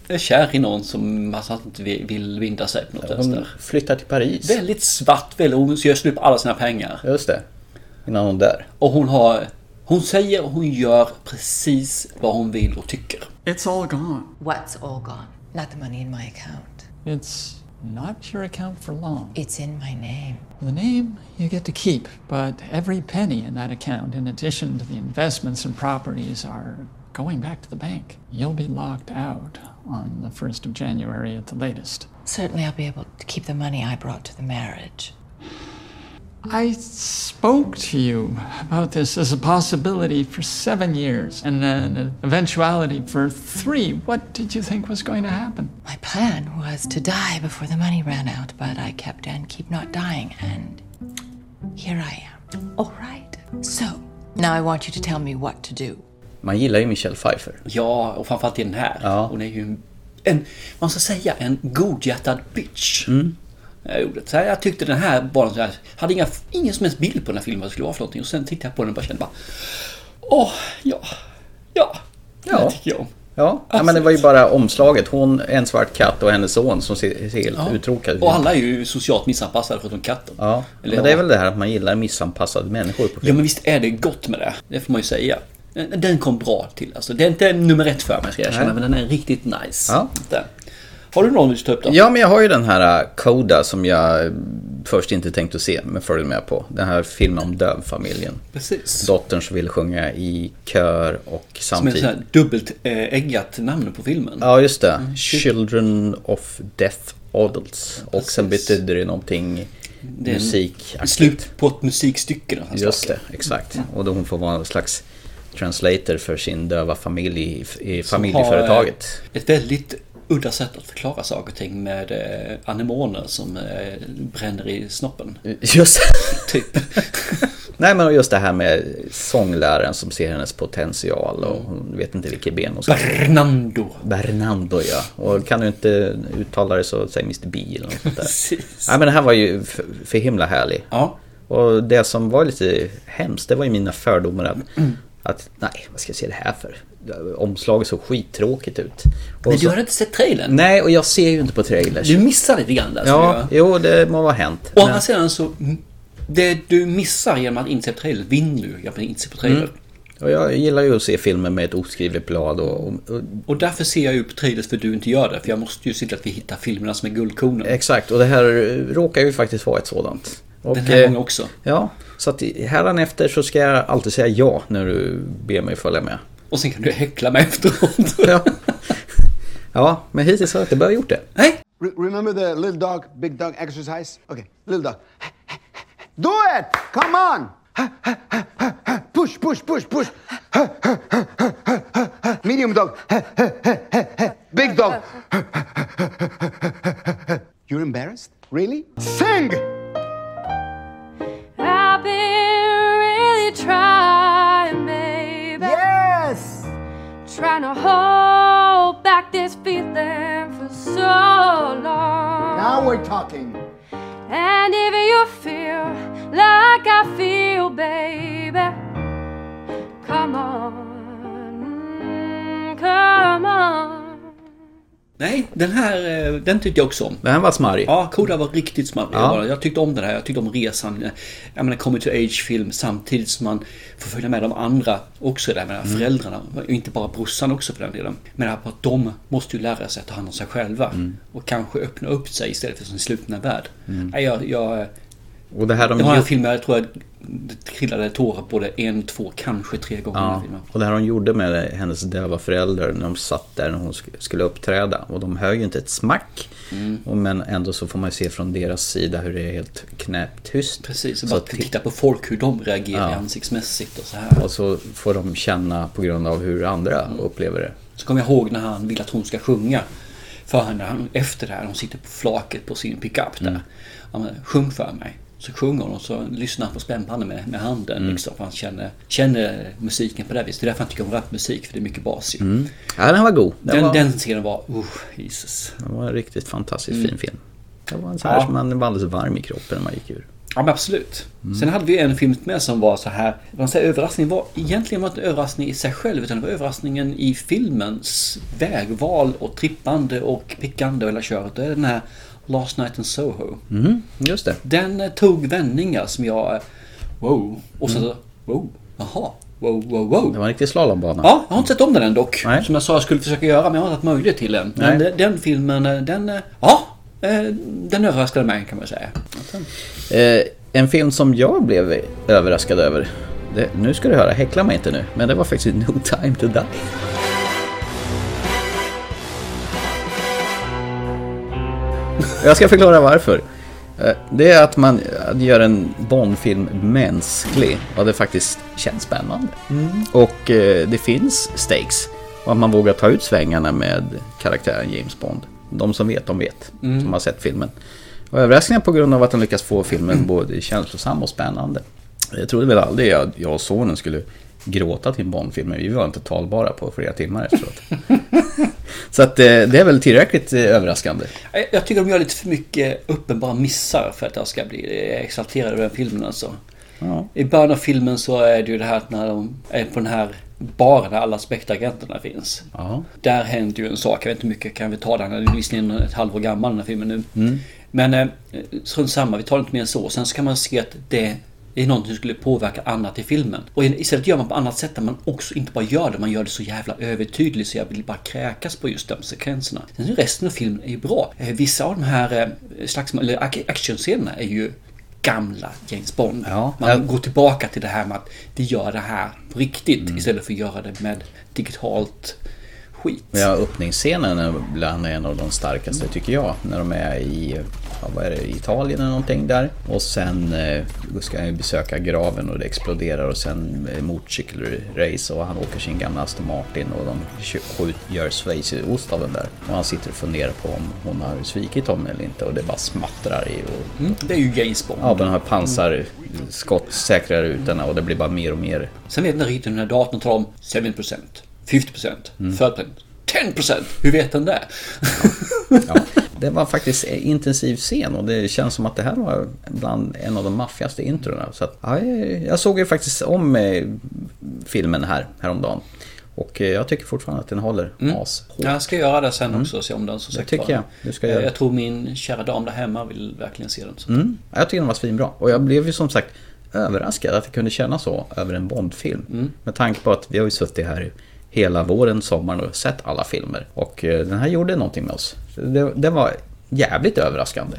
[SPEAKER 1] Jag är kär i någon som alltså, inte vill vill binda sig på något
[SPEAKER 2] hon
[SPEAKER 1] vänster.
[SPEAKER 2] flyttar till Paris.
[SPEAKER 1] Väldigt svart, väldigt, hon gör slut på alla sina pengar.
[SPEAKER 2] Just det. Innan hon dör.
[SPEAKER 1] Och hon har... Hon säger och hon gör precis vad hon vill och tycker.
[SPEAKER 12] It's all gone.
[SPEAKER 13] What's all gone? Not the money in my account.
[SPEAKER 12] It's not your account for long.
[SPEAKER 13] It's in my name.
[SPEAKER 12] The name you get to keep, but every penny in that account, in addition to the investments and properties, are going back to the bank. You'll be locked out on the 1st of January at the latest.
[SPEAKER 13] Certainly, I'll be able to keep the money I brought to the marriage.
[SPEAKER 12] I spoke to you about this as a possibility for seven years and then an eventuality for three. What did you think was going to happen?
[SPEAKER 13] My plan was to die before the money ran out, but I kept and keep not dying, and here I am. All right. So, now I want you to tell me what to do.
[SPEAKER 2] Man gillar ju Michelle Pfeiffer.
[SPEAKER 1] Ja, och framförallt i den här. Hon är ju en, en... Man ska säga en godhjärtad bitch. Mm. Ordet. Så här, jag tyckte den här bara så här, hade inga, ingen som helst bild på den här filmen vad det skulle vara för någonting. Och sen tittade jag på den och bara kände bara... Åh, ja. Ja. Ja. Det tycker jag om.
[SPEAKER 2] Ja, ja men det var ju bara omslaget. Hon, en svart katt och hennes son som ser, ser helt uttråkad ut.
[SPEAKER 1] Och alla är ju socialt missanpassade förutom katten.
[SPEAKER 2] Ja,
[SPEAKER 1] Eller
[SPEAKER 2] men det är
[SPEAKER 1] ja.
[SPEAKER 2] väl det här att man gillar missanpassade människor på
[SPEAKER 1] Ja
[SPEAKER 2] film.
[SPEAKER 1] men visst är det gott med det. Det får man ju säga. Den den kom bra till alltså. Det är inte nummer ett för mig ska jag erkänna.
[SPEAKER 2] Nej.
[SPEAKER 1] Men den är riktigt nice.
[SPEAKER 2] Ja.
[SPEAKER 1] Den. Har du någon du ska ta upp då?
[SPEAKER 2] Ja, men jag har ju den här äh, Coda som jag äh, först inte tänkte se, men följde med på. Den här filmen om dövfamiljen.
[SPEAKER 1] Precis.
[SPEAKER 2] Dottern som vill sjunga i kör och
[SPEAKER 1] Som är ett
[SPEAKER 2] samtidigt...
[SPEAKER 1] sånt här Mm, dubbelt eh, äggat namn på filmen.
[SPEAKER 2] Ja, just det. Children of Death Adults. Och sen
[SPEAKER 1] Precis.
[SPEAKER 2] betyder det någonting
[SPEAKER 1] Det är en-
[SPEAKER 2] musik
[SPEAKER 1] Slut Mm. på ett musikstycke. någonstans.
[SPEAKER 2] Just det, exakt. Och då hon får vara en slags translator för sin döva familj i, i
[SPEAKER 1] Som har,
[SPEAKER 2] familjeföretaget.
[SPEAKER 1] eh, Ett väldigt udda sätt att förklara saker och ting med eh, anemoner som eh, bränner i snoppen.
[SPEAKER 2] Just
[SPEAKER 1] Typ.
[SPEAKER 2] Nej men just det här med sångläraren som ser hennes potential och hon vet inte vilket ben hon ska...
[SPEAKER 1] Bernando.
[SPEAKER 2] Bernando ja. Och kan du inte uttala det så säg Mr. B eller något sånt där.
[SPEAKER 1] Precis.
[SPEAKER 2] Nej men det här var ju för, för himla härlig.
[SPEAKER 1] Ja.
[SPEAKER 2] Och det som var lite hemskt det var ju mina fördomar att, att nej vad ska jag se det här för? Omslaget såg skittråkigt ut. Och
[SPEAKER 1] Men
[SPEAKER 2] så-
[SPEAKER 1] du har inte sett trailern?
[SPEAKER 2] Nej och jag ser ju inte på trailers.
[SPEAKER 1] Du missar lite grann där. som jag
[SPEAKER 2] Ja,
[SPEAKER 1] gör.
[SPEAKER 2] jo det må vara hänt.
[SPEAKER 1] Å
[SPEAKER 2] Men-
[SPEAKER 1] andra sidan så, mm, det du missar genom att inte se på trailern vinner du genom att inte se på trailern.
[SPEAKER 2] Mm. Och jag gillar ju att se filmer med ett oskrivet blad och, och, och
[SPEAKER 1] Och därför ser jag ju på trailers för du inte gör det. För jag måste ju se till att vi hittar filmerna som är guldkornen.
[SPEAKER 2] Exakt, och det här råkar ju faktiskt vara ett sådant. Och,
[SPEAKER 1] Den här
[SPEAKER 2] eh,
[SPEAKER 1] gången också.
[SPEAKER 2] Ja, så att hädanefter så ska jag alltid säga ja när du ber mig följa med.
[SPEAKER 1] Och sen kan du häckla mig efteråt.
[SPEAKER 2] ja. ja, men hittills har jag inte börjat gjort det.
[SPEAKER 14] Re- remember the little dog, big dog exercise? Okay, little dog. Do it! Come on! Push, push, push, push. Medium dog. Big dog. You're embarrassed? Really? Sing!
[SPEAKER 15] I've been really trying, baby. Yes! Trying to hold back this feeling for so long.
[SPEAKER 14] Now we're talking.
[SPEAKER 15] And if you feel like I feel, baby, come on, mm, come on.
[SPEAKER 1] Nej, den här eh, den tyckte jag också om.
[SPEAKER 2] Den var smarrig.
[SPEAKER 1] Ja, Koda var riktigt smarrig.
[SPEAKER 2] Ja.
[SPEAKER 1] Jag tyckte om den här. Jag tyckte om resan. Jag menar, coming to age-film samtidigt som man får följa med de andra också. Där med
[SPEAKER 2] Mm.
[SPEAKER 1] föräldrarna. Och Inte bara brorsan också för den delen. Men det här på att de måste ju lära sig att ta hand om sig själva. Och kanske öppna upp sig istället för sin slutna värld.
[SPEAKER 2] Mm.
[SPEAKER 1] Nej, jag, jag,
[SPEAKER 2] Och det här de
[SPEAKER 1] det var en
[SPEAKER 2] gjorde-
[SPEAKER 1] film jag tror jag det trillade tårar både en, två, kanske tre gånger i
[SPEAKER 2] Ja,
[SPEAKER 1] filmen.
[SPEAKER 2] och det här hon gjorde med hennes döva föräldrar när de satt där när hon sk- skulle uppträda. Och de hör ju inte ett smack.
[SPEAKER 1] Mm.
[SPEAKER 2] Och Men ändå så får man ju se från deras sida hur det är helt knäpptyst.
[SPEAKER 1] Precis,
[SPEAKER 2] så
[SPEAKER 1] bara
[SPEAKER 2] att-
[SPEAKER 1] titta på folk, hur de reagerar
[SPEAKER 2] Ja.
[SPEAKER 1] ansiktsmässigt och så här.
[SPEAKER 2] Och så får de känna på grund av hur andra
[SPEAKER 1] Mm.
[SPEAKER 2] upplever det.
[SPEAKER 1] Så kommer jag ihåg när han vill att hon ska sjunga för henne han- efter det här. Hon sitter på flaket på sin pickup
[SPEAKER 2] Mm.
[SPEAKER 1] där. Han bara, sjung för mig. Så sjunger hon och så lyssnar han på spännbanden med, med handen.
[SPEAKER 2] Mm.
[SPEAKER 1] Liksom, för han känner, känner musiken på det här viset. Det är därför han tycker om rapmusik, för det är mycket bas ju.
[SPEAKER 2] Mm. Ja, den var god. Den,
[SPEAKER 1] Den,
[SPEAKER 2] var,
[SPEAKER 1] den scenen var, oh, Jesus.
[SPEAKER 2] den var en riktigt fantastiskt fin film. Det var en sån här
[SPEAKER 1] Mm. Ja.
[SPEAKER 2] som man var alldeles varm i kroppen när man gick ur.
[SPEAKER 1] Ja men absolut.
[SPEAKER 2] Mm.
[SPEAKER 1] Sen hade vi en film med som var så här. Man säger överraskning var egentligen var det inte överraskning i sig själv utan det var överraskningen i filmens vägval och trippande och pickande och hela köret. Det är den här Last Night in Soho.
[SPEAKER 2] Mm, just det.
[SPEAKER 1] Den eh, tog vändningar som jag... eh, Wow. Och så... Wow. Jaha. Wow, wow, wow.
[SPEAKER 2] Mm. Det var en riktig slalombana.
[SPEAKER 1] Ja, jag har inte sett om den än dock. Som jag sa jag skulle försöka göra men jag har inte haft möjlighet till den. Men
[SPEAKER 2] Nej.
[SPEAKER 1] eh, den filmen, eh, den... eh, Ja! eh, Den överraskade mig kan man säga.
[SPEAKER 2] Eh, en film som jag blev överraskad över. Det, nu ska du höra, häckla mig inte nu. Men det var faktiskt No Time To Die. Jag ska förklara varför. Eh, Det är att man eh, gör en Bondfilm mänsklig och det faktiskt känns spännande.
[SPEAKER 16] Mm.
[SPEAKER 2] Och eh, det finns stakes och att man vågar ta ut svängarna med karaktären James Bond. De som vet, de vet.
[SPEAKER 1] Mm.
[SPEAKER 2] Som har sett filmen. Och överraskningen på grund av att den lyckas få filmen både känslosam och spännande. Jag trodde väl aldrig jag, jag och sonen skulle gråta till en Bondfilm, men vi var inte talbara på flera timmar efteråt. Så att eh, det är väl tillräckligt eh, överraskande.
[SPEAKER 1] Jag- Jag tycker de gör lite för mycket uppenbara missar för att jag ska bli eh, exalterad över den filmen alltså.
[SPEAKER 2] Ja.
[SPEAKER 1] I början av filmen så är det ju det här att när de är på den här baren där alla spektagenterna finns.
[SPEAKER 2] Ja.
[SPEAKER 1] Där händer ju en sak, jag vet inte hur mycket kan vi ta den, den är visserligen ett halvår gammal den här filmen nu.
[SPEAKER 2] Mm.
[SPEAKER 1] Men eh, strunt samma, vi tar inte mer än så. Sen så kan man se att det är någonting som skulle påverka annat i filmen. Och istället gör man på annat sätt där man också inte bara gör det, man gör det så jävla övertydligt så jag vill bara kräkas på just de sekvenserna. Sen är resten av filmen är ju bra. Eh, Vissa av de här eh, slagsmål, eller ac- actionscenerna är ju gamla James Bond. man går tillbaka till det här med att vi gör det här på riktigt
[SPEAKER 2] Mm.
[SPEAKER 1] istället för att göra det med digitalt skit.
[SPEAKER 2] Men Ja, öppningsscenen är bland en av de starkaste tycker jag. När de är i ja, vad är det, Italien eller någonting där. Och sen eh, ska han ju besöka graven och det exploderar och sen eh, motorcykelrace och han åker sin gamla Aston Martin och de kö- skjut- gör schweizerost av den där. Och han sitter och funderar på om hon har svikit honom eller inte och det bara smattrar i. Och,
[SPEAKER 1] Mm, det är ju James Bond.
[SPEAKER 2] ja, den har pansarskott, säkra rutorna och det blir bara mer och mer.
[SPEAKER 1] Sen vet den riktigt hur den här datorn talar om 7%, 50%,
[SPEAKER 2] Mm.
[SPEAKER 1] 40%, 10%. Hur vet den det?
[SPEAKER 2] Det var faktiskt en intensiv scen och det känns som att det här var bland en av de maffigaste introna. Så att, ja, jag- jag såg ju faktiskt om eh, filmen här häromdagen. Och eh, jag tycker fortfarande att den håller ashårt.
[SPEAKER 1] Jag ska göra det sen också och se om den som
[SPEAKER 2] Mm.
[SPEAKER 1] sagt
[SPEAKER 2] Det tycker
[SPEAKER 1] var.
[SPEAKER 2] jag. Du ska göra det.
[SPEAKER 1] Jag tror min kära dam där hemma vill verkligen se den. Så.
[SPEAKER 2] Mm. Ja, Jag tycker den var svinbra. Och jag blev ju som sagt överraskad att det kunde kännas så över en Bondfilm. Med tanke på att vi har ju suttit här hela våren, sommaren och sett alla filmer. Och eh, den här gjorde någonting med oss. Så Det, den var jävligt överraskande.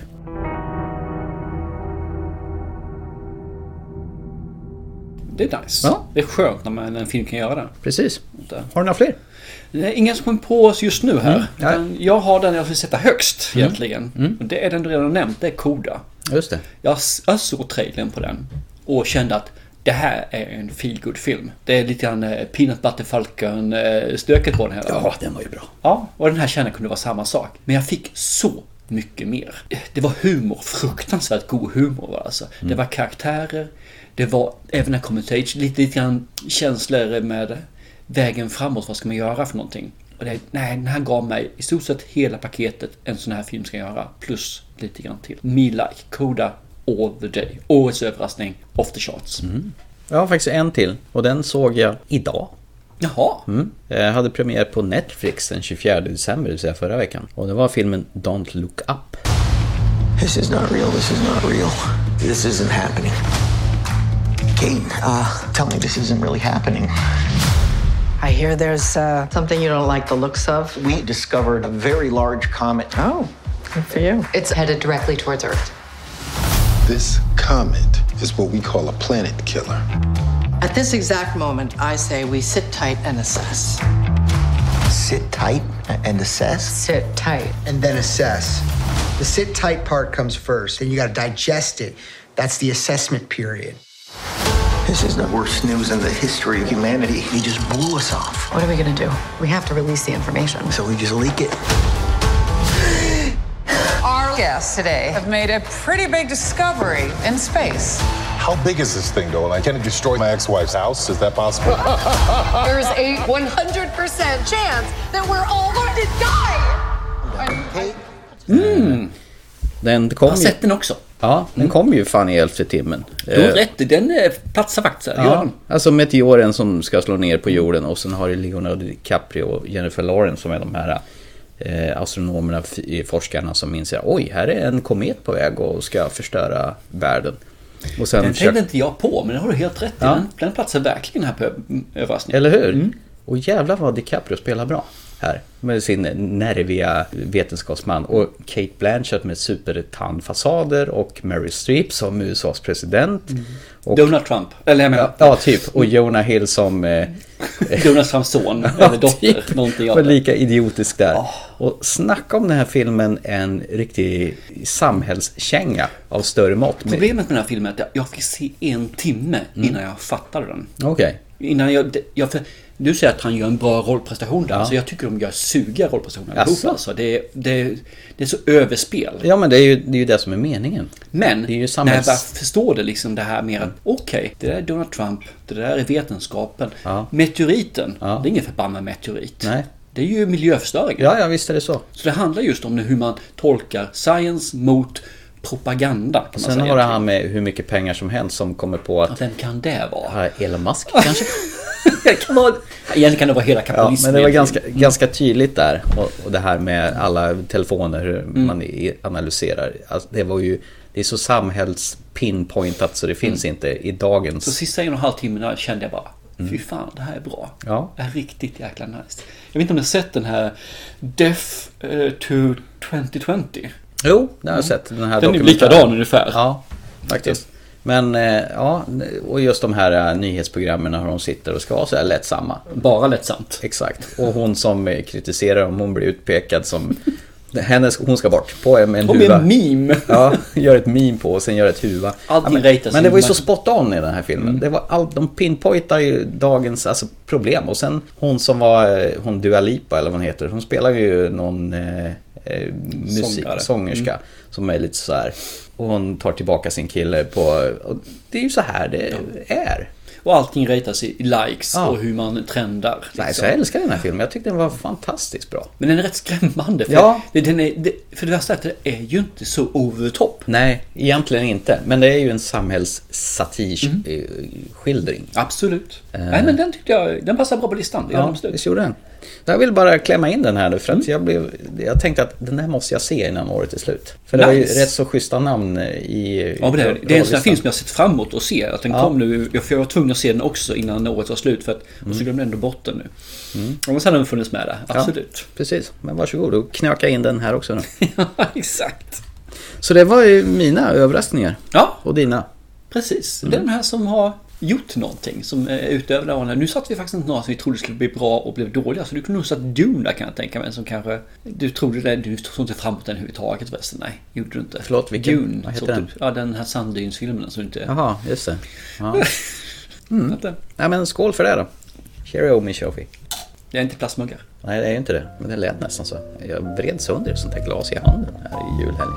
[SPEAKER 1] Det är nice.
[SPEAKER 2] Ja.
[SPEAKER 1] Det är skönt när man, en film kan göra det.
[SPEAKER 2] Precis. Har du några fler?
[SPEAKER 1] Det är ingen som kommer på oss just nu här.
[SPEAKER 2] Mm. Ja.
[SPEAKER 1] Utan Jag har den jag vill sätta högst
[SPEAKER 2] Mm.
[SPEAKER 1] egentligen. Och det är den du redan nämnt, det är Koda.
[SPEAKER 2] Just det.
[SPEAKER 1] Jag, jag såg trailern på den och kände att det här är en feelgood film Det är lite grann eh, Peanut Butter Falcon-stöket på den här.
[SPEAKER 2] Ja, den var ju bra.
[SPEAKER 1] Ja, och den här kärnan kunde vara samma sak. Men jag fick så mycket mer. Det var humor, fruktansvärt god humor var det alltså.
[SPEAKER 2] Mm.
[SPEAKER 1] Det var karaktärer, det var även när Commutage, lite, lite grann känslor med vägen framåt, vad ska man göra för någonting? Och det, nej, den här gav mig i stort sett hela paketet en sån här film ska göra, plus lite grann till. Me Like, Koda, All the Day, Årets överraskning, Off the Charts.
[SPEAKER 2] Mm. Jag har faktiskt en till och den såg jag idag.
[SPEAKER 1] Jaha,
[SPEAKER 2] Mm. Jag hade premiär på Netflix den 24 december, det vill säga förra veckan. Och det var filmen Don't Look Up.
[SPEAKER 17] This is not real. This is not real. This isn't happening. Kate, uh, tell me this isn't really happening.
[SPEAKER 13] I hear there's uh, something you don't like the looks of.
[SPEAKER 17] We discovered a very large comet. Oh,
[SPEAKER 13] Good for you. It's headed directly towards Earth.
[SPEAKER 17] this comet
[SPEAKER 16] is what we call a planet killer.
[SPEAKER 13] At this exact moment, I say we sit tight and assess.
[SPEAKER 17] Sit tight and assess?
[SPEAKER 13] Sit tight.
[SPEAKER 17] And then assess. The sit tight part comes first, and you gotta digest it. That's the assessment period.
[SPEAKER 18] This is the worst news in the history of humanity. He just blew us off.
[SPEAKER 13] What are we gonna do? We have to release the information.
[SPEAKER 18] So we just leak it.
[SPEAKER 19] Our guests today have made a pretty big discovery in space.
[SPEAKER 16] How big is this thing, though? Like, can it destroy my ex-wife's house? Is that possible?
[SPEAKER 19] There's a 100% chance that we're all going to die!
[SPEAKER 2] Mm. Den kom
[SPEAKER 1] Jag har
[SPEAKER 2] ju-
[SPEAKER 1] sett den också.
[SPEAKER 2] Ja, den kom ju fan i elfte timmen.
[SPEAKER 1] Du har
[SPEAKER 2] Eh,
[SPEAKER 1] rätt, den eh, platsar faktiskt. här. Gör
[SPEAKER 2] Ja,
[SPEAKER 1] den.
[SPEAKER 2] alltså meteoren som ska slå ner på jorden och sen har du Leonardo DiCaprio och Jennifer Lawrence som är de här eh, astronomerna, f- forskarna som inser oj, här är en komet på väg och ska förstöra världen. Och sen
[SPEAKER 1] Den
[SPEAKER 2] försöker-
[SPEAKER 1] tänkte inte jag på, men det har du helt rätt i.
[SPEAKER 2] Ja.
[SPEAKER 1] Den, den platsar verkligen här på ö- överraskningen.
[SPEAKER 2] Eller hur? Och jävlar vad DiCaprio spelar bra här. Med sin nerviga vetenskapsman. Och Kate Blanchett med supertandfasader och Mary Streep som USAs president.
[SPEAKER 1] Mm.
[SPEAKER 2] Och,
[SPEAKER 1] Donald Trump. Eller jag menar...
[SPEAKER 2] ja, ja, typ. Och Jonah Hill som... Eh,
[SPEAKER 1] Donald Trumps son Mm.
[SPEAKER 2] typ.
[SPEAKER 1] eller dotter. Någonting Ah. av
[SPEAKER 2] men
[SPEAKER 1] det.
[SPEAKER 2] lika idiotisk där. Och snacka om den här filmen en riktig samhällskänga av större mått. Med-
[SPEAKER 1] Problemet med den här filmen är att jag fick se en timme
[SPEAKER 2] Mm.
[SPEAKER 1] innan jag fattade den.
[SPEAKER 2] Okej.
[SPEAKER 1] Innan jag, det- jag för, du säger att han gör en bra rollprestation där. Så jag tycker de gör suga rollprestationer allihop.
[SPEAKER 2] Jaså?
[SPEAKER 1] Alltså, det, är- det, är- det är så överspel.
[SPEAKER 2] Ja, men det är, ju, det är ju det som är meningen.
[SPEAKER 1] Men
[SPEAKER 2] det är ju
[SPEAKER 1] när jag
[SPEAKER 2] samhälls...
[SPEAKER 1] bara förstår det liksom det här mer att okej, det där är Donald Trump, det där är vetenskapen. Meteoriten, det är ingen förbannad meteorit.
[SPEAKER 2] Nej.
[SPEAKER 1] Det är ju miljöförstöring.
[SPEAKER 2] Ja, ja, visst är det så.
[SPEAKER 1] Så det handlar just om hur man tolkar science mot propaganda. Kan man Ah.
[SPEAKER 2] Sen
[SPEAKER 1] säga.
[SPEAKER 2] har det här med hur mycket pengar som helst som kommer på att...
[SPEAKER 1] Vem kan det vara?
[SPEAKER 2] Ja, Elon Musk kanske?
[SPEAKER 1] Det kan vara, egentligen kan det vara hela
[SPEAKER 2] Ja,
[SPEAKER 1] kapitalismen.
[SPEAKER 2] men det var ganska, ganska tydligt där. Och, och det här med alla telefoner, hur
[SPEAKER 1] Mm.
[SPEAKER 2] man i- analyserar. Alltså, det var ju... Det är så samhällspinpointat så det finns inte i dagens...
[SPEAKER 1] Mm. Så sista en och en halv timmen där kände jag bara, fy fan det här är bra.
[SPEAKER 2] Mm. Ja.
[SPEAKER 1] Det här är riktigt jäkla nice. Jag vet inte om ni har sett den här Death eh, to 2020?
[SPEAKER 2] Jo, det har jag sett. Den, här
[SPEAKER 1] Mm. Den är ju
[SPEAKER 2] dokumentären.
[SPEAKER 1] likadan ungefär.
[SPEAKER 2] Ja, faktiskt. Men eh, ja, och just de här eh, nyhetsprogrammen hur de sitter och ska vara så här lättsamma.
[SPEAKER 1] Bara lättsamt.
[SPEAKER 2] Exakt. Och hon som eh, kritiserar dem, hon blir utpekad som... Hennes, hon ska bort. På en, med en
[SPEAKER 1] Och med
[SPEAKER 2] huva.
[SPEAKER 1] en meme.
[SPEAKER 2] Ja, gör ett meme på och sen gör ett huva.
[SPEAKER 1] Allting
[SPEAKER 2] men,
[SPEAKER 1] ratas
[SPEAKER 2] men det var ju
[SPEAKER 1] in. Mm.
[SPEAKER 2] så spot on i den här filmen. Det var all, de pinpointar ju dagens alltså, problem. Och sen hon som var, eh, hon Dua Lipa eller vad hon heter, hon spelar ju någon eh, eh, musik,
[SPEAKER 1] Sångare.
[SPEAKER 2] sångerska.
[SPEAKER 1] Mm.
[SPEAKER 2] Som är lite så här. Och hon tar tillbaka sin kille på... Och det är ju så här det är.
[SPEAKER 1] Och allting ratas i likes
[SPEAKER 2] Ja.
[SPEAKER 1] och hur man trendar. liksom.
[SPEAKER 2] Nej, så jag älskar den här filmen. Jag tyckte den var fantastiskt bra.
[SPEAKER 1] Men den är rätt skrämmande. För,
[SPEAKER 2] Ja.
[SPEAKER 1] det, den är, det, för det värsta är att det är ju inte så over the top.
[SPEAKER 2] Nej, egentligen inte. Men det är ju en
[SPEAKER 1] Mm.
[SPEAKER 2] eh, samhällssatirskildring.
[SPEAKER 1] Absolut. Eh. Nej men den tyckte jag, den passar bra på listan. Det gör den
[SPEAKER 2] Ja,
[SPEAKER 1] absolut. Mm.
[SPEAKER 2] visst gjorde den. Jag vill bara klämma in den här nu för att jag, blev, jag tänkte att den här måste jag se innan året är slut. För det var ju
[SPEAKER 1] Nice.
[SPEAKER 2] rätt så schyssta namn i...
[SPEAKER 1] Ja, men det, det är en sån
[SPEAKER 2] rolllistan.
[SPEAKER 1] här film som jag har sett fram emot och se. Att den
[SPEAKER 2] Ja.
[SPEAKER 1] kom nu. Jag, för jag var tvungen att se den också innan året var slut. För att, Och så glömde jag ändå bort den nu.
[SPEAKER 2] Mm.
[SPEAKER 1] Och sen har den funnits med där. Absolut.
[SPEAKER 2] Precis, men varsågod och knöka in den här också nu.
[SPEAKER 1] Ja, exakt.
[SPEAKER 2] Så det var ju mina överraskningar.
[SPEAKER 1] Ja.
[SPEAKER 2] Och dina.
[SPEAKER 1] Precis.
[SPEAKER 2] Mm.
[SPEAKER 1] Det är de här som har gjort någonting som är utöver det vanliga. Nu satt vi faktiskt inte några som vi trodde skulle bli bra och blev dåliga. Så du kunde nog satt Dune där kan jag tänka mig. Som kanske... Du trodde det. Du såg inte fram emot den överhuvudtaget förresten. Nej, gjorde du inte.
[SPEAKER 2] Förlåt, vilken?
[SPEAKER 1] Dune.
[SPEAKER 2] Vad heter
[SPEAKER 1] Så
[SPEAKER 2] den?
[SPEAKER 1] Typ, ja, den här sanddynsfilmen som inte...
[SPEAKER 2] Jaha, just det. Ja. Mm. Nej, men skål för det då. Cheerio min Shofi.
[SPEAKER 1] Det är inte plastmuggar.
[SPEAKER 2] Nej, det är ju inte det. Men det lät nästan så. Jag vred sönder ett sånt här glas i handen här i julhelgen.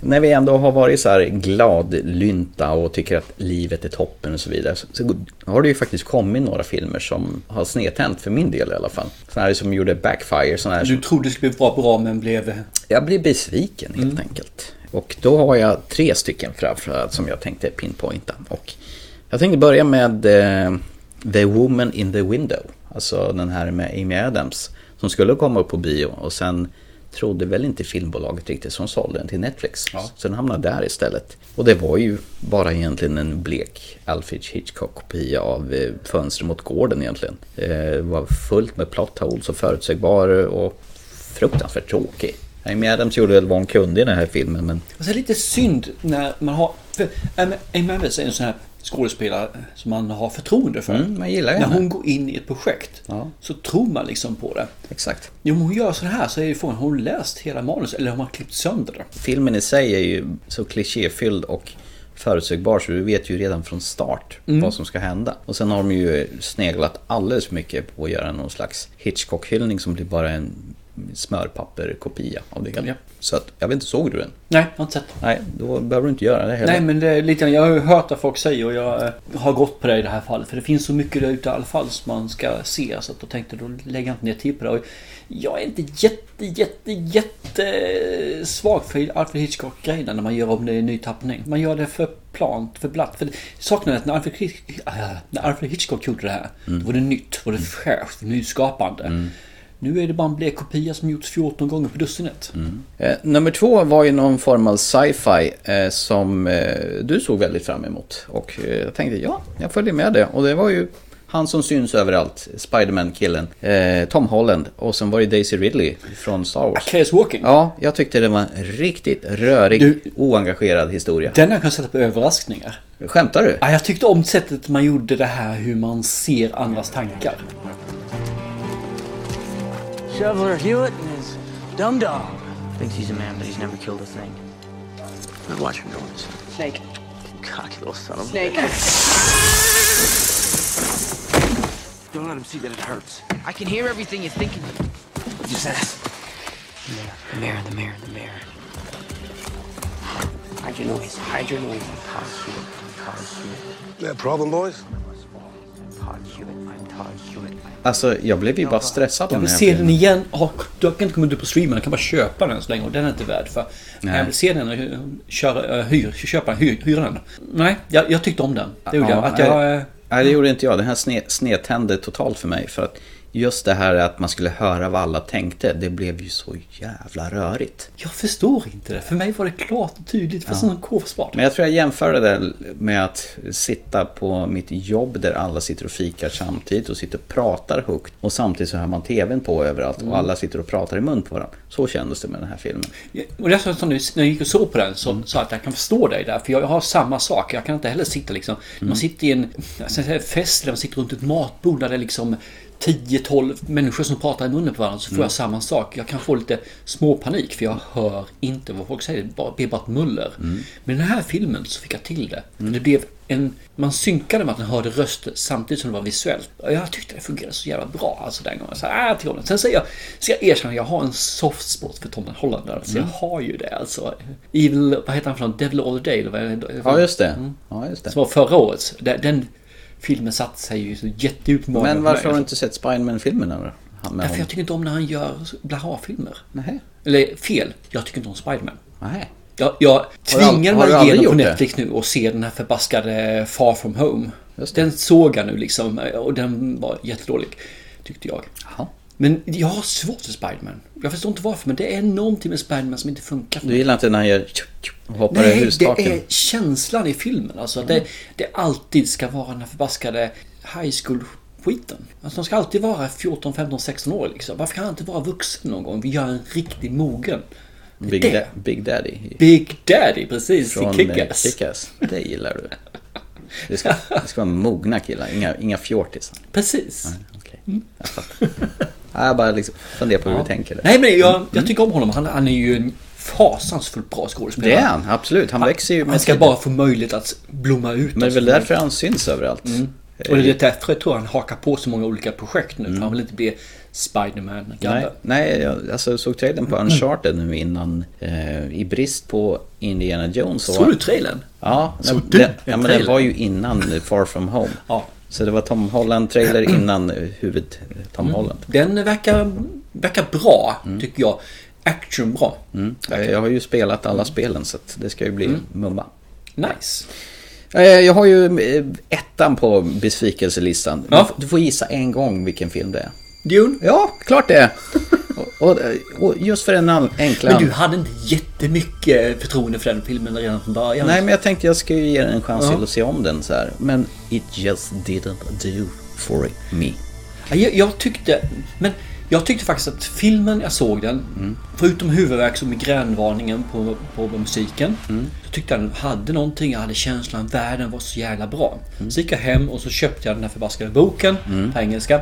[SPEAKER 2] När vi ändå har varit så här gladlynta och tycker att livet är toppen och så vidare så, så har det ju faktiskt kommit några filmer som har snedtänt för min del i alla fall. Sådana här som gjorde backfire. Sådana här
[SPEAKER 1] Du
[SPEAKER 2] som,
[SPEAKER 1] trodde det skulle bli bra, bra men blev...
[SPEAKER 2] jag blir besviken helt enkelt. Och då har jag tre stycken framförallt som jag tänkte pinpointa. Och jag tänkte börja med eh, The Woman in the Window. Alltså den här med Amy Adams. Som skulle komma upp på bio och sen trodde väl inte filmbolaget riktigt som sålde den till Netflix. Ja. Så den hamnade där istället. Och det var ju bara egentligen en blek Alfred Hitchcock-kopia av eh, Fönster mot gården egentligen. Eh, Det var fullt med plot holes och förutsägbar och fruktansvärt tråkig. Amy Adams gjorde väl vad hon kunde i den här filmen men
[SPEAKER 1] Alltså, det är lite synd när man har... För Amy Amy Adams är en sån här skådespelare som man har förtroende för.
[SPEAKER 2] Mm, man gillar
[SPEAKER 1] när
[SPEAKER 2] henne.
[SPEAKER 1] hon går in i ett projekt
[SPEAKER 2] Ja.
[SPEAKER 1] så tror man liksom på det.
[SPEAKER 2] Exakt.
[SPEAKER 1] Jo, om hon gör så här så är ju frågan, har hon läst hela manus eller har man klippt sönder det?
[SPEAKER 2] filmen i sig är ju så klichéfylld och förutsägbar så du vet ju redan från start
[SPEAKER 1] Mm.
[SPEAKER 2] vad som ska hända. Och sen har de ju sneglat alldeles för mycket på att göra någon slags Hitchcock-hyllning som blir bara en smörpapperkopia av det hela.
[SPEAKER 1] Ja.
[SPEAKER 2] Så att, jag vet inte, såg du den?
[SPEAKER 1] Nej, jag har inte sett det.
[SPEAKER 2] Nej, då behöver du inte göra det heller.
[SPEAKER 1] Nej, men det är lite, jag har ju hört vad folk säger och jag eh, har gått på det i det här fallet. För det finns så mycket där ute i alla fall som man ska se. Så att då tänkte jag, då lägger jag inte ner tid på det. Och jag är inte jätte, jätte, jätte svag för Alfred Hitchcock-grejerna när man gör om det i ny tappning. Man gör det för plant, för platt. För saknar att när Alfred, Hitch- äh, när Alfred Hitchcock gjorde det här,
[SPEAKER 2] Mm.
[SPEAKER 1] då var det nytt, var det fräscht, nyskapande. Nu är det bara en blek kopia som gjorts 14 gånger på dussinet.
[SPEAKER 2] Eh, nummer två var ju någon form av sci-fi eh, som eh, du såg väldigt fram emot. Och eh, jag tänkte, ja, jag följer med det. Och det var ju han som syns överallt, Spiderman-killen, eh, Tom Holland. Och sen var det Daisy Ridley från Star Wars.
[SPEAKER 1] Case Walking.
[SPEAKER 2] Ja, jag tyckte det var en riktigt rörig, oengagerad historia.
[SPEAKER 1] Den har jag kunnat sätta på överraskningar.
[SPEAKER 2] Skämtar du?
[SPEAKER 1] Ja, jag tyckte om sättet man gjorde det här, hur man ser andras tankar.
[SPEAKER 20] Shoveler Hewitt and his dum dog. Thinks he's a man, but he's never killed a thing.
[SPEAKER 18] Now watch your noise.
[SPEAKER 20] Snake.
[SPEAKER 18] Cocky little son of a...
[SPEAKER 20] Snake. Don't let him see that it hurts. I can hear everything you're thinking. Just ask. The mirror, the mirror, the mirror.
[SPEAKER 18] Hide your noise. Hide your noise. Todd Hewitt. I'm Todd Hewitt. That problem, boys? Todd Hewitt. I'm Todd Hewitt.
[SPEAKER 2] Alltså, jag blev ju bara stressad
[SPEAKER 1] Jag
[SPEAKER 2] av
[SPEAKER 1] vill
[SPEAKER 2] här
[SPEAKER 1] se den
[SPEAKER 2] filmen.
[SPEAKER 1] igen. Har- Du kan inte komma ut på streamen, jag kan bara köpa den så länge och den är inte värd för.
[SPEAKER 2] Nej.
[SPEAKER 1] Jag vill se den och eh, köra, eh, hyr, köpa den, hyr, hyra den. Nej, jag, jag tyckte om den. Det gjorde jag. Att jag eh,
[SPEAKER 2] nej, nej, det gjorde inte jag. Det här sne, snedtände totalt för mig. För att just det här att man skulle höra vad alla tänkte, det blev ju så jävla rörigt.
[SPEAKER 1] jag förstår inte det. För mig var det klart och tydligt. Fast
[SPEAKER 2] Ja.
[SPEAKER 1] ja. en kåsvart.
[SPEAKER 2] Men jag tror jag jämför det där med att sitta på mitt jobb där alla sitter och fikar samtidigt och sitter och pratar högt. Och samtidigt så hör man TVn på överallt
[SPEAKER 1] Mm.
[SPEAKER 2] och alla sitter och pratar i mun på varandra. Så kändes det med den här filmen.
[SPEAKER 1] Och det är så som nu, när jag gick och såg på den så
[SPEAKER 2] Mm.
[SPEAKER 1] sa jag att jag kan förstå dig där. För jag har samma sak. Jag kan inte heller sitta liksom. när Man
[SPEAKER 2] Mm.
[SPEAKER 1] sitter i en jag ska säga fest eller man sitter runt ett matbord där det är liksom 10-12 människor som pratar i munnen på varandra. Så får
[SPEAKER 2] Mm.
[SPEAKER 1] jag samma sak. Jag kan få lite småpanik för jag hör inte vad folk säger. Det bara- Det är bara ett muller.
[SPEAKER 2] Mm.
[SPEAKER 1] Men i den här filmen så fick jag till det. För Det blev en, man synkade med att man hörde röster samtidigt som det var visuellt. Och Jag tyckte det fungerade så jävla bra alltså den gången. Så här, ah, till honom. Sen säger jag, ska jag erkänna, jag har en soft spot för Tom Holland. Alltså.
[SPEAKER 2] Mm.
[SPEAKER 1] Jag har ju det alltså. Evil, vad heter han för någon? Devil All Day? Eller vad är det?
[SPEAKER 2] Ja, just det.
[SPEAKER 1] Mm.
[SPEAKER 2] Ja, just det.
[SPEAKER 1] Som var förra årets. Den, den filmen satte sig ju så jättedjupt i magen
[SPEAKER 2] Men
[SPEAKER 1] på
[SPEAKER 2] varför
[SPEAKER 1] mig.
[SPEAKER 2] har du inte sett Spiderman-filmen än då? Han- med
[SPEAKER 1] Därför
[SPEAKER 2] honom?
[SPEAKER 1] alltså. jag tycker inte om när han gör blaha-filmer.
[SPEAKER 2] Nej.
[SPEAKER 1] Eller fel, jag tycker inte om Spiderman.
[SPEAKER 2] Nej.
[SPEAKER 1] Jag, jag
[SPEAKER 2] du al-
[SPEAKER 1] tvingar
[SPEAKER 2] har du
[SPEAKER 1] mig
[SPEAKER 2] aldrig
[SPEAKER 1] igenom på
[SPEAKER 2] gjort det?
[SPEAKER 1] Netflix nu och ser den här förbaskade Far From Home. Den såg jag nu liksom och den var jättedålig. Tyckte jag. Men jag har svårt för Spiderman. Jag förstår inte varför men det är någonting med Spiderman som inte funkar.
[SPEAKER 2] Du gillar inte när han gör tjup, tjup och hoppar över
[SPEAKER 1] Nej, det
[SPEAKER 2] hustaken?
[SPEAKER 1] är känslan i filmen. Alltså att
[SPEAKER 2] Mm.
[SPEAKER 1] det, det alltid ska vara den här förbaskade high school skiten. Alltså de ska alltid vara 14, 15, 16 år liksom. Varför kan han inte vara vuxen någon gång? Vi gör en riktig mogen. Det är
[SPEAKER 2] Big,
[SPEAKER 1] det.
[SPEAKER 2] da- Big Daddy.
[SPEAKER 1] Big Daddy, precis.
[SPEAKER 2] Från eh,
[SPEAKER 1] i Kick-Ass.
[SPEAKER 2] Kick Det gillar du. Det ska, det ska vara mogna killar, inga, inga fjortisar.
[SPEAKER 1] Precis.
[SPEAKER 2] Ja, Jag bara liksom funderar på hur
[SPEAKER 1] Ja.
[SPEAKER 2] du tänker. där.
[SPEAKER 1] Nej men jag,
[SPEAKER 2] Mm,
[SPEAKER 1] jag tycker om honom. Han, han är ju en fasansfullt bra skådespelare.
[SPEAKER 2] Det är han, absolut. Han växer ju
[SPEAKER 1] Han
[SPEAKER 2] med
[SPEAKER 1] ska
[SPEAKER 2] tiden.
[SPEAKER 1] bara få möjlighet att blomma ut.
[SPEAKER 2] Men det är väl därför han syns överallt.
[SPEAKER 1] Mm. Och det är därför jag tror han hakar på så många olika projekt nu. För han vill inte bli Spiderman.
[SPEAKER 2] Mm. Nej, nej jag alltså, såg trailern
[SPEAKER 1] Mm.
[SPEAKER 2] på Uncharted nu innan. Eh, I brist på Indiana Jones. så
[SPEAKER 1] Såg
[SPEAKER 2] var-
[SPEAKER 1] du trailern?
[SPEAKER 2] Ja,
[SPEAKER 1] Såg
[SPEAKER 2] den-
[SPEAKER 1] du
[SPEAKER 2] den, ja
[SPEAKER 1] en
[SPEAKER 2] men den
[SPEAKER 1] trailer?
[SPEAKER 2] var ju innan Far From Home.
[SPEAKER 1] Ja.
[SPEAKER 2] Så det var Tom Holland-trailer innan eh, huvud Tom
[SPEAKER 1] Mm.
[SPEAKER 2] Holland.
[SPEAKER 1] Den verkar, verkar bra, tycker jag. Action bra.
[SPEAKER 2] Mm. Jag har ju spelat alla spelen så att det ska ju bli mumma.
[SPEAKER 1] Nice.
[SPEAKER 2] Eh, Jag har ju eh, ettan på besvikelselistan. Du
[SPEAKER 1] Ja.
[SPEAKER 2] f- Du får gissa en gång vilken film det är.
[SPEAKER 1] Dune?
[SPEAKER 2] Ja, klart det är. Och, och, och just för den an- enkla...
[SPEAKER 1] Men du hade inte jättemycket förtroende för den filmen redan från början.
[SPEAKER 2] Nej, men jag tänkte jag skulle ge den en chans
[SPEAKER 1] Ja.
[SPEAKER 2] till att se om den så här. Men it just didn't do for me.
[SPEAKER 1] Ja, Jag, jag tyckte... Men jag tyckte faktiskt att filmen, jag såg den, förutom huvudvärk och migränvarningen på, på musiken, så tyckte jag den hade någonting. Jag hade känslan att världen var så jävla bra. Så gick jag hem och så köpte jag den här förbaskade boken på engelska.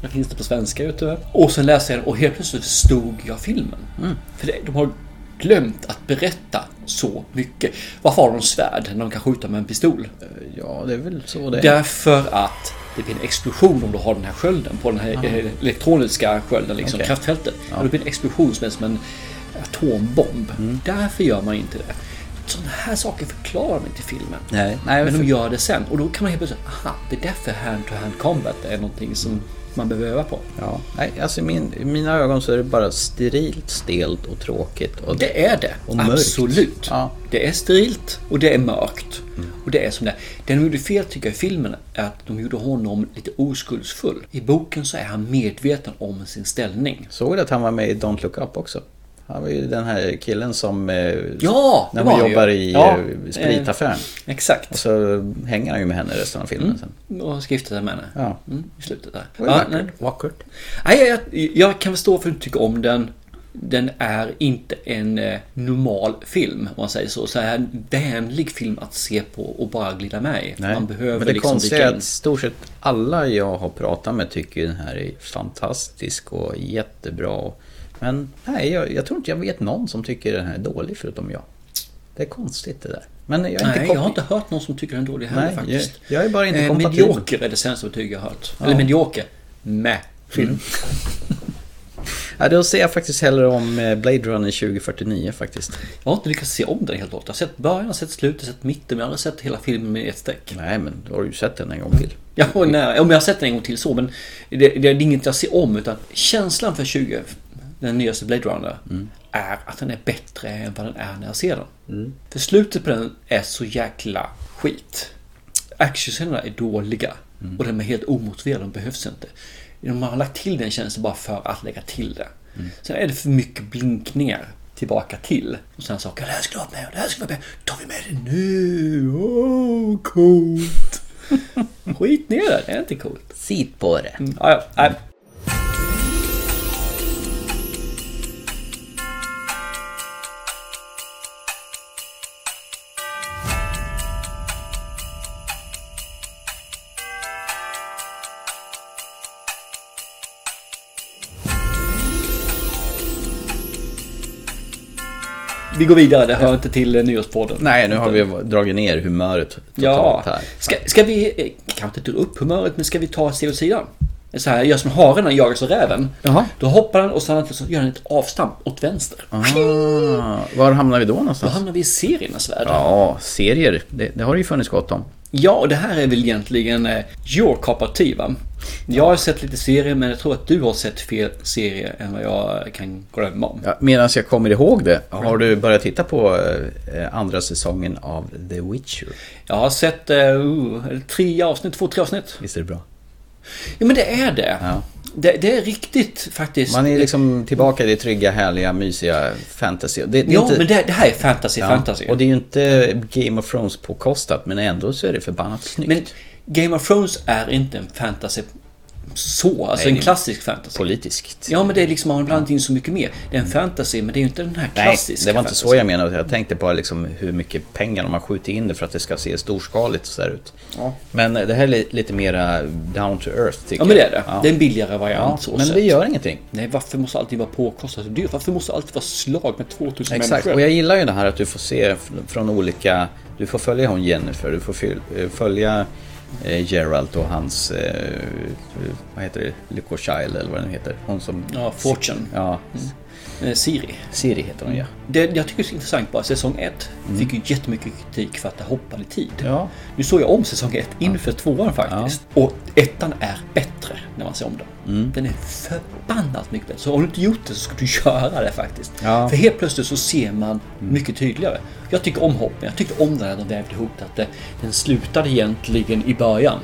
[SPEAKER 1] Den finns det på svenska ute. Och sen läste jag den och helt plötsligt förstod jag filmen. För det, de har glömt att berätta så mycket. Varför har de svärd när de kan skjuta med en pistol?
[SPEAKER 2] Ja, det är väl så det är.
[SPEAKER 1] Därför att det blir en explosion om du har den här skölden på den här
[SPEAKER 2] Aha.
[SPEAKER 1] eh, elektroniska skölden, liksom
[SPEAKER 2] Okej.
[SPEAKER 1] kraftfältet.
[SPEAKER 2] Ja.
[SPEAKER 1] Det blir en explosion som är som en atombomb.
[SPEAKER 2] Mm.
[SPEAKER 1] Därför gör man inte det. Sådana här saker förklarar man inte i filmen.
[SPEAKER 2] Nej, nej,
[SPEAKER 1] Men de
[SPEAKER 2] för-
[SPEAKER 1] gör det sen och då kan man helt plötsligt aha, det är därför hand-to-hand combat är någonting som man behöver öva på.
[SPEAKER 2] Ja, nej, alltså i min, i mina ögon så är det bara sterilt, stelt och tråkigt. Och,
[SPEAKER 1] Det är det,
[SPEAKER 2] Och mörkt.
[SPEAKER 1] absolut. Det är sterilt och det är mörkt.
[SPEAKER 2] Mm.
[SPEAKER 1] Och det är som det är. Det de gjorde fel tycker jag i filmen är att de gjorde honom lite oskuldsfull. I boken så är han medveten om sin ställning.
[SPEAKER 2] Såg du att han var med i Don't Look Up också? Han var ju den här killen som... eh,
[SPEAKER 1] Ja,
[SPEAKER 2] När
[SPEAKER 1] det
[SPEAKER 2] man
[SPEAKER 1] var han
[SPEAKER 2] jobbar
[SPEAKER 1] ju.
[SPEAKER 2] i
[SPEAKER 1] Ja,
[SPEAKER 2] eh, spritaffären.
[SPEAKER 1] exakt.
[SPEAKER 2] Och så hänger han ju med henne resten av filmen
[SPEAKER 1] Mm.
[SPEAKER 2] sen.
[SPEAKER 1] Och ska gifta sig med henne.
[SPEAKER 2] Ja.
[SPEAKER 1] Mm, I slutet där.
[SPEAKER 2] Var det vackert? Vackert.
[SPEAKER 1] Nej, jag, jag, jag kan förstå för att du tycker om den. Den är inte en eh, normal film om man säger så. Så här en vänlig film att se på och bara glida med i.
[SPEAKER 2] Nej.
[SPEAKER 1] Man behöver
[SPEAKER 2] Men det
[SPEAKER 1] liksom
[SPEAKER 2] konstiga är
[SPEAKER 1] in.
[SPEAKER 2] att stort sett alla jag har pratat med tycker ju den här är fantastisk och jättebra. Men nej, jag, jag tror inte jag vet någon som tycker den här är dålig förutom jag. Det är konstigt det där. Men jag är inte
[SPEAKER 1] Nej,
[SPEAKER 2] kom-
[SPEAKER 1] jag har inte hört någon som tycker den är dålig heller
[SPEAKER 2] Nej,
[SPEAKER 1] faktiskt. Eh,
[SPEAKER 2] jag- jag är bara inte kompatibel.
[SPEAKER 1] Medioker är det sämsta betyg jag har hört.
[SPEAKER 2] Ja. Mm.
[SPEAKER 1] Eller medioker. Mä. Film.
[SPEAKER 2] Ja, då ser jag faktiskt hellre om eh, Blade Runner 2049 faktiskt.
[SPEAKER 1] Jag har inte lyckats se om den helt och hållet. Jag har sett början, jag har sett slutet, jag har sett mitten, men jag har aldrig sett hela filmen med ett streck.
[SPEAKER 2] Nej, men då har du ju sett den en gång till.
[SPEAKER 1] Ja, och nej, om jag har sett den en gång till så, men det, det, det är inget jag ser om, utan känslan för 20, den nyaste Blade Runner, är att den är bättre än vad den är när jag ser den.
[SPEAKER 2] Mm.
[SPEAKER 1] För slutet på den är så jäkla skit. Actionscenerna är dåliga och de är helt omotiverade, de behövs inte. Man har lagt till den tjänsten bara för att lägga till det. Sen är det för mycket blinkningar tillbaka till. Och sen saker, det här ska du ha med, det här ska du ha med, tar vi med det nu? Åh, coolt! Skit ner det, det är inte coolt.
[SPEAKER 2] Sit på det.
[SPEAKER 1] Mm, ja, ja, nej. Vi går vidare, det hör inte till eh, nyårspodden.
[SPEAKER 2] Nej, nu har vi dragit ner humöret totalt
[SPEAKER 1] Ja,
[SPEAKER 2] här.
[SPEAKER 1] ska, ska vi, eh, kanske inte dra upp humöret, men ska vi ta se åt sidan? Så här, gör som haren när han jagas av räven.
[SPEAKER 2] Jaha.
[SPEAKER 1] Då hoppar han och sen så gör han ett avstamp åt vänster.
[SPEAKER 2] Ah, var hamnar vi då
[SPEAKER 1] Då
[SPEAKER 2] någonstans?
[SPEAKER 1] hamnar vi i seriernas värld.
[SPEAKER 2] Ja, serier. Det, det har det ju funnits gott om.
[SPEAKER 1] Ja, och det här är väl egentligen eh, your cup of tea, va? Jag har sett lite serier, men jag tror att du har sett fel serier än vad jag kan glömma om.
[SPEAKER 2] Ja, Medan jag kommer ihåg det, har du börjat titta på eh, andra säsongen av The Witcher?
[SPEAKER 1] Jag har sett eh, uh, tre avsnitt, två, tre avsnitt.
[SPEAKER 2] Visst är det bra?
[SPEAKER 1] Ja, men det är det. Det, det är riktigt faktiskt.
[SPEAKER 2] Man är liksom tillbaka i det trygga, härliga, mysiga fantasy. Det, det är
[SPEAKER 1] Ja, men det, det här är fantasy, fantasy.
[SPEAKER 2] Och det är ju inte Game of Thrones-påkostat, men ändå så är det förbannat snyggt.
[SPEAKER 1] Men Game of Thrones är inte en fantasy så, alltså
[SPEAKER 2] Nej,
[SPEAKER 1] en klassisk fantasy.
[SPEAKER 2] Politiskt.
[SPEAKER 1] Ja, men det är liksom, man har blandat in så mycket mer. Det är en fantasy, men det är ju inte den här
[SPEAKER 2] Nej,
[SPEAKER 1] klassiska
[SPEAKER 2] det var inte
[SPEAKER 1] fantasy.
[SPEAKER 2] så jag menade. Jag tänkte bara liksom hur mycket pengar de har skjutit in det för att det ska se storskaligt och så där ut.
[SPEAKER 1] Ja.
[SPEAKER 2] Men eh, det här är li- lite mera down to earth tycker
[SPEAKER 1] Ja men det
[SPEAKER 2] jag.
[SPEAKER 1] är det. Det är en billigare variant.
[SPEAKER 2] Ja,
[SPEAKER 1] så
[SPEAKER 2] men
[SPEAKER 1] sett.
[SPEAKER 2] det gör ingenting.
[SPEAKER 1] Nej, varför måste alltid vara påkostat och dyrt? Varför måste alltid vara slag med 2000
[SPEAKER 2] Exakt,
[SPEAKER 1] människor?
[SPEAKER 2] och jag gillar ju det här att du får se f- från olika... Du får följa hon Jennifer, du får fyl- eh, följa eh, Geralt och hans... Eh, vad heter det? Lyckochild eller vad den heter. Hon som...
[SPEAKER 1] Ja, Fortune.
[SPEAKER 2] Ja.
[SPEAKER 1] Eh, Siri.
[SPEAKER 2] Siri heter hon ja.
[SPEAKER 1] Det jag tycker är så intressant bara, säsong 1
[SPEAKER 2] Mm.
[SPEAKER 1] fick ju jättemycket kritik för att det hoppade i tid.
[SPEAKER 2] Ja.
[SPEAKER 1] Nu såg jag om säsong 1 inför tvåan faktiskt. Och ettan är bättre när man ser om den.
[SPEAKER 2] Mm.
[SPEAKER 1] Den är förbannat mycket bättre. Så om du inte gjort det så ska du göra det faktiskt.
[SPEAKER 2] Ja. Mm.
[SPEAKER 1] För helt plötsligt så ser man mycket tydligare. Jag tycker om hoppen. Jag tyckte om den när de vävde ihop det. Att det, den slutade egentligen i början.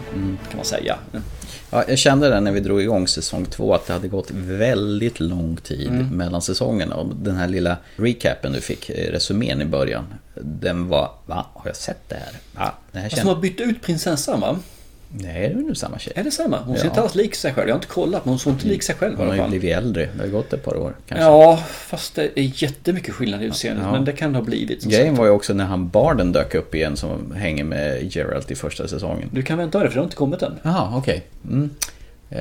[SPEAKER 1] Kan man säga.
[SPEAKER 2] Mm. Ja, jag kände det när vi drog igång säsong två att det hade gått väldigt lång tid
[SPEAKER 1] Mm.
[SPEAKER 2] mellan säsongerna. Och den här lilla recapen du fick, eh, resumén i början, den var... Va? Har jag sett det här? Va? Det här
[SPEAKER 1] Fast de har bytt ut prinsessan va?
[SPEAKER 2] Nej, det är nu samma tjej.
[SPEAKER 1] Är det samma? Hon ser inte alls lik sig själv. Jag har inte kollat men hon ser inte lik sig själv i
[SPEAKER 2] Hon har
[SPEAKER 1] alla
[SPEAKER 2] ju
[SPEAKER 1] fall.
[SPEAKER 2] blivit äldre. Det har gått ett par år kanske.
[SPEAKER 1] Ja, fast det är jättemycket skillnad i utseendet.
[SPEAKER 2] Alltså. Ja.
[SPEAKER 1] Men det kan det ha blivit. som
[SPEAKER 2] Grejen
[SPEAKER 1] sagt.
[SPEAKER 2] var ju också när han barden dök upp igen som hänger med Geralt i första säsongen.
[SPEAKER 1] Du kan vänta det för det har inte kommit än.
[SPEAKER 2] Jaha, okej. Mm. Eh,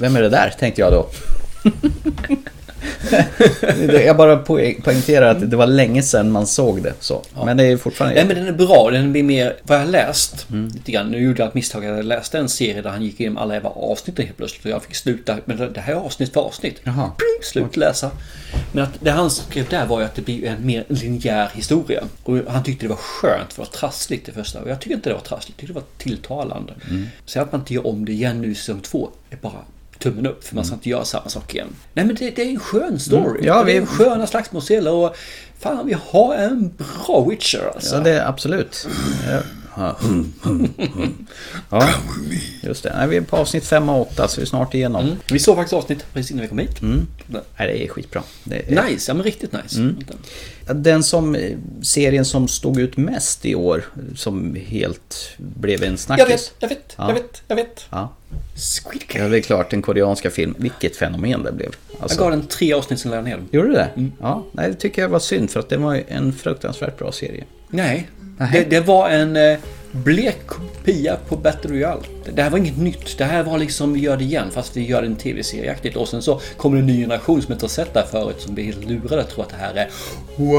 [SPEAKER 2] vem är det där, tänkte jag då. jag bara poäng- poängterar att det var länge sedan man såg det. Så. Men det är ju fortfarande...
[SPEAKER 1] Nej men den är bra, den blir mer vad jag har läst. Lite grann. Nu gjorde jag ett misstag, jag läste en serie där han gick igenom alla jävla avsnitten helt plötsligt och jag fick sluta men det- det här är avsnitt för avsnitt.
[SPEAKER 2] Jaha.
[SPEAKER 1] Pling, Slut läsa. Men att det han skrev där var ju att det blir en mer linjär historia. Och han tyckte det var skönt för det var trassligt det första. Och jag tyckte inte det var trassligt, jag tyckte det var tilltalande. Mm. Sen att man inte gör om det igen nu i säsong två är bara tummen upp för man ska inte göra samma sak igen. Nej men det, det är en skön story.
[SPEAKER 2] Mm. Ja,
[SPEAKER 1] det är
[SPEAKER 2] vi-
[SPEAKER 1] en sköna slagsmålsscener och fan vi har en bra Witcher alltså.
[SPEAKER 2] Ja, det är absolut. Ja, ja just det. Nej, vi är på avsnitt 5 och 8 så vi är snart igenom.
[SPEAKER 1] Vi såg faktiskt avsnitt precis innan vi kom hit.
[SPEAKER 2] Mm. Nej, det är skitbra. Det är...
[SPEAKER 1] Nice, ja men riktigt nice.
[SPEAKER 2] Mm. Den som, serien som stod ut mest i år, som helt blev en snackis.
[SPEAKER 1] Jag vet, jag vet,
[SPEAKER 2] Ja.
[SPEAKER 1] jag vet, jag vet.
[SPEAKER 2] Ja.
[SPEAKER 1] Squid
[SPEAKER 2] ja, det är klart, den koreanska film. Vilket fenomen det blev. Alltså,
[SPEAKER 1] Jag gav den tre avsnitt sen lade jag ner den.
[SPEAKER 2] Gjorde du det? Ja, nej, det tycker jag var synd för att det var ju en fruktansvärt bra serie.
[SPEAKER 1] Nej, det, det var en eh, blek kopia på Battle Royale. Det- Det här var inget nytt. Det här var liksom vi gör det igen fast vi gör det en tv-serieaktigt. Och sen så kommer det en ny generation som inte har sett det här förut som blir helt lurade och tror att det här är... Wow!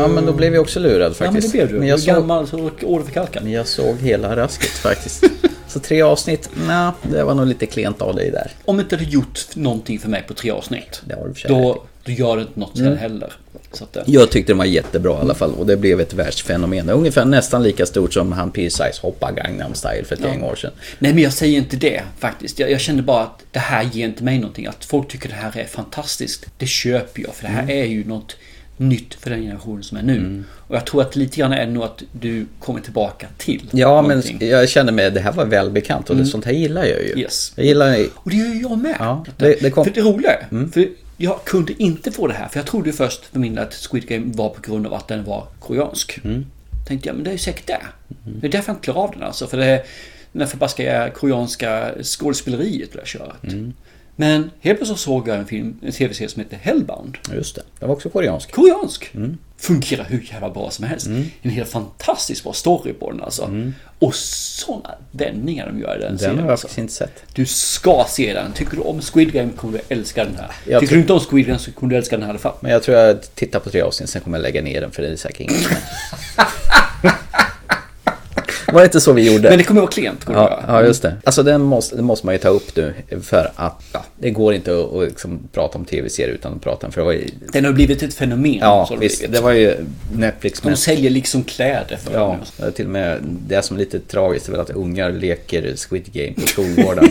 [SPEAKER 2] Ja, men då blev jag också lurad
[SPEAKER 1] Ja men det
[SPEAKER 2] faktiskt.
[SPEAKER 1] blev du.
[SPEAKER 2] Men
[SPEAKER 1] Du
[SPEAKER 2] jag
[SPEAKER 1] är
[SPEAKER 2] såg,
[SPEAKER 1] gammal och åderförkalkad.
[SPEAKER 2] men jag såg hela rasket faktiskt. Så tre avsnitt, nej, det var nog lite klent av dig där.
[SPEAKER 1] Om inte du gjort någonting för mig på tre avsnitt.
[SPEAKER 2] Det har du för sig rätt
[SPEAKER 1] då, då gör du inte något sen
[SPEAKER 2] Mm.
[SPEAKER 1] heller. Så att, eh,
[SPEAKER 2] Jag tyckte den var jättebra i alla fall och det blev ett världsfenomen. Ungefär nästan lika stort som han P-Size hoppa Gangnam style för ett
[SPEAKER 1] Ja.
[SPEAKER 2] gäng år sedan.
[SPEAKER 1] Nej men jag säger inte det faktiskt. Jag, jag kände bara att det här ger inte mig någonting. Att folk tycker det här är fantastiskt, det köper jag. För det här
[SPEAKER 2] Mm.
[SPEAKER 1] är ju något nytt för den generationen som är nu. Och jag tror att lite grann är det nog att du kommer tillbaka till
[SPEAKER 2] Ja, men
[SPEAKER 1] någonting.
[SPEAKER 2] jag kände mig, det här var välbekant och det,
[SPEAKER 1] Mm.
[SPEAKER 2] sånt här gillar jag ju.
[SPEAKER 1] Yes.
[SPEAKER 2] Jag gillar ju...
[SPEAKER 1] Och det gör ju jag med.
[SPEAKER 2] det- det kom- Mm.
[SPEAKER 1] För det roliga är, för jag kunde inte få det här. För jag trodde ju först för min del att Squid Game var på grund av att den var koreansk.
[SPEAKER 2] Mm.
[SPEAKER 1] Tänkte jag, men det är ju säkert det. Det är därför jag inte klarar av den alltså. För det är den här förbaskade koreanska skådespeleriet vill jag köra. Mm. Men helt plötsligt såg jag en film, en tv-serie som heter Hellbound.
[SPEAKER 2] Just det, den var också koreansk.
[SPEAKER 1] Koreansk!
[SPEAKER 2] Mm.
[SPEAKER 1] Fungerar hur jävla bra som helst. En helt fantastiskt bra story på den alltså. Och sådana vändningar de gör i den,
[SPEAKER 2] Mm. Den
[SPEAKER 1] serien.
[SPEAKER 2] har jag
[SPEAKER 1] alltså.
[SPEAKER 2] faktiskt inte sett.
[SPEAKER 1] Du ska se den. Tycker du om Squid Game kommer du älska den här.
[SPEAKER 2] Jag
[SPEAKER 1] Tycker
[SPEAKER 2] tror-
[SPEAKER 1] du inte om Squid Game så kommer du älska den här i alla fall.
[SPEAKER 2] Men jag tror jag tittar på tre avsnitt, sen kommer jag lägga ner den för det är säkert inget. Var det inte så vi gjorde?
[SPEAKER 1] Men det kommer vara klent. Kommer det
[SPEAKER 2] Ja,
[SPEAKER 1] vara.
[SPEAKER 2] ja, just det. Alltså den måste, den måste man ju ta upp nu för att ja, det går inte att, att liksom prata om tv-serier utan att prata om... För det var ju,
[SPEAKER 1] Den har blivit ett fenomen. så
[SPEAKER 2] ja,
[SPEAKER 1] har det
[SPEAKER 2] visst.
[SPEAKER 1] blivit.
[SPEAKER 2] Det var ju Netflix
[SPEAKER 1] De säljer liksom kläder för
[SPEAKER 2] Ja,
[SPEAKER 1] den.
[SPEAKER 2] det är till och med det som är lite tragiskt är väl att ungar leker Squid Game på skolgårdarna.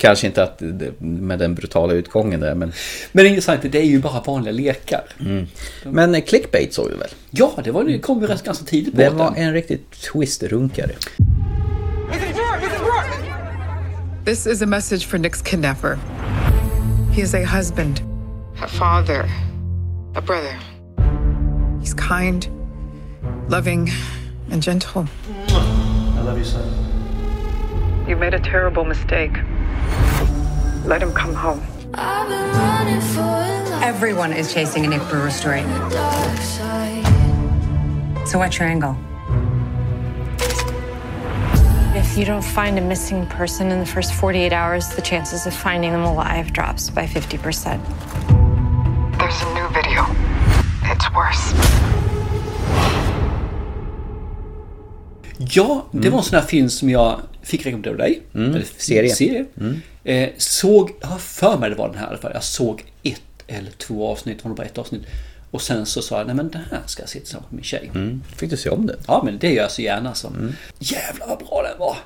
[SPEAKER 2] Kanske inte att, med den brutala utgången där, men...
[SPEAKER 1] Men det är intressant, det är ju bara vanliga lekar.
[SPEAKER 2] Mm. Men clickbait såg du väl?
[SPEAKER 1] Ja, det, var, det kom ju rätt ganska tidigt på
[SPEAKER 2] Det
[SPEAKER 1] den.
[SPEAKER 2] var en riktigt twist-runkare.
[SPEAKER 21] This is a message for Nick's kidnapper. He is a husband, a father, a brother. He's kind, loving, and gentle.
[SPEAKER 22] I love you, son.
[SPEAKER 21] You made a terrible mistake. Let him come home.
[SPEAKER 23] Everyone is chasing a Nick Brewer story. So what's your angle?
[SPEAKER 24] If you don't find a missing person in the first 48 hours, the chances of finding them alive drops by 50%.
[SPEAKER 21] There's a new video. It's worse.
[SPEAKER 1] Ja, det var en sån här film som jag fick rekommendera av dig.
[SPEAKER 2] Mm, serie.
[SPEAKER 1] serie.
[SPEAKER 2] Mm.
[SPEAKER 1] Eh, såg, jag har för mig det var den här i alla fall. Jag såg ett eller två avsnitt, det var nog bara ett avsnitt. Och sen så sa jag, nej men den här ska jag se tillsammans med min tjej.
[SPEAKER 2] Mm. Fick du se om det? Mm.
[SPEAKER 1] Ja men det gör jag så gärna så. Jävlar vad bra den var!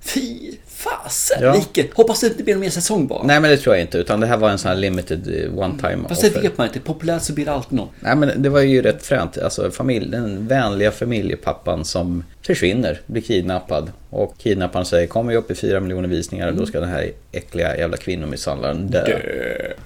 [SPEAKER 1] Fy fasen
[SPEAKER 2] Ja.
[SPEAKER 1] vilket! Hoppas det inte blir en mer säsong bara.
[SPEAKER 2] Nej men det tror jag inte, utan det här var en sån här limited eh, one time
[SPEAKER 1] Fast det
[SPEAKER 2] offer.
[SPEAKER 1] vet man inte. Populärt så blir det alltid något.
[SPEAKER 2] Nej men det var ju rätt fränt. Alltså familj, den vänliga familjepappan som försvinner, blir kidnappad. Och kidnapparen säger kommer ju upp i fyra miljoner visningar och då ska den här äckliga jävla kvinnomisshandlaren dö.
[SPEAKER 1] Dö.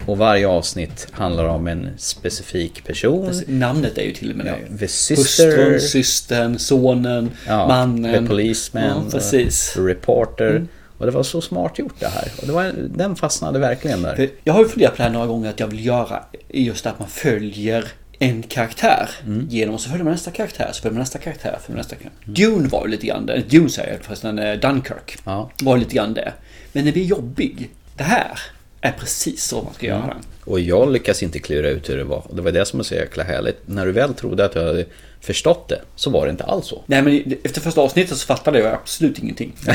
[SPEAKER 2] Och varje avsnitt handlar om en specifik person.
[SPEAKER 1] Fast alltså, namnet är ju till och med
[SPEAKER 2] ja,
[SPEAKER 1] det.
[SPEAKER 2] The Sister.
[SPEAKER 1] Hustrun, systern, sonen,
[SPEAKER 2] Ja,
[SPEAKER 1] mannen.
[SPEAKER 2] The Policeman,
[SPEAKER 1] Ja, precis.
[SPEAKER 2] The Reporter.
[SPEAKER 1] Mm.
[SPEAKER 2] Och det var så smart gjort det här. Och det var, den fastnade verkligen där.
[SPEAKER 1] För Eh, Jag har ju funderat på det här några gånger att jag vill göra just att man följer en karaktär
[SPEAKER 2] Mm.
[SPEAKER 1] genom och så följer man nästa karaktär, så följer man nästa karaktär, följer man nästa karaktär. Dune var ju lite grann det, Dune säger jag förresten, eh, Dunkirk var ju lite grann det. Men den blir jobbig. Det här är precis så man ska göra den.
[SPEAKER 2] Och jag lyckas inte klura ut hur det var. Och det var det som var så jäkla härligt. När du väl trodde att du hade förstått det, så var det inte alls så.
[SPEAKER 1] Nej men efter första avsnittet så fattade jag absolut ingenting.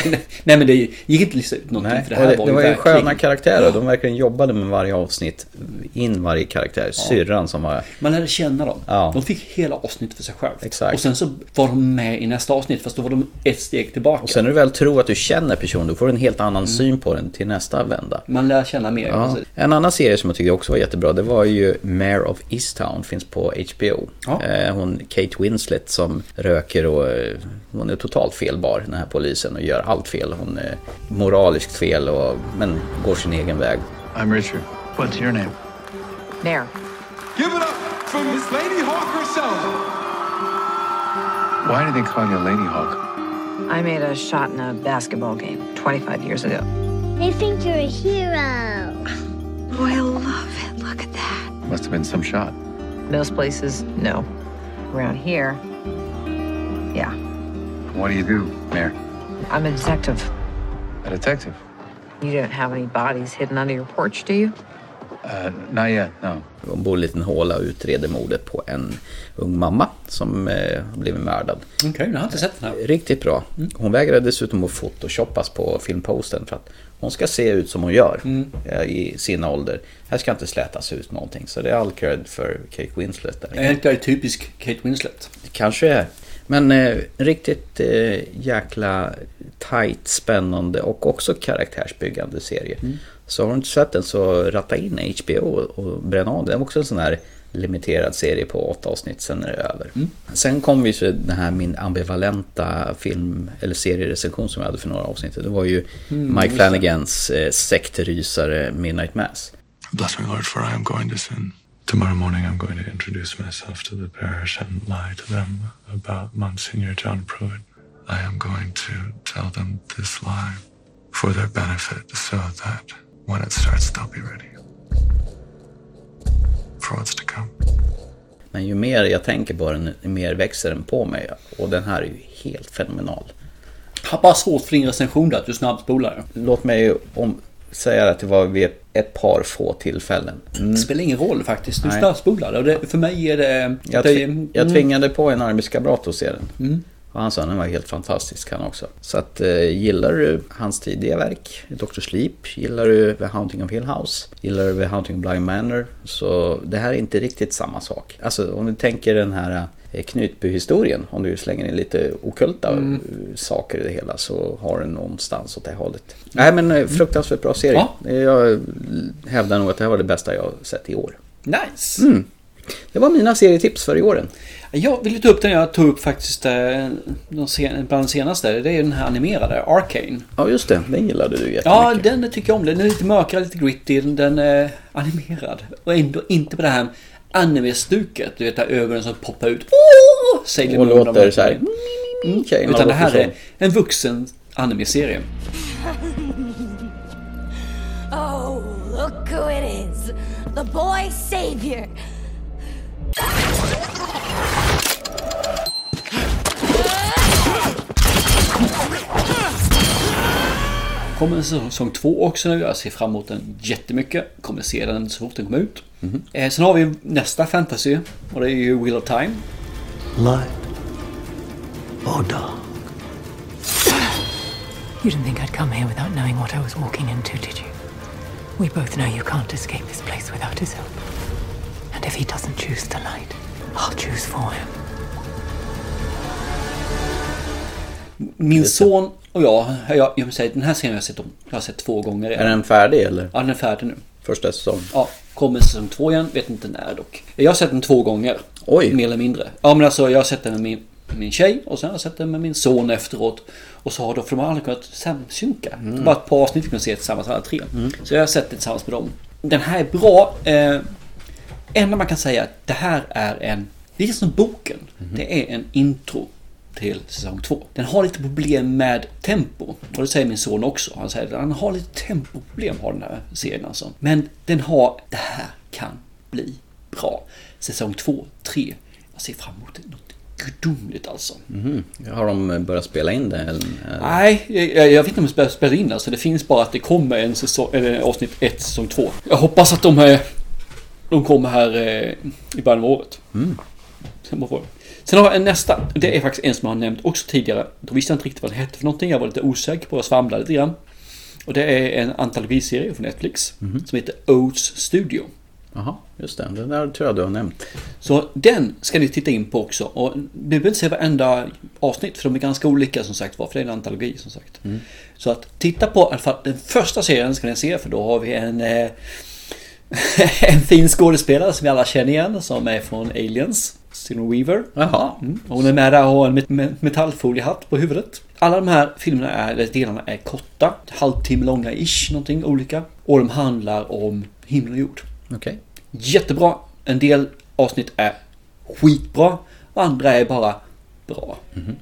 [SPEAKER 1] Nej men det gick inte att lista ut någonting
[SPEAKER 2] Nej,
[SPEAKER 1] för det här
[SPEAKER 2] och
[SPEAKER 1] var
[SPEAKER 2] det var,
[SPEAKER 1] ju
[SPEAKER 2] det var ju
[SPEAKER 1] verkligen-
[SPEAKER 2] sköna karaktärer. De verkligen jobbade med varje avsnitt. In varje karaktär. Syrran som var...
[SPEAKER 1] Man lärde känna dem.
[SPEAKER 2] Ja.
[SPEAKER 1] De fick hela avsnittet för sig själv.
[SPEAKER 2] Exakt.
[SPEAKER 1] Och sen så var de med i nästa avsnitt fast då var de ett steg tillbaka.
[SPEAKER 2] Och sen när du väl tror att du känner personen, då får du en helt
[SPEAKER 1] Mm.
[SPEAKER 2] annan syn på den till nästa vända.
[SPEAKER 1] Man lär känna mer.
[SPEAKER 2] Ja.
[SPEAKER 1] precis.
[SPEAKER 2] Alltså, En annan serie som jag tyckte också var jättebra, det var ju Mare of Easttown, finns på HBO. Eh, Hon Kate Winslet som röker och eh, hon är totalt felbar, den här polisen, och gör allt fel. Hon är moraliskt fel, och, men går sin egen väg.
[SPEAKER 3] I'm Richard. What's your name?
[SPEAKER 23] There.
[SPEAKER 3] Give it up for Miss Lady Hawk herself. Why do they call you Lady Hawk?
[SPEAKER 23] I made a shot in a basketball game 25 years ago.
[SPEAKER 4] They think you're a hero.
[SPEAKER 23] Oh, I love it. Look at that.
[SPEAKER 3] Must have been some shot.
[SPEAKER 23] Most places, no. Around here, yeah.
[SPEAKER 3] What do you do, Mayor?
[SPEAKER 23] I'm a detective.
[SPEAKER 3] A detective?
[SPEAKER 23] You don't have any bodies hidden under your porch, do you?
[SPEAKER 2] not yet, no. Hon bor i en liten håla och utreder mordet på en ung mamma som eh, har blivit mördad.
[SPEAKER 1] Okej, jag har inte sett den här.
[SPEAKER 2] Riktigt bra. Hon vägrar dessutom att photoshoppas på filmposten för att hon ska se ut som hon gör eh, i sin ålder. Här ska inte slätas ut någonting. Så det är all cred för Kate Winslet. Där.
[SPEAKER 1] Är inte det typisk Kate Winslet?
[SPEAKER 2] Kanske är. Men eh, riktigt eh, jäkla tight, spännande och också karaktärsbyggande serie.
[SPEAKER 1] Mm.
[SPEAKER 2] Så har du inte sett den så ratta in HBO och bränn av den. Det är också en sån här limiterad serie på åtta avsnitt, sen är det över.
[SPEAKER 3] Mm.
[SPEAKER 2] Sen kom vi till den här min ambivalenta film eller serierecension som jag hade för några avsnitt. Det var ju
[SPEAKER 3] Mm,
[SPEAKER 2] Mike
[SPEAKER 3] just det.
[SPEAKER 2] Flanagans eh, sektrysare Midnight Mass.
[SPEAKER 3] Bless me, Lord, for I am going to sin. Tomorrow morning, I'm going to introduce myself to the parish and lie to them about Monsignor John Pruitt. I am going to tell them this lie for their benefit so that when it starts, they'll be ready for what's to come.
[SPEAKER 2] Men ju mer jag tänker på den, ju mer växer den på mig. Och den här är ju helt fenomenal.
[SPEAKER 1] Har bara svårt för din recension där, att du snabbspolar.
[SPEAKER 2] Låt mig om, säga att det var vid ett par få tillfällen.
[SPEAKER 1] Det spelar ingen roll faktiskt. Du
[SPEAKER 2] Mm. Nej.
[SPEAKER 1] snabbspolar och det, för mig är det...
[SPEAKER 2] Jag,
[SPEAKER 1] det är-
[SPEAKER 2] tv- jag
[SPEAKER 1] mm.
[SPEAKER 2] tvingade på en arbetskamrat att se den.
[SPEAKER 1] Mm.
[SPEAKER 2] Och han sa att den var helt fantastisk han också. Så att eh, gillar du hans tidiga verk, Dr. Sleep, gillar du The Haunting of Hill House, gillar du The Haunting of Blind Manor, så det här är inte riktigt samma sak. Alltså om du tänker den här eh, Knutby-historien, om du slänger in lite okulta
[SPEAKER 1] Mm.
[SPEAKER 2] saker i det hela så har den någonstans åt det hållet. Nej men eh, fruktansvärt bra serie. Jag hävdar nog att det här var det bästa jag sett i år.
[SPEAKER 1] Nice!
[SPEAKER 2] Mm. Det var mina serietips för i åren.
[SPEAKER 1] Jag vill ta upp den jag tog upp faktiskt eh, de sen, bland de senaste. Det är den här animerade, Arcane.
[SPEAKER 2] Ja just det, den gillade du jättemycket.
[SPEAKER 1] Ja, den tycker jag om. Den är lite mörkare, lite gritty. Den- Den är animerad. Och ändå inte på det här anime-stuket. Du vet, där ögonen som poppar ut. Åh! Sailor
[SPEAKER 2] Och
[SPEAKER 1] Moon, de
[SPEAKER 2] låter så här.
[SPEAKER 1] Mm.
[SPEAKER 2] Okej,
[SPEAKER 1] Utan det
[SPEAKER 2] låter
[SPEAKER 1] här
[SPEAKER 2] så.
[SPEAKER 1] är en vuxen anime-serie.
[SPEAKER 6] Oh, look who it is! The boy savior!
[SPEAKER 1] Kommer en säsong två också nu. Jag ser fram emot den jättemycket. Kommer se den så fort den kommer ut.
[SPEAKER 2] Mhm.
[SPEAKER 1] Eh, sen har vi nästa fantasy. Och det är ju Wheel of Time.
[SPEAKER 17] Light or dark?
[SPEAKER 23] Oh, You didn't think I'd come here without knowing what I was walking into, did you? We both know you can't escape this place without his help. And if he doesn't choose the light, I'll choose for him.
[SPEAKER 1] Min son och jag, jag, jag vill säga, den här serien har jag sett, om, jag har sett två gånger
[SPEAKER 2] Är den färdig eller?
[SPEAKER 1] Ja, den är färdig nu.
[SPEAKER 2] Första säsongen?
[SPEAKER 1] Ja, kommer säsong två igen, vet inte när dock. Jag har sett den två gånger.
[SPEAKER 2] Oj.
[SPEAKER 1] Mer eller mindre. Ja men alltså jag har sett den med min, min tjej och sen har jag sett den med min son efteråt. Och så har de, för de har aldrig kunnat samsynka.
[SPEAKER 2] Mm.
[SPEAKER 1] Bara ett par avsnitt vi kunde se tillsammans alla tre. Så jag har sett det tillsammans med dem. Den här är bra. Eh, enda man kan säga är att det här är en, det är som boken. Det är en intro till säsong två. Den har lite problem med tempo. Och det säger min son också. Han säger att han har lite tempoproblem har den här serien alltså. Men den har, det här kan bli bra. Säsong två, tre. Jag ser fram emot något gudomligt alltså.
[SPEAKER 2] Mhm. Har de börjat spela in det? Eller?
[SPEAKER 1] Nej, jag, jag vet inte om de spelar in alltså. Det finns bara att det kommer en säsong, eller avsnitt ett, säsong två. Jag hoppas att de, eh, de kommer här eh, i början av året.
[SPEAKER 2] Mm.
[SPEAKER 1] Sen, bara får jag. Sen har jag en nästa. Det är faktiskt en som jag har nämnt också tidigare. Då visste jag inte riktigt vad den hette för någonting. Jag var lite osäker på. Jag svamlade lite grann. Och det är en antologiserie från Netflix.
[SPEAKER 2] Mhm.
[SPEAKER 1] Som heter Oats Studio.
[SPEAKER 2] Jaha, just det. Den där tror jag du har nämnt.
[SPEAKER 1] Så den ska ni titta in på också. Och ni behöver inte se varenda avsnitt. För de är ganska olika som sagt var. För det är en antologi som sagt.
[SPEAKER 2] Mm.
[SPEAKER 1] Så att titta på i alla fall den första serien ska ni se för då har vi en eh, en fin skådespelare som vi alla känner igen som är från Aliens. Sigourney Weaver.
[SPEAKER 2] Jaha.
[SPEAKER 1] Mm. Och Hon är med där och har en met- met- metallfoliehatt på huvudet. Alla de här filmerna är, eller delarna är korta. Halvtimme långa ish, någonting olika. Och de handlar om himmel och jord.
[SPEAKER 2] Okej.
[SPEAKER 1] Jättebra. En del avsnitt är skitbra. Och andra är bara bra.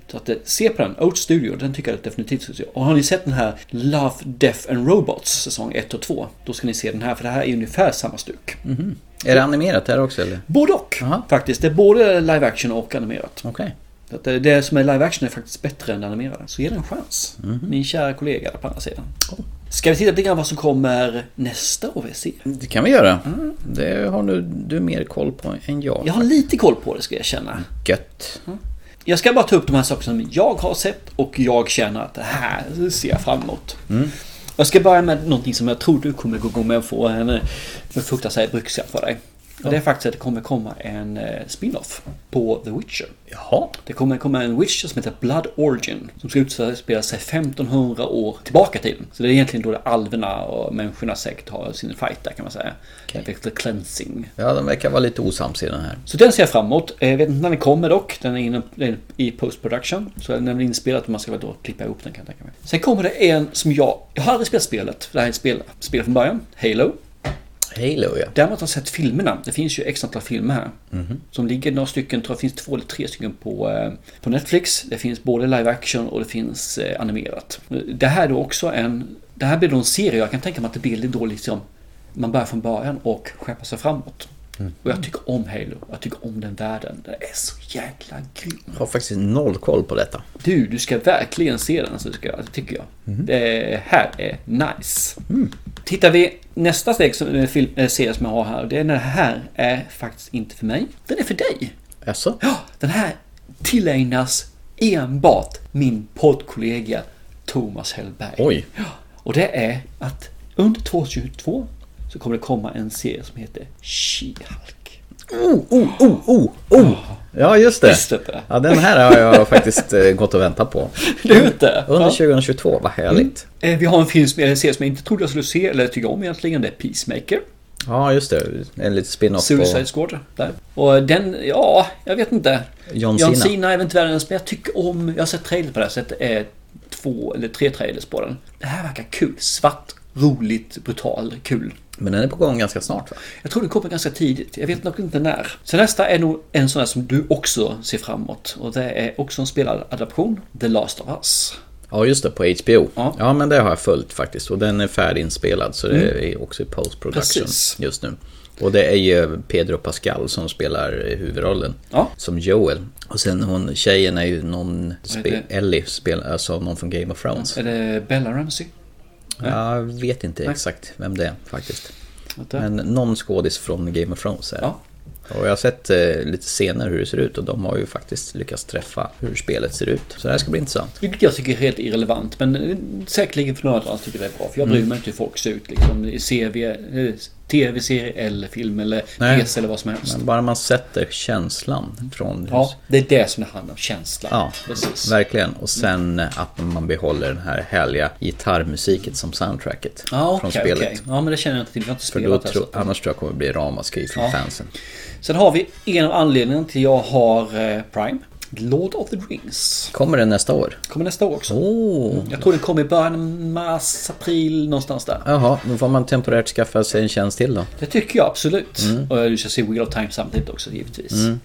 [SPEAKER 1] Så att, eh, se på den. Oat Studio, den tycker jag definitivt ska se. Och har ni sett den här Love, Death and Robots säsong 1 och 2. Då ska ni se den här för det här är ungefär samma stuk. Mm.
[SPEAKER 2] Mhm. Är det animerat här också eller?
[SPEAKER 1] Både och faktiskt. Det är både live action och animerat.
[SPEAKER 2] Okej.
[SPEAKER 1] Så att det- Det som är live action är faktiskt bättre än det animerade. Så ge den en chans. Min kära kollega på andra sidan. Ska vi titta lite grann vad som kommer nästa OVC?
[SPEAKER 2] Det kan vi göra. Mm, Det har nu du mer koll på än jag.
[SPEAKER 1] Jag har lite koll på det ska jag känna.
[SPEAKER 2] Gött.
[SPEAKER 1] Jag ska bara ta upp de här sakerna som jag har sett och jag känner att det här ser jag fram emot.
[SPEAKER 2] Mm.
[SPEAKER 1] Jag ska börja med någonting som jag tror du kommer gå igång med och få en eh, fruktansvärd bruksskatt för dig. Och det är faktiskt att det kommer komma en eh, spin-off på The Witcher.
[SPEAKER 2] Jaha.
[SPEAKER 1] Det kommer komma en Witcher som heter Blood Origin. Som ska utspela sig 1500 år tillbaka i tiden. Så det är egentligen då det alverna och människornas sekt har sin fight där kan man säga. The cleansing.
[SPEAKER 2] Ja, de verkar vara lite osams i den här.
[SPEAKER 1] Så den ser jag fram emot. Eh, Jag vet inte när den kommer dock. Den är inne den är i post-production. Så den är väl inspelad och man ska väl då klippa ihop den kan jag tänka mig. Sen kommer det en som jag... Jag har aldrig spelat spelet. för Det här är ett spel, spel från början. Halo.
[SPEAKER 2] Halo ja.
[SPEAKER 1] Däremot har jag sett filmerna. Det finns ju x antal filmer här.
[SPEAKER 2] Mhm.
[SPEAKER 1] Som ligger några stycken, tror jag finns två eller tre stycken på, eh, på Netflix. Det finns både live action och det finns eh, animerat. Det här är då också en... Det här blir då en serie. Jag kan tänka mig att det blir då liksom... Man börjar från början och skeppar sig framåt. Och jag tycker om Halo. Jag tycker om den världen. Den är så jäkla grym.
[SPEAKER 2] Jag har faktiskt noll koll på detta.
[SPEAKER 1] Du, du ska verkligen se den, så ska, jag- tycker jag.
[SPEAKER 2] Mhm. Mm.
[SPEAKER 1] Det här är nice. Tittar vi nästa steg som eh, film, eh, serie som jag har här. Det är den här är faktiskt inte för mig. Den är för dig.
[SPEAKER 2] Jaså?
[SPEAKER 1] Ja, den här tillägnas enbart min poddkollega Thomas Hellberg.
[SPEAKER 2] Oj.
[SPEAKER 1] Ja, och det är att under 2022 så kommer det komma en serie som heter She-Hulk.
[SPEAKER 2] Oh, oh, oh, oh, oh! Ja, just det.
[SPEAKER 1] Visst är det.
[SPEAKER 2] Ja, den här har jag faktiskt eh, gått och väntat på.
[SPEAKER 1] Du vet det?
[SPEAKER 2] Under
[SPEAKER 1] Ja.
[SPEAKER 2] 2022, vad härligt.
[SPEAKER 1] Eh, Vi har en film som, eller en serie som jag inte trodde jag skulle se, eller tycker om egentligen. Det är Peacemaker.
[SPEAKER 2] Ja, just det. En liten spin-off
[SPEAKER 1] Suicide Squad. Där. Och den, ja, jag vet inte.
[SPEAKER 2] John
[SPEAKER 1] John
[SPEAKER 2] Cena.
[SPEAKER 1] Cena är väl inte världens, men jag tycker om, jag har sett trailers på det här sättet, eh, två eller tre trailers på den. Det här verkar kul. Svart, roligt, brutal, kul.
[SPEAKER 2] Men den är på gång ganska snart va?
[SPEAKER 1] Jag tror den kommer ganska tidigt. Jag vet nog inte när. Så nästa är nog en sån här som du också ser framåt. Och det är också en spelaradaption. The Last of Us.
[SPEAKER 2] Ja, just det. På HBO. Ja. men det har jag följt faktiskt. Och den är färdiginspelad så det
[SPEAKER 1] Mm.
[SPEAKER 2] är också i post production
[SPEAKER 1] Precis.
[SPEAKER 2] just nu. Och det är ju Pedro Pascal som spelar eh, huvudrollen. Som Joel. Och sen hon, tjejen är ju någon,
[SPEAKER 1] Vad heter
[SPEAKER 2] spe, Ellie, spel, alltså någon från Game of Thrones.
[SPEAKER 1] Är det Bella Ramsey?
[SPEAKER 2] Jag vet inte
[SPEAKER 1] Nej.
[SPEAKER 2] exakt vem det är faktiskt.
[SPEAKER 1] Vänta.
[SPEAKER 2] Men någon skådis från Game of Thrones är det. Och jag har sett eh, lite scener hur det ser ut och de har ju faktiskt lyckats träffa hur spelet ser ut. Så det här ska bli intressant.
[SPEAKER 1] Vilket jag tycker är helt irrelevant. Men eh, säkerligen för några andra tycker det är bra. För jag bryr
[SPEAKER 2] Mm.
[SPEAKER 1] mig inte hur folk ser ut. Liksom, I CV, eh, tv-serie eller film eller
[SPEAKER 2] Nej.
[SPEAKER 1] pjäs eller vad som helst.
[SPEAKER 2] Men bara man sätter känslan från...
[SPEAKER 1] Ja, det är det som det handlar om. Känslan.
[SPEAKER 2] Ja,
[SPEAKER 1] precis.
[SPEAKER 2] verkligen. Och sen eh, att man behåller den här härliga gitarrmusiken som soundtracket
[SPEAKER 1] Ja,
[SPEAKER 2] från
[SPEAKER 1] Ah, okej,
[SPEAKER 2] spelet.
[SPEAKER 1] okej. Ja, men det känner jag inte till. Jag har inte
[SPEAKER 2] För då
[SPEAKER 1] spelat
[SPEAKER 2] tro, annars tror jag kommer bli ramaskri från
[SPEAKER 1] Ja.
[SPEAKER 2] fansen.
[SPEAKER 1] Sen har vi en av anledningarna till jag har eh, Prime. Lord of the Rings.
[SPEAKER 2] Kommer den nästa år?
[SPEAKER 1] Kommer nästa år också.
[SPEAKER 2] Oh.
[SPEAKER 1] Jag tror den kommer i början av mars, april någonstans där.
[SPEAKER 2] Jaha, då får man temporärt skaffa sig en tjänst till då.
[SPEAKER 1] Det tycker jag absolut.
[SPEAKER 2] Mm.
[SPEAKER 1] Och du ska se Wheel of Time samtidigt också givetvis.
[SPEAKER 2] Mm.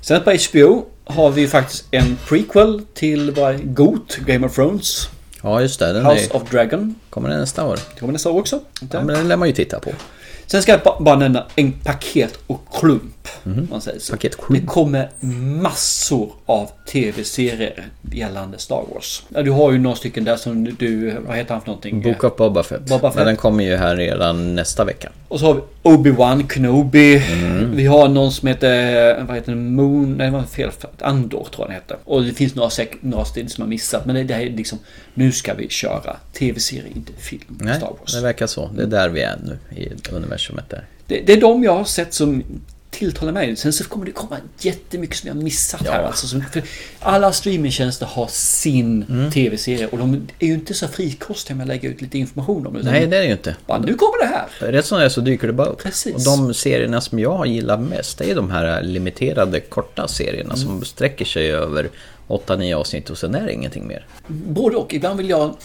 [SPEAKER 1] Sen på HBO har vi faktiskt en prequel till vad GOT, Game of Thrones.
[SPEAKER 2] Ja, just det. Den
[SPEAKER 1] House
[SPEAKER 2] är,
[SPEAKER 1] of Dragon.
[SPEAKER 2] Kommer den nästa år?
[SPEAKER 1] Det kommer nästa år också.
[SPEAKER 2] Ja, men den lär man ju titta på.
[SPEAKER 1] Sen ska jag ba- bara nämna en paket och klump.
[SPEAKER 2] Mhm.
[SPEAKER 1] om Man säger så. Det kommer massor av tv-serier gällande Star Wars. Ja, Du har ju några stycken där som du, vad heter han för någonting?
[SPEAKER 2] Book of Boba Fett.
[SPEAKER 1] Boba Fett.
[SPEAKER 2] Men den kommer ju här redan nästa vecka.
[SPEAKER 1] Och så har vi Obi-Wan Kenobi.
[SPEAKER 2] Mm.
[SPEAKER 1] Vi har någon som heter, eh, vad heter den? Moon, nej det var fel, Andor tror jag den heter. Och det finns några, säk- några steg som har missat. Men det, det här är liksom, nu ska vi köra tv-serie, inte film.
[SPEAKER 2] Nej,
[SPEAKER 1] Star Wars.
[SPEAKER 2] det verkar så. Det är där vi är nu i universumet där.
[SPEAKER 1] Det, det är de jag har sett som tilltalar mig. Sen så kommer det komma jättemycket som jag har missat här. Alltså, som, för alla streamingtjänster har sin
[SPEAKER 2] Mm.
[SPEAKER 1] tv-serie och de är ju inte så frikostiga med att lägga ut lite information om det.
[SPEAKER 2] Nej, det är det ju inte.
[SPEAKER 1] Bara, nu kommer det här!
[SPEAKER 2] Rätt som det är så dyker det bara upp.
[SPEAKER 1] Precis.
[SPEAKER 2] Och de serierna som jag har gillat mest det är de här limiterade korta
[SPEAKER 1] Mm.
[SPEAKER 2] serierna som sträcker sig över 8-9 avsnitt och sen är det ingenting mer.
[SPEAKER 1] Både och. Ibland vill jag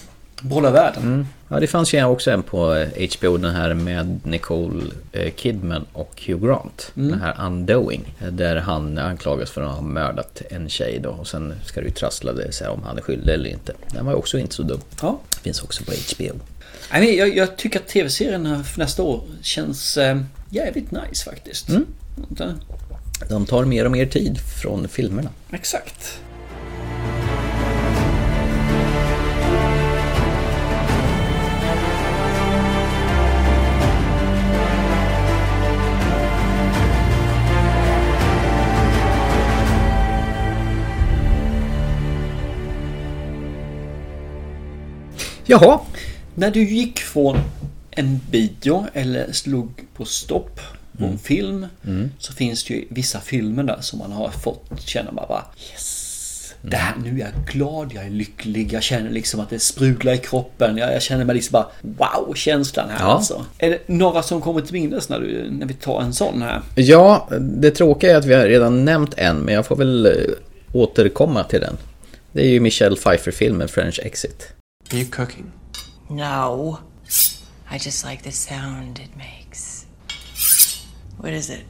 [SPEAKER 1] bolla världen.
[SPEAKER 2] Ja, det fanns ju också en på eh, HBO, den här med Nicole eh, Kidman och Hugh Grant.
[SPEAKER 1] Mm.
[SPEAKER 2] Den här Undoing, eh, där han anklagas för att ha mördat en tjej då och sen ska det ju trassla det sig om han är skyldig eller inte. Den var ju också inte så dum.
[SPEAKER 1] Ja.
[SPEAKER 2] Finns också på HBO.
[SPEAKER 1] Nej, men jag, jag tycker att tv-serien för nästa år känns eh, jävligt nice faktiskt.
[SPEAKER 2] Mm.
[SPEAKER 1] Inte?
[SPEAKER 2] De tar mer och mer tid från filmerna.
[SPEAKER 1] Exakt.
[SPEAKER 2] Jaha.
[SPEAKER 1] När du gick från en video eller slog på stopp på en film
[SPEAKER 2] Mm.
[SPEAKER 1] så finns det ju vissa filmer där som man har fått känna bara, bara yes.
[SPEAKER 2] Mm.
[SPEAKER 1] Det här, nu är jag glad, jag är lycklig, jag känner liksom att det sprudlar i kroppen. Jag, jag känner mig liksom bara wow-känslan här
[SPEAKER 2] Ja.
[SPEAKER 1] alltså. Är det några som kommer till minnes när, du, när vi tar en sån här?
[SPEAKER 2] Ja, det tråkiga är att vi har redan nämnt en, men jag får väl eh, återkomma till den. Det är ju Michelle Pfeiffer-filmen French Exit.
[SPEAKER 18] Are you cooking?
[SPEAKER 13] No. I just like the sound it makes. What is it?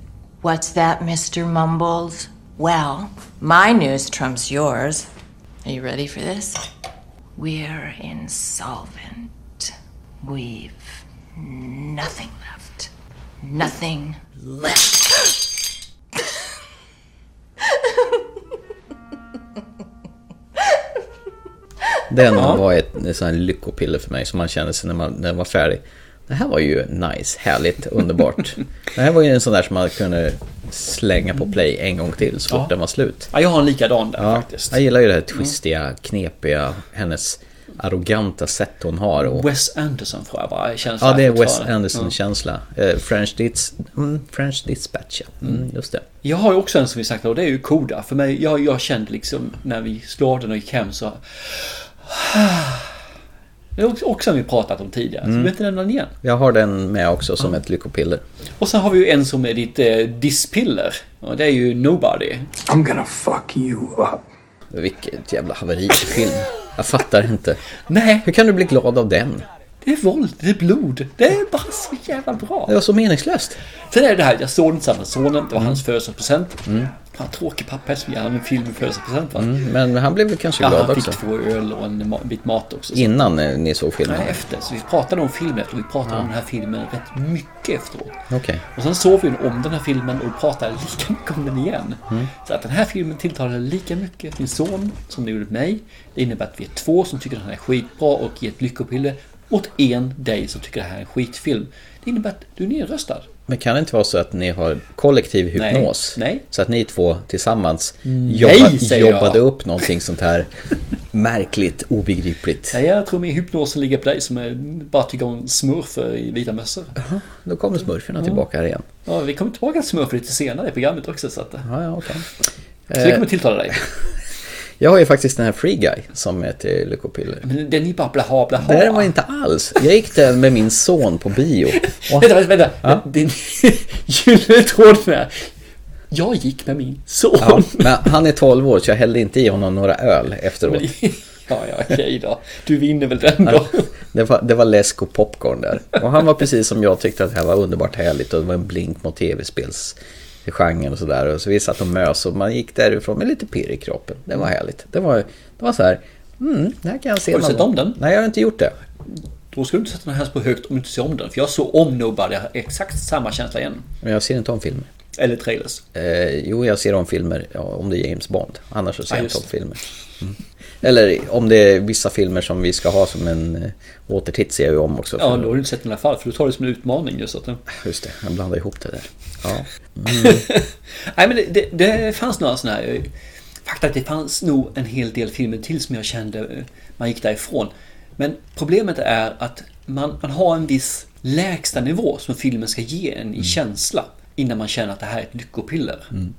[SPEAKER 13] What's that, Mr. Mumbles? Well, my news trumps yours. Are you ready for this? We're insolvent. We've nothing left. Nothing left.
[SPEAKER 2] Den var ett en sån här lyckopiller för mig som man kände sig när, man, när den var färdig. Det här var ju nice, härligt, underbart. det här var ju en sån där som man kunde slänga på play en gång till så fort den var slut.
[SPEAKER 1] Ja, jag har en likadan där
[SPEAKER 2] Ja,
[SPEAKER 1] faktiskt. Mm.
[SPEAKER 2] Jag gillar ju det här twistiga, knepiga, hennes arroganta sätt hon har. Och
[SPEAKER 1] Wes Anderson tror jag va? Känns
[SPEAKER 2] Ja, det är Wes
[SPEAKER 1] fortfarande. Mm.
[SPEAKER 2] Anderson-känsla. Eh, French, Dits, mm, French Dispatch, ja. Mm, just det.
[SPEAKER 1] Jag har ju också en som vi sagt och det är ju Koda. För mig, jag, jag kände liksom när vi slog av den och gick hem så... Det är också- också en vi pratat om tidigare. Så
[SPEAKER 2] Mm.
[SPEAKER 1] vi behöver inte nämna den igen.
[SPEAKER 2] Jag har den med också som ett lyckopiller.
[SPEAKER 1] Och sen har vi ju en som är ditt eh, dispiller. Och det är ju Nobody.
[SPEAKER 2] I'm gonna fuck you up. Vilket jävla haveri till film. Jag fattar inte.
[SPEAKER 1] Nej.
[SPEAKER 2] Hur kan du bli glad av den?
[SPEAKER 1] Det är våld, det är blod. Det är bara så jävla bra.
[SPEAKER 2] Det var så meningslöst.
[SPEAKER 1] Sen är det här, jag såg den tillsammans med sonen. Det var hans födelsedagspresent. Mm. Fan, tråkig pappa som ger honom en film i födelsedagspresent va?
[SPEAKER 2] Men han blev väl kanske
[SPEAKER 1] Ja,
[SPEAKER 2] Mm, glad
[SPEAKER 1] han fick
[SPEAKER 2] också.
[SPEAKER 1] två öl och en ma- bit mat också. så-
[SPEAKER 2] Innan eh, ni såg filmen?
[SPEAKER 1] Nej, efter. Så vi pratade om filmen efter och vi pratade om den här filmen rätt mycket efteråt.
[SPEAKER 2] Okej.
[SPEAKER 1] Och sen såg vi om den här filmen och pratade lika mycket om den igen.
[SPEAKER 2] Mm.
[SPEAKER 1] Så att den här filmen tilltalade lika mycket min son som det gjorde mig. Det innebär att vi är två som tycker att den här är skitbra och ger ett lyckopiller åt en dig som tycker att det här är en skitfilm. Det innebär att du är nedröstad.
[SPEAKER 2] Men kan det inte vara så att ni har kollektiv
[SPEAKER 1] Nej.
[SPEAKER 2] hypnos?
[SPEAKER 1] Nej. Mm.
[SPEAKER 2] Så att ni två tillsammans
[SPEAKER 1] Nej,
[SPEAKER 2] jobba,
[SPEAKER 1] säger jag.
[SPEAKER 2] jobbade upp någonting sånt här märkligt, obegripligt.
[SPEAKER 1] Nej, jag tror min hypnosen ligger på dig som är, bara tycker om smurfer i vita mössor.
[SPEAKER 2] Då kommer smurferna
[SPEAKER 1] Ja.
[SPEAKER 2] tillbaka här igen.
[SPEAKER 1] Ja, vi kommer tillbaka till smurfer lite senare i programmet också. Så, att, ja,
[SPEAKER 2] ja, okay.
[SPEAKER 1] så det kommer
[SPEAKER 2] Eh.
[SPEAKER 1] tilltala dig.
[SPEAKER 2] Jag har ju faktiskt den här Free Guy som är till lyckopiller.
[SPEAKER 1] Men den är bara blaha blaha.
[SPEAKER 2] Det här var inte alls. Jag gick den med min son på bio. Och-
[SPEAKER 1] Vänta, vänta, vänta.
[SPEAKER 2] Ja.
[SPEAKER 1] Din gyllene tråd med. Jag gick med min son.
[SPEAKER 2] Ja, men han är 12 år så jag hällde inte i honom några öl efteråt.
[SPEAKER 1] Ja, ja, okej då. Du vinner väl den då.
[SPEAKER 2] Det var, det var läsk och popcorn där. Och han var precis som jag tyckte att det här var underbart härligt och det var en blink mot tv-spelsgenren och sådär. Och så vi satt och mös och man gick därifrån med lite pirr i kroppen. Det var härligt. Det var, det var så här, mm, det här kan jag se
[SPEAKER 1] Har du
[SPEAKER 2] någon
[SPEAKER 1] sett om
[SPEAKER 2] gång.
[SPEAKER 1] den?
[SPEAKER 2] Nej, jag har inte gjort det.
[SPEAKER 1] Då ska du inte sätta den här på högt om du inte ser om den. För jag såg om Nobody, jag har exakt samma känsla igen.
[SPEAKER 2] Men jag ser inte om filmer.
[SPEAKER 1] Eller trailers.
[SPEAKER 2] Eh, jo, jag ser om filmer ja, om det är James Bond. Annars så ser
[SPEAKER 1] Ja,
[SPEAKER 2] jag
[SPEAKER 1] just
[SPEAKER 2] inte om
[SPEAKER 1] det.
[SPEAKER 2] filmer. Mm. Eller om det är vissa filmer som vi ska ha som en eh, återtitt ser jag ju om också.
[SPEAKER 1] Ja,
[SPEAKER 2] för-
[SPEAKER 1] då har du inte sett den i alla fall. För du tar det som en utmaning just att den...
[SPEAKER 2] Just det, jag blandade ihop det där. Ja.
[SPEAKER 1] Nej, men det, det, det fanns några sådana här... Faktum att det fanns nog en hel del filmer till som jag kände eh, man gick därifrån. Men problemet är att man, man har en viss lägsta nivå som filmen ska ge en i känsla innan man känner att det här är ett lyckopiller.
[SPEAKER 2] Mm.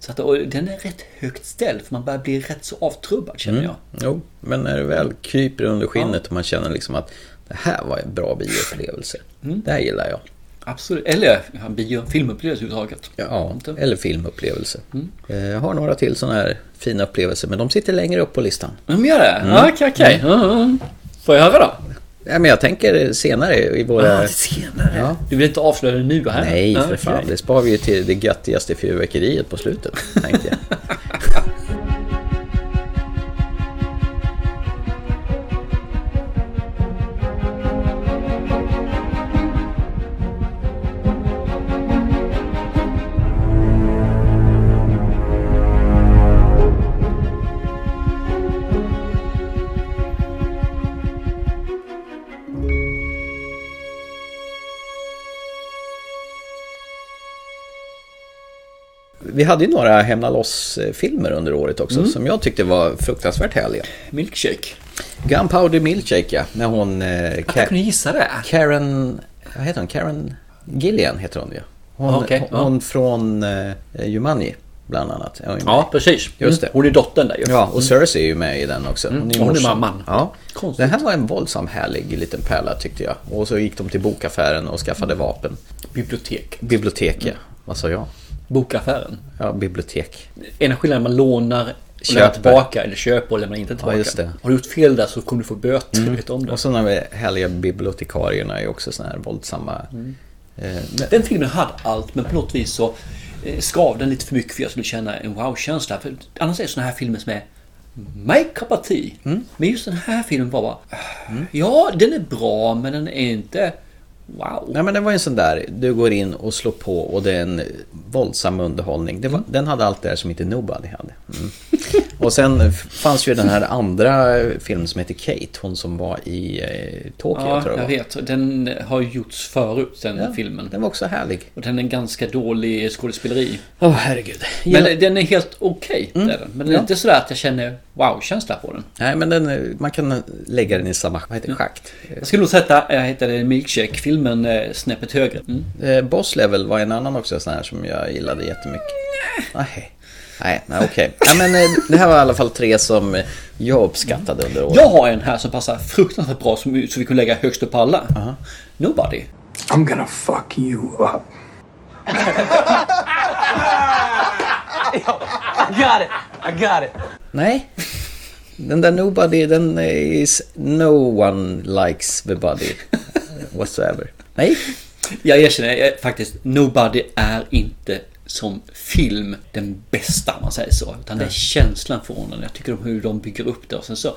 [SPEAKER 1] Så att, och den är rätt högt ställd för man börjar bli rätt så avtrubbad känner
[SPEAKER 2] Mm.
[SPEAKER 1] jag.
[SPEAKER 2] Jo, men när det väl kryper under skinnet och man känner liksom att det här var en bra bioupplevelse.
[SPEAKER 1] Mm.
[SPEAKER 2] Det här gillar jag.
[SPEAKER 1] Absolut. Eller ja, bio, filmupplevelse överhuvudtaget.
[SPEAKER 2] Ja,
[SPEAKER 1] Inte?
[SPEAKER 2] eller filmupplevelse.
[SPEAKER 1] Mm.
[SPEAKER 2] Eh, Jag har några till sådana här fina upplevelser, men de sitter längre upp på listan.
[SPEAKER 1] De gör det?
[SPEAKER 2] Mm.
[SPEAKER 1] Okej, okej. Får jag höra då?
[SPEAKER 2] Ja, men jag tänker senare i våra...
[SPEAKER 1] Ah, senare?
[SPEAKER 2] Ja.
[SPEAKER 1] Du vill inte avslöja det nu här?
[SPEAKER 2] Nej,
[SPEAKER 1] Ah,
[SPEAKER 2] för fan.
[SPEAKER 1] okej.
[SPEAKER 2] Det sparar vi ju till det göttigaste fyrverkeriet på slutet, tänkte jag. Vi hade ju några Hämna loss-filmer under året också,
[SPEAKER 1] Mm.
[SPEAKER 2] som jag tyckte var fruktansvärt härliga.
[SPEAKER 1] Milkshake.
[SPEAKER 2] Gunpowder Milkshake, ja. När hon... Eh, Ka-
[SPEAKER 1] jag kunde gissa det.
[SPEAKER 2] Karen... Vad heter hon? Karen Gillian heter hon ju. Hon,
[SPEAKER 1] Ah, Okej, ja.
[SPEAKER 2] hon från eh, Jumanji, bland annat. Hon är med.
[SPEAKER 1] Ja, precis.
[SPEAKER 2] Just det.
[SPEAKER 1] Mm. Hon är dottern där ju.
[SPEAKER 2] Ja, och Cersei är ju med i den också.
[SPEAKER 1] Mm.
[SPEAKER 2] ju
[SPEAKER 1] Och hon är
[SPEAKER 2] morsan.
[SPEAKER 1] mamman.
[SPEAKER 2] Ja. Den här var en våldsam härlig liten pärla tyckte jag. Och så gick de till bokaffären och skaffade vapen.
[SPEAKER 1] Bibliotek.
[SPEAKER 2] Bibliotek, ja.
[SPEAKER 1] Mm.
[SPEAKER 2] Vad sa jag?
[SPEAKER 1] Bokaffären.
[SPEAKER 2] Ja, bibliotek.
[SPEAKER 1] Ena skillnaden man lånar och
[SPEAKER 2] Köper.
[SPEAKER 1] lämnar tillbaka eller köper och lämnar inte tillbaka.
[SPEAKER 2] Ja, just det.
[SPEAKER 1] Har du gjort fel där så kommer du få böter.
[SPEAKER 2] Mm.
[SPEAKER 1] Vet du om det.
[SPEAKER 2] Och så de här härliga bibliotekarierna är ju också sådana här våldsamma...
[SPEAKER 1] Mm.
[SPEAKER 2] Eh,
[SPEAKER 1] Den filmen hade allt men på något vis så eh, skav den lite för mycket för jag skulle känna en wow-känsla. För annars är det såna här filmer som är My cup of tea.
[SPEAKER 2] Mm.
[SPEAKER 1] Men just den här filmen var bara... Ja, den är bra men den är inte... Wow.
[SPEAKER 2] Nej men det var ju en sån där, du går in och slår på och det är en våldsam underhållning. Det var,
[SPEAKER 1] Mm.
[SPEAKER 2] Den hade allt det där som inte Nobody hade. Mm. och sen f- fanns ju den här andra filmen som heter Kate, hon som var i eh, Tokyo
[SPEAKER 1] ja,
[SPEAKER 2] tror jag
[SPEAKER 1] jag
[SPEAKER 2] det var.
[SPEAKER 1] vet. Den har ju gjorts förut, den
[SPEAKER 2] Ja,
[SPEAKER 1] filmen.
[SPEAKER 2] Den var också härlig.
[SPEAKER 1] Och den är en ganska dålig skådespeleri.
[SPEAKER 2] Åh herregud.
[SPEAKER 1] Men den är helt okej. det är den. Men det är
[SPEAKER 2] Ja.
[SPEAKER 1] inte sådär att jag känner wow-känsla på den.
[SPEAKER 2] Nej men den, eh, man kan lägga den i samma, vad heter det, schakt.
[SPEAKER 1] Jag skulle nog sätta, eh, jag hittade Milkshake-filmen eh, snäppet högre. Mm.
[SPEAKER 2] Eh, Boss Level var en annan också sån här som jag gillade jättemycket.
[SPEAKER 1] Mm.
[SPEAKER 2] Nej. Nej, nej okej. Ja, men eh, det här var i alla fall tre som eh, jag uppskattade under året.
[SPEAKER 1] Jag har en här som passar fruktansvärt bra som, som vi kunde lägga högst upp på alla. Nobody.
[SPEAKER 18] I'm gonna fuck you up.
[SPEAKER 20] I got it. I got it.
[SPEAKER 2] Nej. Den där Nobody, den is no one likes the body whatsoever. Nej.
[SPEAKER 1] Jag erkänner eh, faktiskt, Nobody är inte som film den bästa om man säger så. Utan det är
[SPEAKER 2] Nej.
[SPEAKER 1] känslan från den. Jag tycker om hur de bygger upp det. Och sen så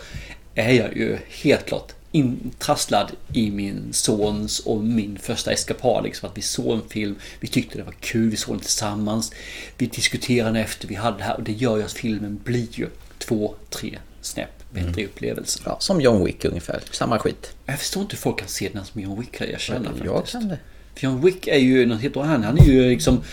[SPEAKER 1] är jag ju helt klart intrasslad i min sons och min första eskapad. Liksom att vi såg en film, vi tyckte det var kul, vi såg den tillsammans. Vi diskuterade den efter vi hade det här och det gör ju att filmen blir ju två, tre snäpp bättre upplevelse.
[SPEAKER 2] Ja, som John Wick ungefär, samma skit.
[SPEAKER 1] Jag förstår inte hur folk kan se den här som John Wick, jag känner
[SPEAKER 2] Jag kan det.
[SPEAKER 1] John Wick är ju något helt annat. Han är ju liksom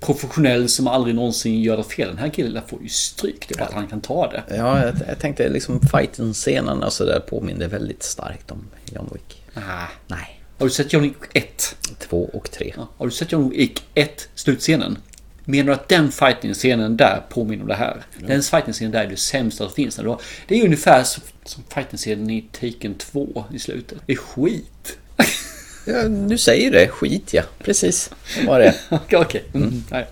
[SPEAKER 1] professionell som aldrig någonsin gör något fel. Den här killen får ju stryk. Det är bara att han kan ta det.
[SPEAKER 2] Ja, jag, jag tänkte liksom fighten-scenen och sådär påminner väldigt starkt om John Wick.
[SPEAKER 1] Ah.
[SPEAKER 2] Nej.
[SPEAKER 1] Har du sett John Wick 1?
[SPEAKER 2] 2 och 3.
[SPEAKER 1] Ja, har du sett John Wick 1, slutscenen? Menar du att den fighting-scenen där påminner om det här? Den fighting-scenen där är det sämsta som finns. Eller vad? Det är ju ungefär som som fighting-scenen i Taken 2 i slutet. Det är skit.
[SPEAKER 2] Ja, nu säger du det. Skit ja. Precis. Vad det
[SPEAKER 1] Okej. okej. Mm. Nej.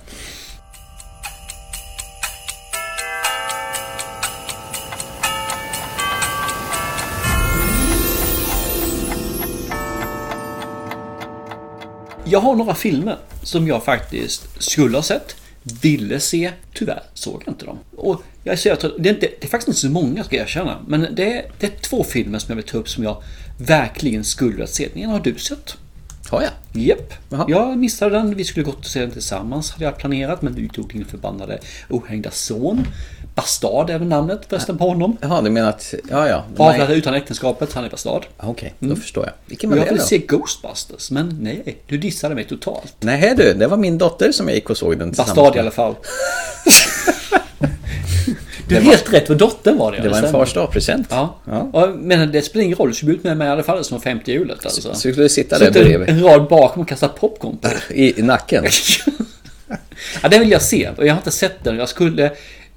[SPEAKER 1] Jag har några filmer som jag faktiskt skulle ha sett, ville se, tyvärr såg jag inte dem. Och jag är så jävla trött. Det är, inte, det är faktiskt inte så många ska jag erkänna, men det är, det är två filmer som jag vill ta upp som jag verkligen skulle vilja se. Den ena har du sett.
[SPEAKER 2] Har jag?
[SPEAKER 1] Japp. Jag missade den. Vi skulle gått och se den tillsammans hade jag planerat. Men du tog din förbannade ohängda son. Bastard är väl namnet förresten på honom.
[SPEAKER 2] Jaha, du menar att... Ja, ja.
[SPEAKER 1] Avrättad utan äktenskapet. Han är bastard.
[SPEAKER 2] Okej, då förstår jag. Vilken var
[SPEAKER 1] Mm. Jag
[SPEAKER 2] det
[SPEAKER 1] vill
[SPEAKER 2] då?
[SPEAKER 1] se Ghostbusters, men nej. Du dissade mig totalt.
[SPEAKER 2] Nej du, det var min dotter som jag gick och såg den tillsammans
[SPEAKER 1] Bastard i
[SPEAKER 2] med.
[SPEAKER 1] alla fall. Du är helt rätt, för dottern var det.
[SPEAKER 2] Det var en
[SPEAKER 1] stämmer.
[SPEAKER 2] farsdagspresent.
[SPEAKER 1] Ja. Ja, Men det spelar ingen roll, du skulle ut med mig i alla fall som 50 hjulet. Alltså.
[SPEAKER 2] Så vi skulle sitta där
[SPEAKER 1] Sitter
[SPEAKER 2] bredvid.
[SPEAKER 1] en rad bakom och kasta popcorn på.
[SPEAKER 2] I, I nacken.
[SPEAKER 1] Ja, den vill jag se och jag har inte sett den. Jag skulle,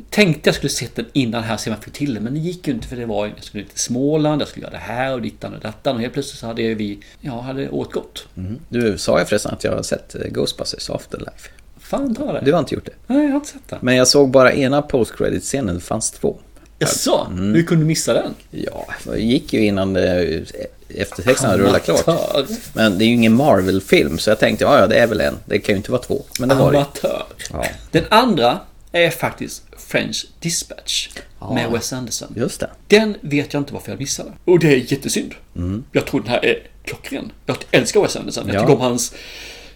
[SPEAKER 1] tänkte jag skulle sett den innan här så man fick till den. Men det gick ju inte för det var jag skulle till Småland, jag skulle göra det här och dittan och dattan. Och helt plötsligt så hade ju vi, ja, hade åtgått.
[SPEAKER 2] Mm. Du sa ju förresten att jag har sett eh, Ghostbusters Afterlife.
[SPEAKER 1] Fan, ta det.
[SPEAKER 2] Du har inte gjort det.
[SPEAKER 1] Nej, jag har inte sett den.
[SPEAKER 2] Men jag såg bara ena post-credit-scenen, det fanns två.
[SPEAKER 1] Jaså,
[SPEAKER 2] Mm.
[SPEAKER 1] hur kunde du missa den?
[SPEAKER 2] Ja, det gick ju innan eh, eftertexterna rullade klart.
[SPEAKER 1] Amatör.
[SPEAKER 2] Men det är ju ingen Marvel-film, så jag tänkte ja, ja, det är väl en. Det kan ju inte vara två. Men det var det ju.
[SPEAKER 1] Amatör.
[SPEAKER 2] Ja.
[SPEAKER 1] Den andra är faktiskt French Dispatch med
[SPEAKER 2] Ja.
[SPEAKER 1] Wes Anderson.
[SPEAKER 2] Just det.
[SPEAKER 1] Den vet jag inte varför jag missade. Och det är jättesynd.
[SPEAKER 2] Mm.
[SPEAKER 1] Jag tror den här är klockren. Jag älskar Wes Anderson. Jag
[SPEAKER 2] Ja.
[SPEAKER 1] tycker om hans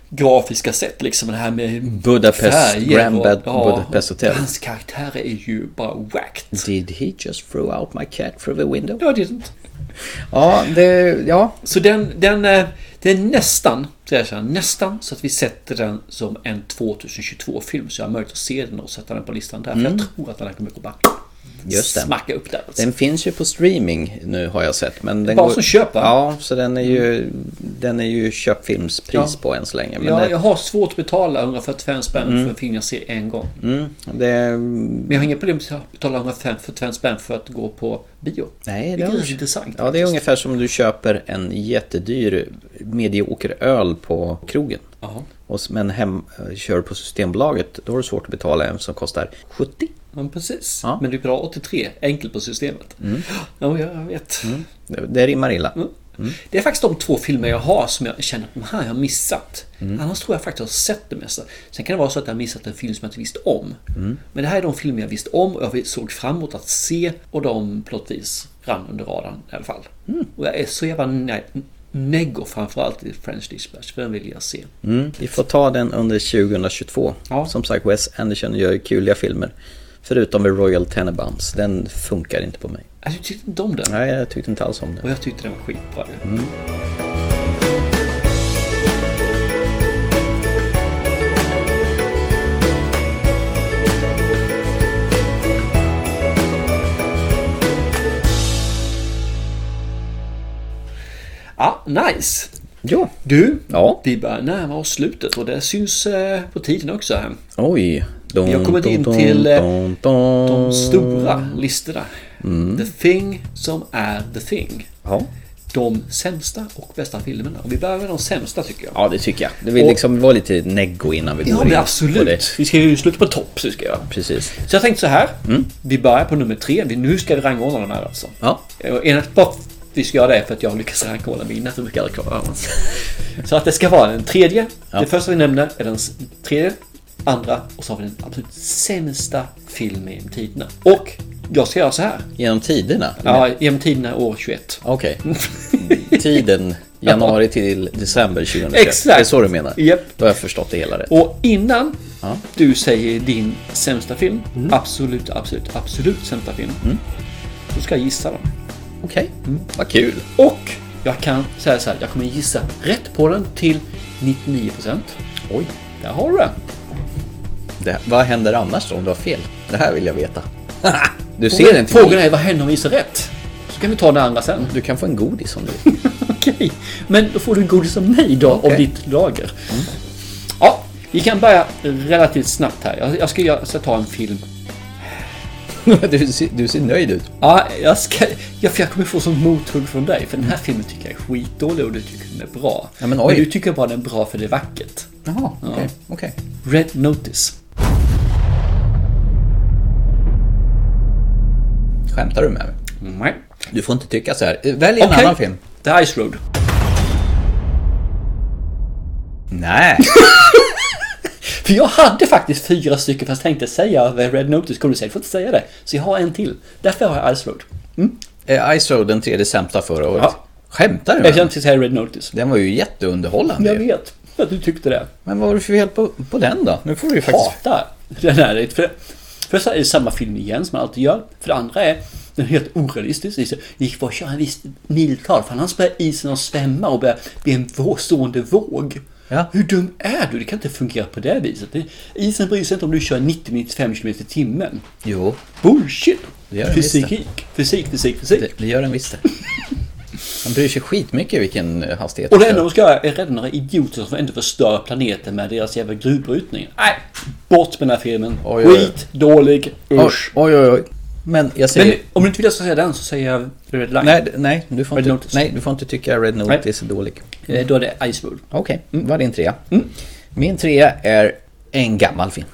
[SPEAKER 1] grafiska sätt. Liksom det här med
[SPEAKER 2] Budapest,
[SPEAKER 1] färger
[SPEAKER 2] Grand
[SPEAKER 1] och-
[SPEAKER 2] Bud- Budapest Hotel. Mm.
[SPEAKER 1] Hans karaktärer är ju bara whacked.
[SPEAKER 2] Did he just throw out my cat through the window?
[SPEAKER 1] No, I didn't.
[SPEAKER 2] Ja, det... Ja.
[SPEAKER 1] Så den, den, eh, det är nästan, ska jag säga, nästan så att vi sätter den som en 2022-film. Så jag har möjlighet att se den och sätta den på listan där. För
[SPEAKER 2] Mm.
[SPEAKER 1] jag tror att den här kommer gå bara
[SPEAKER 2] Just det.
[SPEAKER 1] smacka upp där. Alltså.
[SPEAKER 2] Den finns ju på streaming nu har jag sett. Men den
[SPEAKER 1] Bara som köp, va? Mm.
[SPEAKER 2] Ja, så den är ju, den är ju köpfilmsppris
[SPEAKER 1] Ja.
[SPEAKER 2] på än så länge. Men
[SPEAKER 1] Ja,
[SPEAKER 2] det,
[SPEAKER 1] jag har svårt att betala 145 spänn
[SPEAKER 2] Mm.
[SPEAKER 1] för en film jag ser en gång.
[SPEAKER 2] Mm, det,
[SPEAKER 1] Men jag har inga problem med att betala 145 spänn för att gå på bio.
[SPEAKER 2] Nej, det
[SPEAKER 1] Vilket är
[SPEAKER 2] har-
[SPEAKER 1] rätt intressant.
[SPEAKER 2] ja, det är ungefär som du köper en jättedyr medioker öl på krogen.
[SPEAKER 1] Ja.
[SPEAKER 2] Och, s- men hem, kör på Systembolaget, då är det svårt att betala en som kostar 70.
[SPEAKER 1] Men precis. Men du betalar 83, enkelt på systemet.
[SPEAKER 2] Mm.
[SPEAKER 1] Ja, jag vet.
[SPEAKER 2] Det, det rimmar illa.
[SPEAKER 1] Mm. Det är faktiskt de två filmer jag har som jag känner att de här har jag missat.
[SPEAKER 2] Mm.
[SPEAKER 1] Annars tror jag faktiskt jag har sett det mesta. Sen kan det vara så att jag har missat en film som jag inte visste om.
[SPEAKER 2] Mm.
[SPEAKER 1] Men det här är de filmer jag visste om och jag såg fram emot att se och de plottvis rann under radarn i alla fall.
[SPEAKER 2] Mm.
[SPEAKER 1] Och jag är så jävla ne- neggo framförallt i French Dispatch, för den vill jag se.
[SPEAKER 2] Mm, vi får ta den under 2022. Som sagt, Wes Anderson gör ju kuliga filmer. Förutom med Royal Tenenbaums. Den funkar inte på mig.
[SPEAKER 1] Alltså, du tyckte inte om den?
[SPEAKER 2] Nej, jag tyckte inte alls om den.
[SPEAKER 1] Och jag tyckte den var skitbra. ju.
[SPEAKER 2] Mm.
[SPEAKER 1] Ja, nice!
[SPEAKER 2] Ja.
[SPEAKER 1] Du,
[SPEAKER 2] ja.
[SPEAKER 1] vi börjar närma oss slutet och det syns eh, på tiden också. här.
[SPEAKER 2] Oj. Dun,
[SPEAKER 1] Vi har kommit in
[SPEAKER 2] dun,
[SPEAKER 1] till eh,
[SPEAKER 2] dun, dun.
[SPEAKER 1] de stora listorna.
[SPEAKER 2] Mm.
[SPEAKER 1] The Thing som är The Thing.
[SPEAKER 2] Ja.
[SPEAKER 1] De sämsta och bästa filmerna. Och vi börjar med de sämsta tycker jag.
[SPEAKER 2] Ja, det tycker jag. Det vill
[SPEAKER 1] Och-
[SPEAKER 2] liksom vara lite neggo innan vi går
[SPEAKER 1] Ja,
[SPEAKER 2] in
[SPEAKER 1] men
[SPEAKER 2] på
[SPEAKER 1] absolut.
[SPEAKER 2] det.
[SPEAKER 1] Vi ska ju sluta på topp. Så, ska jag.
[SPEAKER 2] Precis.
[SPEAKER 1] så jag tänkte så här.
[SPEAKER 2] Mm.
[SPEAKER 1] Vi börjar på nummer tre. Vi- Nu ska vi rangordna de här alltså.
[SPEAKER 2] Ja.
[SPEAKER 1] Och Enligt bara vi ska göra det för att jag har lyckats rangordna mina för mycket alkoholans. Så att det ska vara den tredje.
[SPEAKER 2] Ja.
[SPEAKER 1] Det första vi nämner är den s- tredje, andra och så har vi den absolut sämsta filmen genom tiderna. Och jag ska göra så här.
[SPEAKER 2] Genom tiderna?
[SPEAKER 1] Ja, genom tiderna år 21.
[SPEAKER 2] Okej. Mm. Tiden januari till december 2021.
[SPEAKER 1] Exakt.
[SPEAKER 2] Det är så du menar?
[SPEAKER 1] Japp.
[SPEAKER 2] Då har jag förstått det hela rätt.
[SPEAKER 1] Och innan
[SPEAKER 2] Ja. Mm.
[SPEAKER 1] du säger din sämsta film, absolut, absolut, absolut sämsta film, så ska jag gissa dem.
[SPEAKER 2] Okej, vad kul.
[SPEAKER 1] Och Jag kan säga så här, jag kommer gissa rätt på den till 99%.
[SPEAKER 2] Oj.
[SPEAKER 1] Där har du den.
[SPEAKER 2] Det, vad händer annars då om du har fel? Det här vill jag veta. Du
[SPEAKER 1] Frågan-
[SPEAKER 2] ser inte
[SPEAKER 1] Frågan är vad händer om vi gissar rätt? Så kan vi ta den andra sen.
[SPEAKER 2] Du kan få en godis om du vill.
[SPEAKER 1] Okej, men då får du en godis av mig då, av
[SPEAKER 2] Okej. Mm.
[SPEAKER 1] ditt lager. Ja, vi kan börja relativt snabbt här. Jag, jag, ska, jag ska ta en film.
[SPEAKER 2] du, ser, du ser nöjd ut.
[SPEAKER 1] Ja, jag, ska, jag, för jag kommer få sånt mothugg från dig, för den här filmen tycker jag är skitdålig och du tycker den är bra.
[SPEAKER 2] Ja, men oj.
[SPEAKER 1] du tycker bara den är bra för det är vackert.
[SPEAKER 2] Jaha,
[SPEAKER 1] Ja.
[SPEAKER 2] okej. okej.
[SPEAKER 1] Red Notice.
[SPEAKER 2] Skämtar du med mig?
[SPEAKER 1] Nej.
[SPEAKER 2] Du får inte tycka så här. Välj en
[SPEAKER 1] Okej.
[SPEAKER 2] annan film.
[SPEAKER 1] The Ice Road.
[SPEAKER 2] Nej.
[SPEAKER 1] För jag hade faktiskt fyra stycken fast tänkte säga The Red Notice kommer du säga, du får inte säga det. Så jag har en till. Därför har jag Ice Road.
[SPEAKER 2] Eh, Ice Road, den tredje sämsta förra året.
[SPEAKER 1] Ja.
[SPEAKER 2] Skämtar du?
[SPEAKER 1] Jag
[SPEAKER 2] med
[SPEAKER 1] känner
[SPEAKER 2] mig?
[SPEAKER 1] inte säga Red Notice.
[SPEAKER 2] Den var ju jätteunderhållande.
[SPEAKER 1] Jag vet att du tyckte det.
[SPEAKER 2] Men vad var det för fel på, på den då? Nu får du ju faktiskt...
[SPEAKER 1] Hatar den här. För först är det samma film igen som man alltid gör. För det andra är den är helt orealistisk. Det är så, Vi gick bara att köra en viss miltal. För annars börjar isen att svämma och börjar bli en vå- stående våg. Hur dum är du? Det kan inte fungera på det viset. Det, isen bryr sig inte om du kör 90-95 km i timmen.
[SPEAKER 2] Jo.
[SPEAKER 1] Bullshit!
[SPEAKER 2] Det gör den visst det.
[SPEAKER 1] Fysik, fysik, fysik, fysik.
[SPEAKER 2] Det, det gör den visst det. Han bryr sig skitmycket vilken eh, hastighet
[SPEAKER 1] Och det
[SPEAKER 2] du
[SPEAKER 1] enda
[SPEAKER 2] kör.
[SPEAKER 1] de ska göra är rädda några idioter som ändå förstör planeten med deras jävla gruvbrytning. Nej! Bort med den här filmen.
[SPEAKER 2] Oj, oj, oj.
[SPEAKER 1] Skit, dålig, usch.
[SPEAKER 2] Oj, oj, oj. Men jag säger...
[SPEAKER 1] Men om du inte vill att jag ska säga den så säger jag Red Line.
[SPEAKER 2] Nej, d- nej, du får
[SPEAKER 1] Red
[SPEAKER 2] inte,
[SPEAKER 1] Notice.
[SPEAKER 2] nej, du får inte tycka Red Notice är dålig.
[SPEAKER 1] Eh, Då är det Ice Road.
[SPEAKER 2] Okej, mm, vad är din trea? Min trea är en gammal film.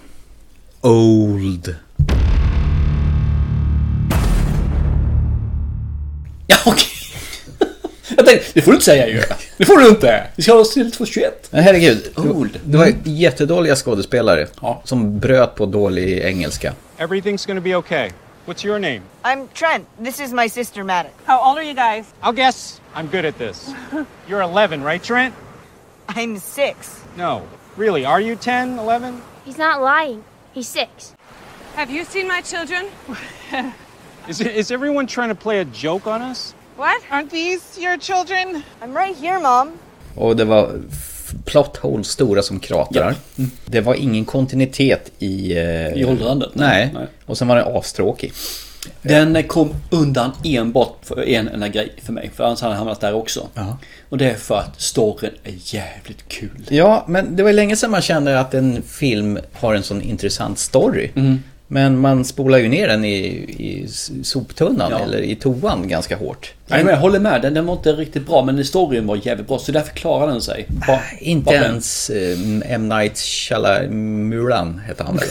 [SPEAKER 2] Old.
[SPEAKER 1] Ja, okej. Jag tänkte, det får du inte säga ju. Det får du inte. Vi ska ha oss till 221.
[SPEAKER 2] Men herregud, det-
[SPEAKER 1] Old.
[SPEAKER 2] det var ju jättedåliga skådespelare som bröt på dålig engelska.
[SPEAKER 5] Everything's gonna be okay. What's your name?
[SPEAKER 7] I'm Trent. This is my sister, Maddox.
[SPEAKER 5] How old are you guys? I'll guess. I'm good at this. You're 11, right, Trent?
[SPEAKER 7] I'm six.
[SPEAKER 5] No. Really, are you 10, 11?
[SPEAKER 4] He's not lying. He's six.
[SPEAKER 5] Have you seen my children? Is, is everyone trying to play a joke on us?
[SPEAKER 7] What? Aren't these your children? I'm right here, Mom.
[SPEAKER 2] Och det var f- plot holes stora som kratrar. Det var ingen kontinuitet Mm. i... eh,
[SPEAKER 1] I åldrandet, nej.
[SPEAKER 2] Nej.
[SPEAKER 1] Nej.
[SPEAKER 2] Och sen var den astråkig.
[SPEAKER 1] Den eh, kom undan enbart för en enda grej för mig. För annars hade jag hamnat där också. Och det är för att storyn är jävligt kul.
[SPEAKER 2] Ja, men det var länge sedan man kände att en film har en sån intressant story.
[SPEAKER 1] Mm.
[SPEAKER 2] Men man spolar ju ner den i, i s- soptunnan
[SPEAKER 1] Ja.
[SPEAKER 2] eller i toan ganska hårt.
[SPEAKER 1] Nej, men jag håller med, den, den var inte riktigt bra men storyn var jävligt bra så därför klarade den sig. Bara-
[SPEAKER 2] Äh, Inte
[SPEAKER 1] bara den.
[SPEAKER 2] ens eh, M. Night Shyamalan hette han väl?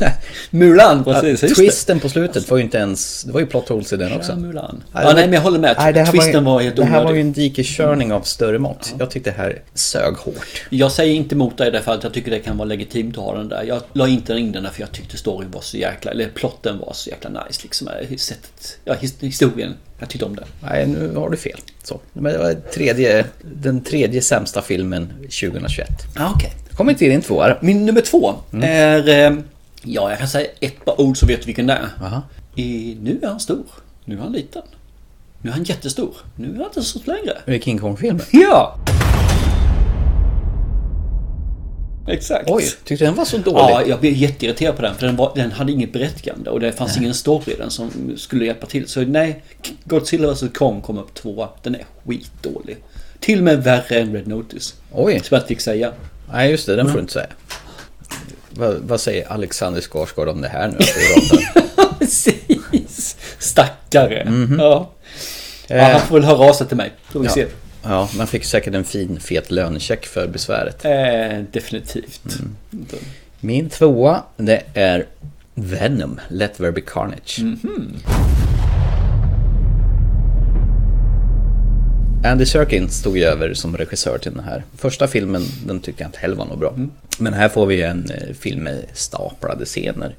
[SPEAKER 1] Mulan, precis.
[SPEAKER 2] Ja,
[SPEAKER 1] just
[SPEAKER 2] twisten på slutet var ju inte ens... Det var ju plot holes i den också.
[SPEAKER 1] Shyamalan. Ja, nej, men jag håller med.
[SPEAKER 2] Nej, det här
[SPEAKER 1] Twisten var helt
[SPEAKER 2] Det här var
[SPEAKER 1] onödig.
[SPEAKER 2] ju en dikeskörning av större mått. Jag tyckte det här sög hårt.
[SPEAKER 1] Jag säger inte emot dig därför att jag tycker det kan vara legitimt att ha den där. Jag la inte in den där för jag tyckte storyn var så jäkla, eller plotten var så jäkla nice liksom. Sättet, ja, his- historien. Jag tyckte om den.
[SPEAKER 2] Nej, nu har du fel. Så. Men det var tredje, den tredje sämsta filmen 2021.
[SPEAKER 1] Ah, Okej.
[SPEAKER 2] Kom inte till din tvåa
[SPEAKER 1] Min nummer två är... eh, Ja, jag kan säga ett par ord så vet du vilken det är. I, nu är han stor. Nu är han liten. Nu är han jättestor. Nu är han inte så stor längre.
[SPEAKER 2] Är det King Kong-filmen?
[SPEAKER 1] Ja! Exakt.
[SPEAKER 2] Oj, tyckte du den var så dålig?
[SPEAKER 1] Ja, jag blev jätteirriterad på den för den, var, den hade inget berättigande och det fanns
[SPEAKER 2] Nej.
[SPEAKER 1] ingen story i den som skulle hjälpa till. Så nej, Godzilla vs Kong kom upp tvåa. Den är skitdålig. Till och med värre än Red Notice.
[SPEAKER 2] Oj.
[SPEAKER 1] Som jag inte fick säga.
[SPEAKER 2] Nej, just det. Den får
[SPEAKER 1] Mm.
[SPEAKER 2] du inte säga. Vad, vad säger Alexander Skarsgård om det här nu? att vi pratar?
[SPEAKER 1] Precis. Stackare.
[SPEAKER 2] Mhm. Eh.
[SPEAKER 1] Ja. ja. Han får väl höra av sig till mig. Får vi
[SPEAKER 2] ja.
[SPEAKER 1] se.
[SPEAKER 2] ja, man fick säkert en fin fet lönecheck för besväret.
[SPEAKER 1] Eh, definitivt.
[SPEAKER 2] Mm. Min tvåa, det är Venom, Let There Be Carnage. Andy Serkins stod ju över som regissör till den här. Första filmen, den tyckte jag inte heller var något bra. Men här får vi en eh, film med staplade scener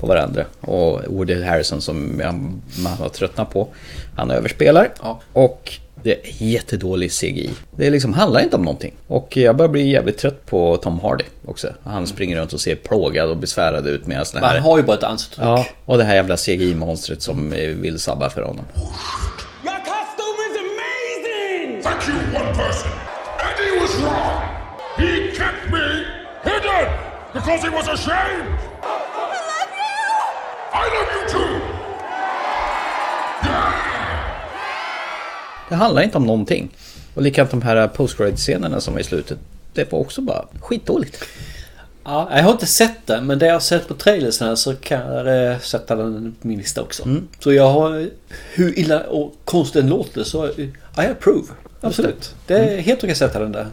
[SPEAKER 2] på varandra. Och Woody Harrison som jag- man har tröttnat på, han överspelar. Och det är jättedålig CGI. Det liksom handlar inte om någonting. Och jag börjar bli jävligt trött på Tom Hardy också. Han springer runt och ser plågad och besvärad ut medan den
[SPEAKER 1] Men
[SPEAKER 2] här...
[SPEAKER 1] han har ju bara ett ansiktsuttryck.
[SPEAKER 2] Ja, och det här jävla CGI-monstret som eh, vill sabba för honom.
[SPEAKER 9] Your costume is amazing!
[SPEAKER 8] Fuck you, one person. And he was wrong. He kept me hidden because he was ashamed. I love you too.
[SPEAKER 2] Det handlar inte om någonting. Och likadant de här post scenerna som var i slutet. Det var också bara skitdåligt.
[SPEAKER 1] Ja, jag har inte sett den men det jag har sett på trailers här så kan jag eh, sätta den på min lista också.
[SPEAKER 2] Mm.
[SPEAKER 1] Så jag har, hur illa och konstigt den låter så eh, I approve. Absolut. Det är
[SPEAKER 2] Mm.
[SPEAKER 1] helt okej att sätta den där.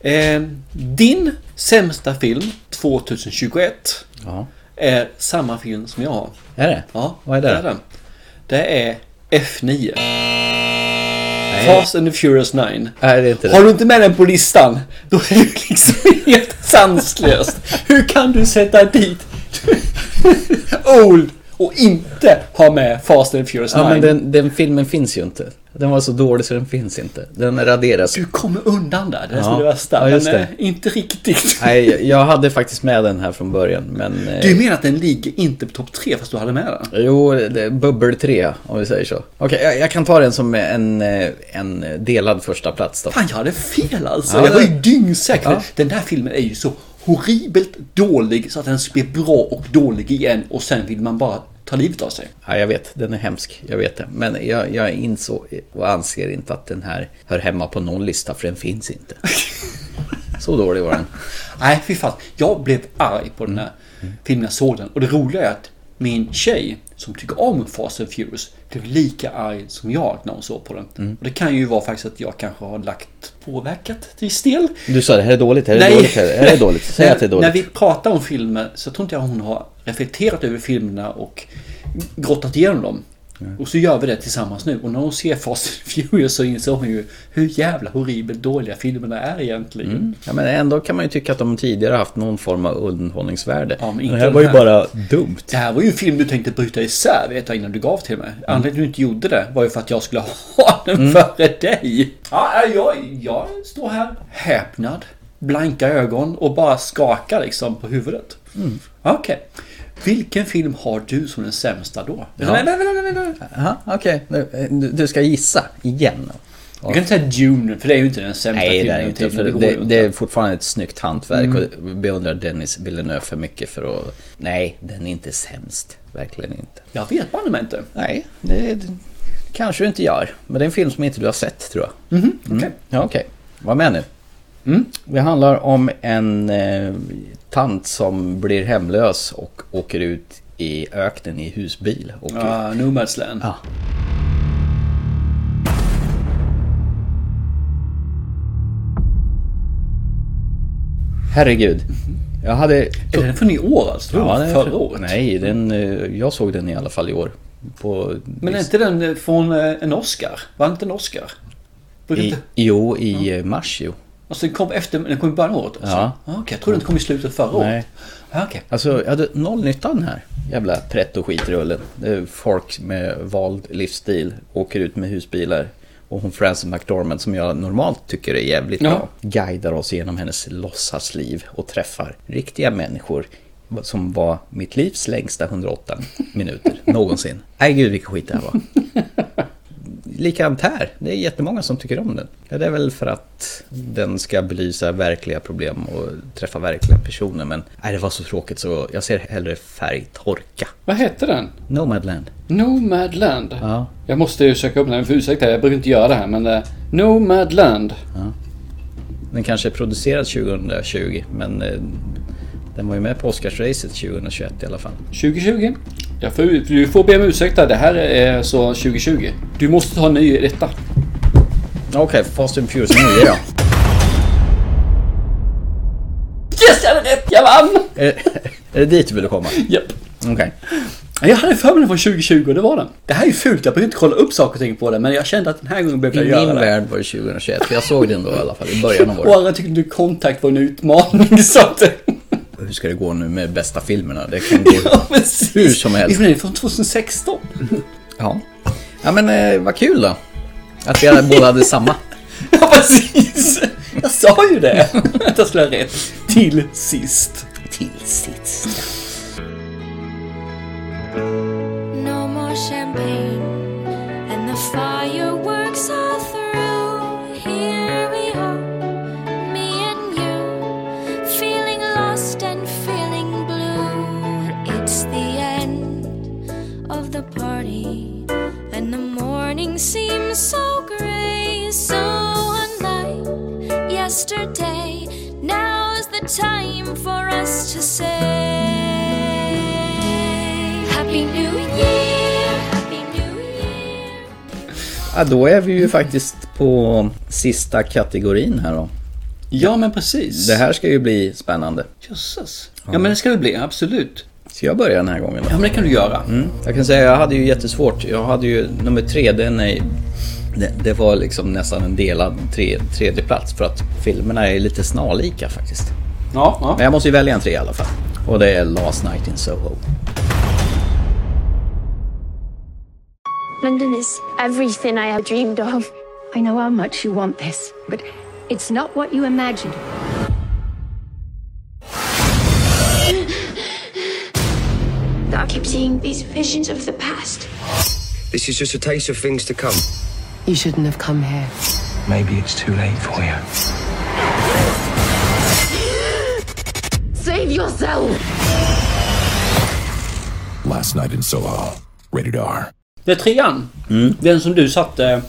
[SPEAKER 1] Eh, din sämsta film 2021
[SPEAKER 2] Ja.
[SPEAKER 1] är samma film som jag har.
[SPEAKER 2] Är det?
[SPEAKER 1] Ja,
[SPEAKER 2] Vad är det?
[SPEAKER 1] det är den. Det är F9. Fast and the Furious 9.
[SPEAKER 2] Nej, det är inte det.
[SPEAKER 1] Har du inte med den på listan, då är du liksom helt sanslöst. Hur kan du sätta dit Old och inte ha med Fast and the Furious 9?
[SPEAKER 2] Ja, men den, den filmen finns ju inte. Den var så dålig så den finns inte. Den raderas.
[SPEAKER 1] Du kommer undan där, det är
[SPEAKER 2] Ja.
[SPEAKER 1] det värsta.
[SPEAKER 2] Ja, just
[SPEAKER 1] men eh,
[SPEAKER 2] det.
[SPEAKER 1] inte riktigt.
[SPEAKER 2] Nej, jag- jag hade faktiskt med den här från början, men... eh,
[SPEAKER 1] Du menar att den ligger inte på topp 3 fast du hade med den?
[SPEAKER 2] Jo, det är bubbel 3 om vi säger så. Okej, jag, jag kan ta den som en, eh, en delad första plats då.
[SPEAKER 1] Fan, jag hade fel alltså.
[SPEAKER 2] Ja,
[SPEAKER 1] jag var ju
[SPEAKER 2] det-
[SPEAKER 1] dyngsäker.
[SPEAKER 2] Ja.
[SPEAKER 1] Den där filmen är ju så horribelt dålig så att den blir bra och dålig igen och sen vill man bara ta livet av sig.
[SPEAKER 2] Ja, jag vet, den är hemsk, jag vet det. Men jag, jag insåg och anser inte att den här hör hemma på någon lista, för den finns inte. Så dålig var den.
[SPEAKER 1] Nej, fy fan. Jag blev arg på
[SPEAKER 2] Mm.
[SPEAKER 1] den här filmen jag såg den. Och det roliga är att min tjej som tycker om Fast and Furious blev lika arg som jag när hon såg på den.
[SPEAKER 2] Mm.
[SPEAKER 1] Och det kan ju vara faktiskt att jag kanske har lagt påverkat till viss del.
[SPEAKER 2] Du sa det här är dåligt, här är dåligt, här är det dåligt. Säg
[SPEAKER 1] när,
[SPEAKER 2] att det är
[SPEAKER 1] När vi
[SPEAKER 2] dåligt.
[SPEAKER 1] pratar om filmer så tror inte jag hon har reflekterat över filmerna och grottat igenom dem. Och så gör vi det tillsammans nu. Och när hon ser Fast and Furious så inser hon ju hur jävla horribelt dåliga filmerna är egentligen.
[SPEAKER 2] Ja, men ändå kan man ju tycka att de tidigare haft någon form av underhållningsvärde.
[SPEAKER 1] Ja, men
[SPEAKER 2] men
[SPEAKER 1] inte
[SPEAKER 2] det här
[SPEAKER 1] den
[SPEAKER 2] var ju
[SPEAKER 1] här.
[SPEAKER 2] bara dumt.
[SPEAKER 1] Det här var ju en film du tänkte bryta isär vet jag innan du gav till mig.
[SPEAKER 2] Mm.
[SPEAKER 1] Anledningen till att du inte gjorde det var ju för att jag skulle ha den före dig. Ja,
[SPEAKER 2] äh,
[SPEAKER 1] jag, jag står här häpnad, blanka ögon och bara skakar liksom på huvudet.
[SPEAKER 2] Mm.
[SPEAKER 1] Okej. Vilken film har du som den sämsta då? Nej, nej, nej, nej, nej.
[SPEAKER 2] Aha, Okej, Nu, eh, du, du ska gissa igen.
[SPEAKER 1] Du kan inte säga Dune, för det är ju inte den sämsta
[SPEAKER 2] Nej, det
[SPEAKER 1] filmen.
[SPEAKER 2] är
[SPEAKER 1] genom
[SPEAKER 2] inte.
[SPEAKER 1] tiden,
[SPEAKER 2] För
[SPEAKER 1] det går
[SPEAKER 2] det,
[SPEAKER 1] ju
[SPEAKER 2] det är fortfarande ett snyggt hantverk
[SPEAKER 1] Mm.
[SPEAKER 2] och jag beundrar Dennis Villeneuve för mycket för att... Nej, den är inte sämst. Verkligen inte.
[SPEAKER 1] Jag vet banne mig inte.
[SPEAKER 2] Nej, det, det kanske du inte gör. Men det är en film som inte du har sett tror jag. Mm.
[SPEAKER 1] Mhm, okej. Mm.
[SPEAKER 2] Ja, okej. Var med nu. Det handlar om en eh, tant som blir hemlös och åker ut i öknen i husbil. Och,
[SPEAKER 1] Ah, Nomadsland.
[SPEAKER 2] Ja. Herregud. Jag hade...
[SPEAKER 1] Är den från i år alltså? Ja,
[SPEAKER 2] den är
[SPEAKER 1] Mhm. förra
[SPEAKER 2] för-
[SPEAKER 1] året.
[SPEAKER 2] Nej, den, eh, jag såg den i alla fall i år. På
[SPEAKER 1] Men är inte den eh, från eh, en Oscar? Var inte en Oscar? Brukar
[SPEAKER 2] I,
[SPEAKER 1] inte-
[SPEAKER 2] jo, i eh, mars jo.
[SPEAKER 1] Alltså den kom efter, den kom i början av året alltså?
[SPEAKER 2] Ja.
[SPEAKER 1] Ah, Okej, jag trodde den kom i slutet förra året.
[SPEAKER 2] Nej.
[SPEAKER 1] Ah, Okej.
[SPEAKER 2] Alltså, jag hade noll nytta av den här jävla pretto skitrullen. Det är folk med vald livsstil åker ut med husbilar. Och hon Frances McDormand som jag normalt tycker är jävligt
[SPEAKER 1] Ja.
[SPEAKER 2] bra guidar oss genom hennes låtsasliv och träffar riktiga människor som var mitt livs längsta 108 minuter någonsin. Nej gud vilken skit det här var. Likadant här, det är jättemånga som tycker om den. Ja, det är väl för att den ska belysa verkliga problem och träffa verkliga personer men nej, det var så tråkigt så jag ser hellre färgtorka.
[SPEAKER 1] Vad hette den?
[SPEAKER 2] Nomadland.
[SPEAKER 1] Nomadland.
[SPEAKER 2] Ja.
[SPEAKER 1] Jag måste ju söka upp den, för ursäkta jag brukar inte göra det här men eh, Nomadland.
[SPEAKER 2] Den kanske är producerad 2020 men eh, den var ju med på Oscarsracet 2021 i alla fall.
[SPEAKER 1] 2020. Jag får, du får be om ursäkt där, det här är så 2020. Du måste ta en ny etta.
[SPEAKER 2] Okej, Fast and Furious 9 ja.
[SPEAKER 1] Yes, jag hade rätt! Jag vann!
[SPEAKER 2] är, är det dit du ville komma?
[SPEAKER 1] Japp.
[SPEAKER 2] Okej.
[SPEAKER 1] Jag hade för mig den från 2020 och det var den. Det här är ju fult, jag brukar inte kolla upp saker och ting på det men jag kände att den här gången
[SPEAKER 2] I
[SPEAKER 1] behövde jag
[SPEAKER 2] min
[SPEAKER 1] göra det.
[SPEAKER 2] värld var det 2021, för jag såg den då i alla fall i början av
[SPEAKER 1] Och
[SPEAKER 2] året.
[SPEAKER 1] alla tyckte du kontakt var en utmaning så att...
[SPEAKER 2] Hur ska det gå nu med bästa filmerna? Det kan gå hur
[SPEAKER 1] Precis.
[SPEAKER 2] som helst.
[SPEAKER 1] Det är från 2016.
[SPEAKER 2] Ja, ja men eh, vad kul då. Att vi båda hade samma.
[SPEAKER 1] Ja, precis! Jag sa ju det! Att jag skulle ha rätt. Till sist.
[SPEAKER 2] Till sist.
[SPEAKER 6] No more champagne, and the fireworks are through.
[SPEAKER 9] yesterday. Now is the time for us to say Happy New Year. Happy New
[SPEAKER 2] Ja, då är vi ju faktiskt på sista kategorin här då.
[SPEAKER 1] Ja, men precis.
[SPEAKER 2] Det här ska ju bli spännande.
[SPEAKER 1] Jösses. Ja, men det ska det bli, absolut.
[SPEAKER 2] Ska jag börja den här gången? Då?
[SPEAKER 1] Ja, men det kan du göra.
[SPEAKER 2] Mm. Jag kan säga jag hade ju jättesvårt. Jag hade ju nummer tre, den är, det, det var liksom nästan en delad tre, tredje plats för att filmerna är lite snarlika faktiskt.
[SPEAKER 1] Ja, ja.
[SPEAKER 2] Men jag måste ju välja en tre i alla fall. Och det är Last Night in Soho.
[SPEAKER 10] London is everything I have dreamed of.
[SPEAKER 23] I know how much you want this, but it's not what you imagined.
[SPEAKER 10] I keep seeing these visions of the past.
[SPEAKER 18] This is just a taste of things to come.
[SPEAKER 23] You shouldn't have come here.
[SPEAKER 18] Maybe it's too late for you.
[SPEAKER 10] Save yourself!
[SPEAKER 11] Last night in Soho. Rated R.
[SPEAKER 1] Det är trean.
[SPEAKER 2] Mm.
[SPEAKER 1] Den som du satte...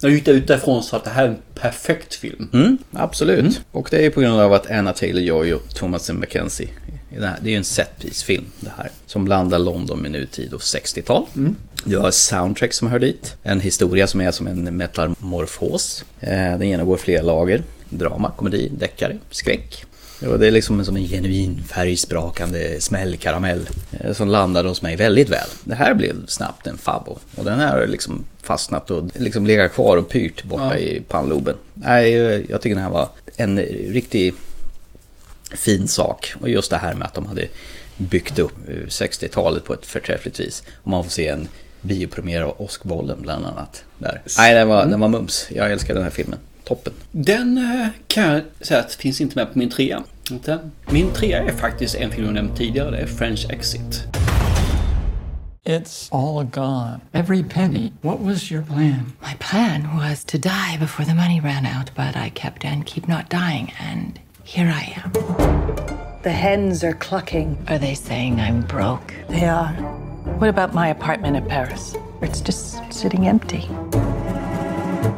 [SPEAKER 1] När du gick ut därifrån så att det här är en perfekt film.
[SPEAKER 2] Mm, absolut. Och det är ju på grund av att Anna Taylor-Joy och Thomas McKenzie i den här- det är ju en setpiece-film det här. Som blandar London med nutid och 60-tal.
[SPEAKER 1] Mm.
[SPEAKER 2] Du har ett soundtrack som hör dit. En historia som är som en metamorfos. Eh, den genomgår flera lager. Drama, komedi, deckare, skräck. Och det är liksom som en genuin färgsprakande smällkaramell eh, som landade hos mig väldigt väl. Det här blev snabbt en fabbo och den här har liksom fastnat och liksom legat kvar och pyrt borta
[SPEAKER 1] Ja.
[SPEAKER 2] i pannloben. Nej, eh, jag tycker den här var en riktig fin sak. Och just det här med att de hade byggt upp eh, 60-talet på ett förträffligt vis. Och man får se en biopremiär av Åskbollen bland annat. Där. Nej, den var, den var mums. Jag älskar den här filmen. Toppen.
[SPEAKER 1] Den eh, kan jag säga att finns inte med på min trea. Inte. Min trea är faktiskt en film jag nämnt tidigare. Det är French Exit.
[SPEAKER 23] It's all gone. Every penny. What was your plan?
[SPEAKER 13] My plan was to die before the money ran out, but I kept and keep not dying, and here I am.
[SPEAKER 23] The hens are clucking.
[SPEAKER 13] Are they saying I'm broke?
[SPEAKER 23] They are. What about my apartment in Paris? It's just sitting empty.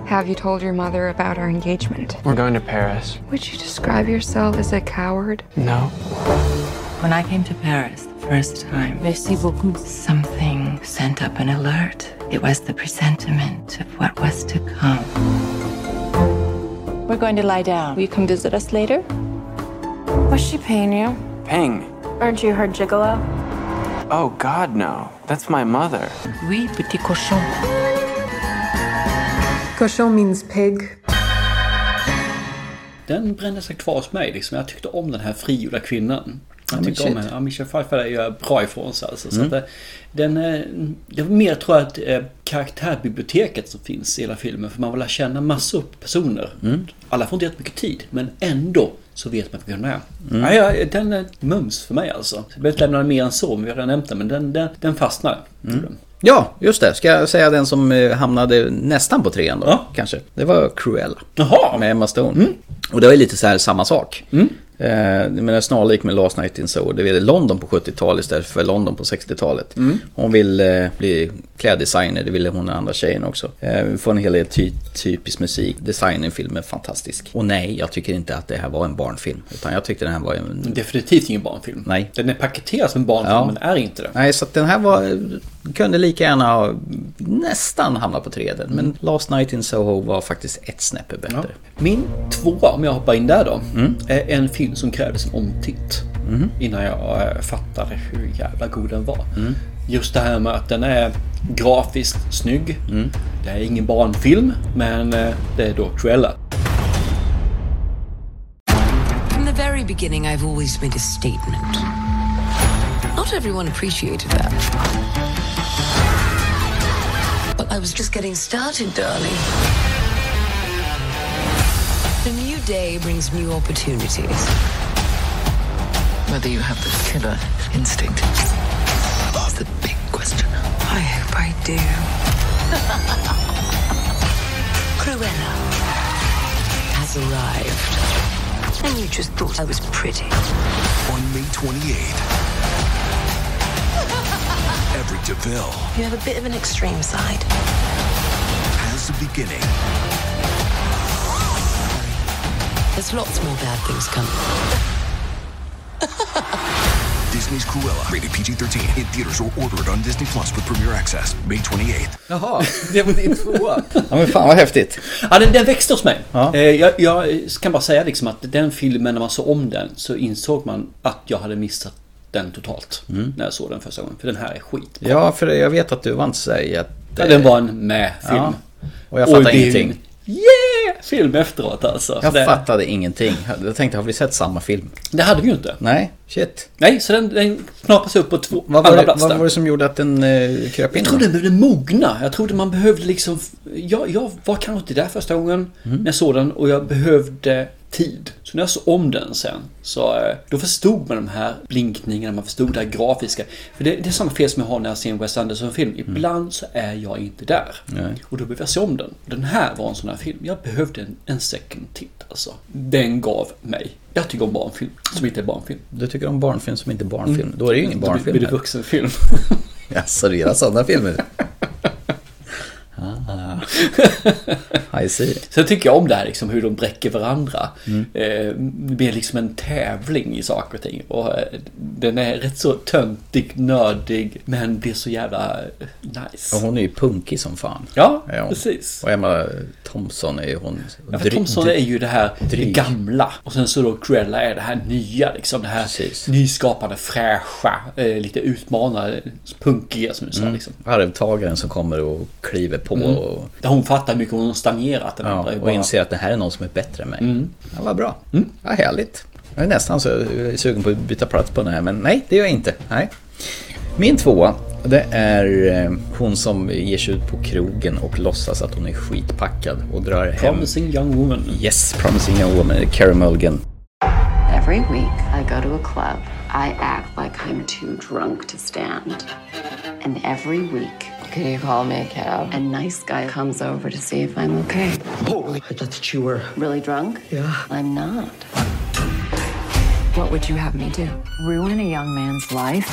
[SPEAKER 19] Have you told your mother about our engagement?
[SPEAKER 20] We're going to Paris.
[SPEAKER 19] Would you describe yourself as a coward?
[SPEAKER 20] No.
[SPEAKER 13] When I came to Paris the first time, merci beaucoup. Something sent up an alert. It was the presentiment of what was to come. We're going to lie down. Will you come visit us later?
[SPEAKER 24] Was she paying you?
[SPEAKER 20] Ping.
[SPEAKER 24] Aren't you her gigolo?
[SPEAKER 20] Oh, God, no. That's my mother.
[SPEAKER 23] Oui, petit cochon. Cochon means pig.
[SPEAKER 1] Den brände sig kvar hos mig. Liksom. Jag tyckte om den här frigjorda kvinnan.
[SPEAKER 2] Ja,
[SPEAKER 1] Jag tyckte
[SPEAKER 2] men
[SPEAKER 1] om
[SPEAKER 2] shit.
[SPEAKER 1] henne. Ja, Michelle Pfeiffer gör bra ifrån sig. Alltså. Så
[SPEAKER 2] Mm.
[SPEAKER 1] att, eh, den, eh, det var mer tror jag att eh, karaktärbiblioteket som finns i hela filmen. För man vill lära känna massor personer.
[SPEAKER 2] Mm.
[SPEAKER 1] Alla får inte jättemycket tid. Men ändå så vet man vilka de är.
[SPEAKER 2] Mm.
[SPEAKER 1] Ja, ja, den är mums för mig alltså. Jag behöver inte lämna mer än så. Men vi har redan nämnt den. Men den, den, den fastnar. Mm.
[SPEAKER 2] Ja, just det. Ska jag säga den som eh, hamnade nästan på trean då? Kanske. Det var Cruella.
[SPEAKER 1] Jaha! Mm.
[SPEAKER 2] Med Emma Stone. Och det var ju lite så här samma sak. Eh, men det är snarlik med Last Night in Soho. Det är London på 70-talet istället för London på 60-talet.
[SPEAKER 1] Mm.
[SPEAKER 2] Hon vill eh, bli kläddesigner, det ville hon och andra tjejen också. Eh, vi får en hel del ty- typisk musik. Designen i filmen är fantastisk. Och nej, jag tycker inte att det här var en barnfilm. Utan jag tyckte den här var en...
[SPEAKER 1] Definitivt ingen barnfilm.
[SPEAKER 2] Nej.
[SPEAKER 1] Den är paketerad som en barnfilm
[SPEAKER 2] Ja.
[SPEAKER 1] men är inte det.
[SPEAKER 2] Nej, så att den här var, kunde lika gärna ha nästan hamnat på tredje.
[SPEAKER 1] Mm.
[SPEAKER 2] Men Last Night in Soho var faktiskt ett snäppe bättre.
[SPEAKER 1] Min tvåa, om jag hoppar in där då, är en film som krävdes en omtitt. Innan jag eh, fattade hur jävla god den var.
[SPEAKER 2] Mm.
[SPEAKER 1] Just det här med att den är grafiskt snygg. Det är ingen barnfilm, men eh, det är då Cruella.
[SPEAKER 12] From the very beginning, I've always made a statement. Not everyone appreciated that. But I was just getting started, darling. The new day brings new opportunities. Whether you have the killer instinct is the big question. I hope I do. Cruella has arrived. And you just thought I was pretty.
[SPEAKER 11] On May 28th, Everett DeVille
[SPEAKER 12] You have a bit of an extreme side.
[SPEAKER 11] has a beginning.
[SPEAKER 12] There's lots more bad things coming.
[SPEAKER 11] Disney's Cruella, rated PG 13, in theaters or ordered on Disney Plus with premiere access May 28th.
[SPEAKER 1] Jaha, det var din tvåa.
[SPEAKER 2] Ja men fan vad häftigt.
[SPEAKER 1] Ja, den, den växte hos mig. Eh, Jag, jag kan bara säga liksom att den filmen, när man såg om den, så insåg man att jag hade missat den totalt.
[SPEAKER 2] Mm.
[SPEAKER 1] När jag såg den första gången. För den här är skit.
[SPEAKER 2] Ja, för jag vet att du vann sig att...
[SPEAKER 1] Ja, den var en med-film.
[SPEAKER 2] Ja. Och jag fattar
[SPEAKER 1] det är en
[SPEAKER 2] ingenting.
[SPEAKER 1] Yeah! Film efteråt alltså.
[SPEAKER 2] Jag
[SPEAKER 1] Det-
[SPEAKER 2] fattade ingenting. Jag tänkte, har vi sett samma film?
[SPEAKER 1] Det hade vi ju inte.
[SPEAKER 2] Nej, shit.
[SPEAKER 1] Nej, så den, den knapas upp på två,
[SPEAKER 2] Vad var,
[SPEAKER 1] andra
[SPEAKER 2] det,
[SPEAKER 1] plats
[SPEAKER 2] vad
[SPEAKER 1] där.
[SPEAKER 2] var det som gjorde att den eh, kröp in?
[SPEAKER 1] Jag trodde den behövde mogna. Jag trodde man behövde liksom... Jag, jag var kanske inte där första gången
[SPEAKER 2] Mm.
[SPEAKER 1] när jag såg den och jag behövde tid. Så när jag såg om den sen, så eh, då förstod man de här blinkningarna, man förstod det här grafiska. För det, det är samma fel som jag har när jag ser en Wes Anderson-film. Ibland så är jag inte där.
[SPEAKER 2] Mm. Nej.
[SPEAKER 1] Och då behöver jag se om den. Den här var en sån här film. Jag behövde en, en second titt alltså. Den gav mig. Jag tycker om barnfilm som inte är barnfilm.
[SPEAKER 2] Du tycker om barnfilm som inte är barnfilm.
[SPEAKER 1] Mm.
[SPEAKER 2] Då är det ju
[SPEAKER 1] Då
[SPEAKER 2] ingen
[SPEAKER 1] blir-
[SPEAKER 2] barnfilm.
[SPEAKER 1] blir det vuxenfilm.
[SPEAKER 2] Jaså, du gillar sådana filmer? Ah, I see.
[SPEAKER 1] Sen tycker jag om det här liksom, hur de bräcker varandra.
[SPEAKER 2] Mm.
[SPEAKER 1] Eh, det blir liksom en tävling i saker och ting. Och, eh, den är rätt så töntig, nördig, men blir så jävla eh, nice.
[SPEAKER 2] Och hon är ju punkig som fan.
[SPEAKER 1] Ja,
[SPEAKER 2] hon.
[SPEAKER 1] precis.
[SPEAKER 2] Och Emma Thompson är ju hon.
[SPEAKER 1] Ja, för Thompson är ju det här det
[SPEAKER 2] dryg.
[SPEAKER 1] gamla och sen så då Cruella är det här nya liksom. Det här nyskapande, fräscha, eh, lite utmanande, punkiga som du sa.
[SPEAKER 2] Mm.
[SPEAKER 1] Liksom.
[SPEAKER 2] Arvtagaren som kommer och kliver på
[SPEAKER 1] Mm.
[SPEAKER 2] och,
[SPEAKER 1] Där hon fattar hur mycket hon har stagnerat. Den
[SPEAKER 2] ja,
[SPEAKER 1] andra är
[SPEAKER 2] och
[SPEAKER 1] bara-
[SPEAKER 2] inser att det här är någon som är bättre än mig.
[SPEAKER 1] Mm.
[SPEAKER 2] Ja, vad bra. Ja, härligt. Jag är nästan så jag är sugen på att byta plats på den här, men nej, det gör jag inte. Nej. Min tvåa, det är eh, hon som ger sig ut på krogen och låtsas att hon är skitpackad och drar hem...
[SPEAKER 1] Promising young woman.
[SPEAKER 2] Yes, Promising young woman, Carey Mulligan.
[SPEAKER 14] Every week, I go to a club. I act like I'm too drunk to stand. And every week, can you call me a cab? A nice guy comes over to see if I'm okay.
[SPEAKER 17] Holy, I thought that you were.
[SPEAKER 14] Really drunk?
[SPEAKER 17] Yeah.
[SPEAKER 14] I'm not. What would you have me do? Ruin a young man's life?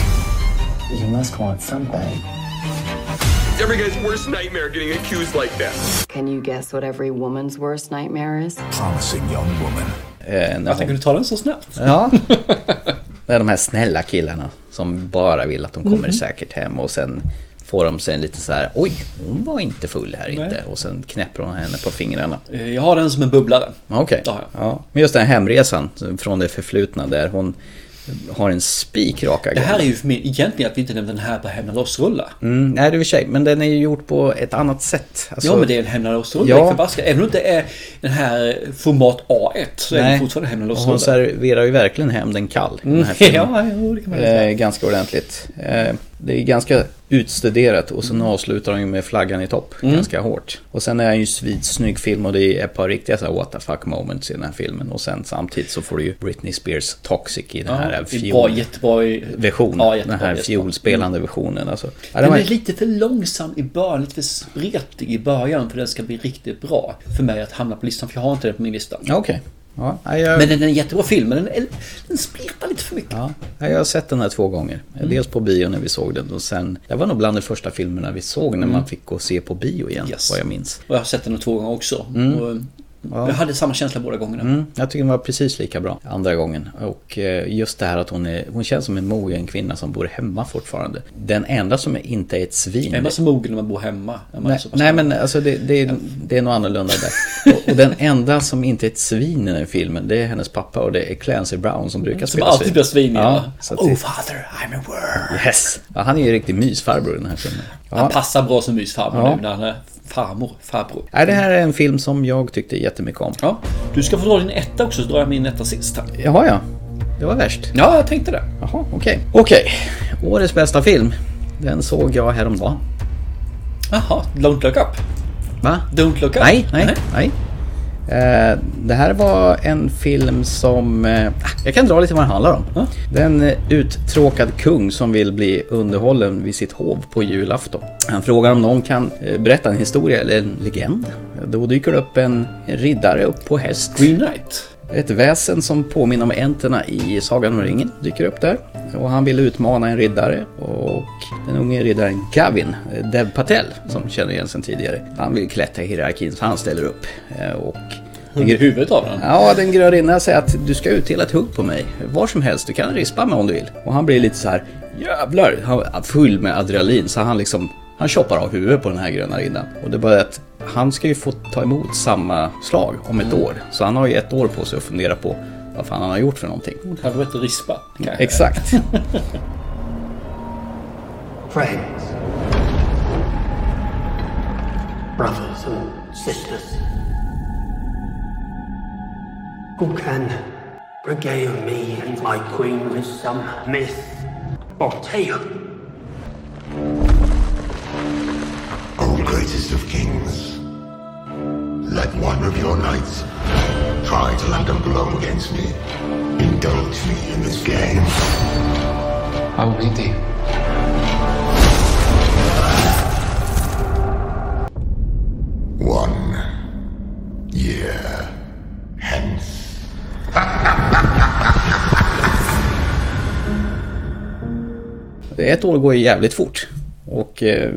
[SPEAKER 17] You must want something.
[SPEAKER 15] Every guy's worst nightmare getting accused like that.
[SPEAKER 14] Can you guess what every woman's worst nightmare is?
[SPEAKER 11] Promising young woman.
[SPEAKER 2] Eh, när
[SPEAKER 1] Att jag
[SPEAKER 2] hon...
[SPEAKER 1] kunde ta den så snabbt.
[SPEAKER 2] Ja. Det är de här snälla killarna som bara vill att de kommer
[SPEAKER 1] Mhm.
[SPEAKER 2] säkert hem och sen får de sig en lite så här, oj, hon var inte full här inte. Och sen knäpper hon henne på fingrarna.
[SPEAKER 1] Eh, Jag har den som en bubblare.
[SPEAKER 2] Okej. Ja. Men just den här hemresan från det förflutna där hon har en spik raka
[SPEAKER 1] Det här är ju för mig egentligen att vi inte nämnde den här på Hämna loss-rulla.
[SPEAKER 2] Mm, nej, det är i och för sig, men den är ju gjord på ett annat sätt. Alltså-
[SPEAKER 1] ja men det är en Hämna loss-rulla,
[SPEAKER 2] Ja.
[SPEAKER 1] ja. förbaskat. Även om det inte är den här format A1 så är det fortfarande Hämna
[SPEAKER 2] och Hon
[SPEAKER 1] loss-rulla.
[SPEAKER 2] serverar ju verkligen hem den kall. i Den här filmen.
[SPEAKER 1] Mm. Ja, jo, det kan man säga.
[SPEAKER 2] Eh, ganska ordentligt. Eh, det är ganska utstuderat och
[SPEAKER 1] Mm.
[SPEAKER 2] sen avslutar de ju med flaggan i topp ganska hårt. Och sen är det ju svidsnygg film och det är ett par riktiga så här, what the fuck moments i den här filmen. Och sen samtidigt så får du ju Britney Spears Toxic i den
[SPEAKER 1] Ja,
[SPEAKER 2] här
[SPEAKER 1] det är
[SPEAKER 2] fiol-
[SPEAKER 1] bra, jättebra i-
[SPEAKER 2] version.
[SPEAKER 1] Ja, jättebra,
[SPEAKER 2] den här
[SPEAKER 1] jättebra.
[SPEAKER 2] fiolspelande versionen. Alltså. Ja,
[SPEAKER 1] Den
[SPEAKER 2] var-
[SPEAKER 1] är lite för långsam i början, lite för spretig i början för den ska bli riktigt bra för mig att hamna på listan, för jag har inte den på min lista.
[SPEAKER 2] Ja, Okej. Ja, nej, jag-
[SPEAKER 1] Men den är en jättebra film, men den, är- den spretar lite för mycket.
[SPEAKER 2] Ja, nej, jag har sett den här två gånger.
[SPEAKER 1] Mm.
[SPEAKER 2] Dels på bio när vi såg den och sen... Det var nog bland de första filmerna vi såg när man
[SPEAKER 1] Mm.
[SPEAKER 2] fick gå och se på bio igen, vad jag minns.
[SPEAKER 1] Och jag har sett den två gånger också.
[SPEAKER 2] Mm.
[SPEAKER 1] Och eh,
[SPEAKER 2] Ja.
[SPEAKER 1] Jag hade samma känsla båda gångerna.
[SPEAKER 2] Mm, jag tycker den var precis lika bra andra gången. Och eh, just det här att hon, är, hon känns som en mogen kvinna som bor hemma fortfarande. Den enda som inte är ett svin.
[SPEAKER 1] Är man så mogen när man bor hemma? Är man
[SPEAKER 2] Nej,
[SPEAKER 1] så pass-
[SPEAKER 2] nej men alltså det, det, är, det är nog annorlunda där. Och, och den enda som inte är ett svin i den filmen det är hennes pappa och det är Clancy Brown som brukar
[SPEAKER 1] Som
[SPEAKER 2] spela
[SPEAKER 1] alltid blir svin
[SPEAKER 2] Ja,
[SPEAKER 1] ja.
[SPEAKER 2] så att
[SPEAKER 1] Oh
[SPEAKER 2] det,
[SPEAKER 1] father, I'm a worm.
[SPEAKER 2] yes. ja, han är ju en riktig mysfarbror i den här filmen. Ja.
[SPEAKER 1] Han passar bra som mysfarmor
[SPEAKER 2] Ja.
[SPEAKER 1] nu när han är farmor, farbror.
[SPEAKER 2] Nej, det här är en film som jag tyckte jättemycket om.
[SPEAKER 1] Ja. Du ska få dra din etta också så drar jag min etta sist. här.
[SPEAKER 2] Jaha, ja. Det var värst.
[SPEAKER 1] Ja, jag tänkte det.
[SPEAKER 2] Jaha, okej. Okej, årets bästa film. Den såg jag häromdagen.
[SPEAKER 1] Jaha, Don't Look Up.
[SPEAKER 2] Va?
[SPEAKER 1] Don't Look Up?
[SPEAKER 2] Nej, nej, nej. Eh, det här var en film som... eh, jag kan dra lite vad den handlar om. Det är en eh, uttråkad kung som vill bli underhållen vid sitt hov på julafton. Han frågar om någon kan eh, berätta en historia eller en legend. Då dyker det upp en riddare upp på häst.
[SPEAKER 1] Green Knight.
[SPEAKER 2] Ett väsen som påminner om enterna i Sagan om ringen dyker upp där. Och han vill utmana en riddare och den unge riddaren Gavin, eh, Dev Patel, som känner igen sen tidigare. Han vill klättra i hierarkin så han ställer upp. Eh, Och
[SPEAKER 1] Hugger huvudet av den.
[SPEAKER 2] Ja, den gröna säger att du ska utdela ett hugg på mig. Var som helst, du kan rispa mig om du vill. Och han blir lite så här jävlar, han är full med adrenalin så han liksom han choppar av huvudet på den här gröna riddan. Och det är bara att han ska ju få ta emot samma slag om ett år. Så han har ju ett år på sig att fundera på vad fan han har gjort för någonting.
[SPEAKER 1] Hade varit rispa kanske.
[SPEAKER 2] Exakt.
[SPEAKER 18] Friends, brothers and sisters, who can regale me and my queen with some myth or tale?
[SPEAKER 8] O greatest of kings, let one of your knights try to land a blow against me. Indulge me in this game. I will meet thee. One year hence.
[SPEAKER 2] Ett år går ju jävligt fort. Och eh,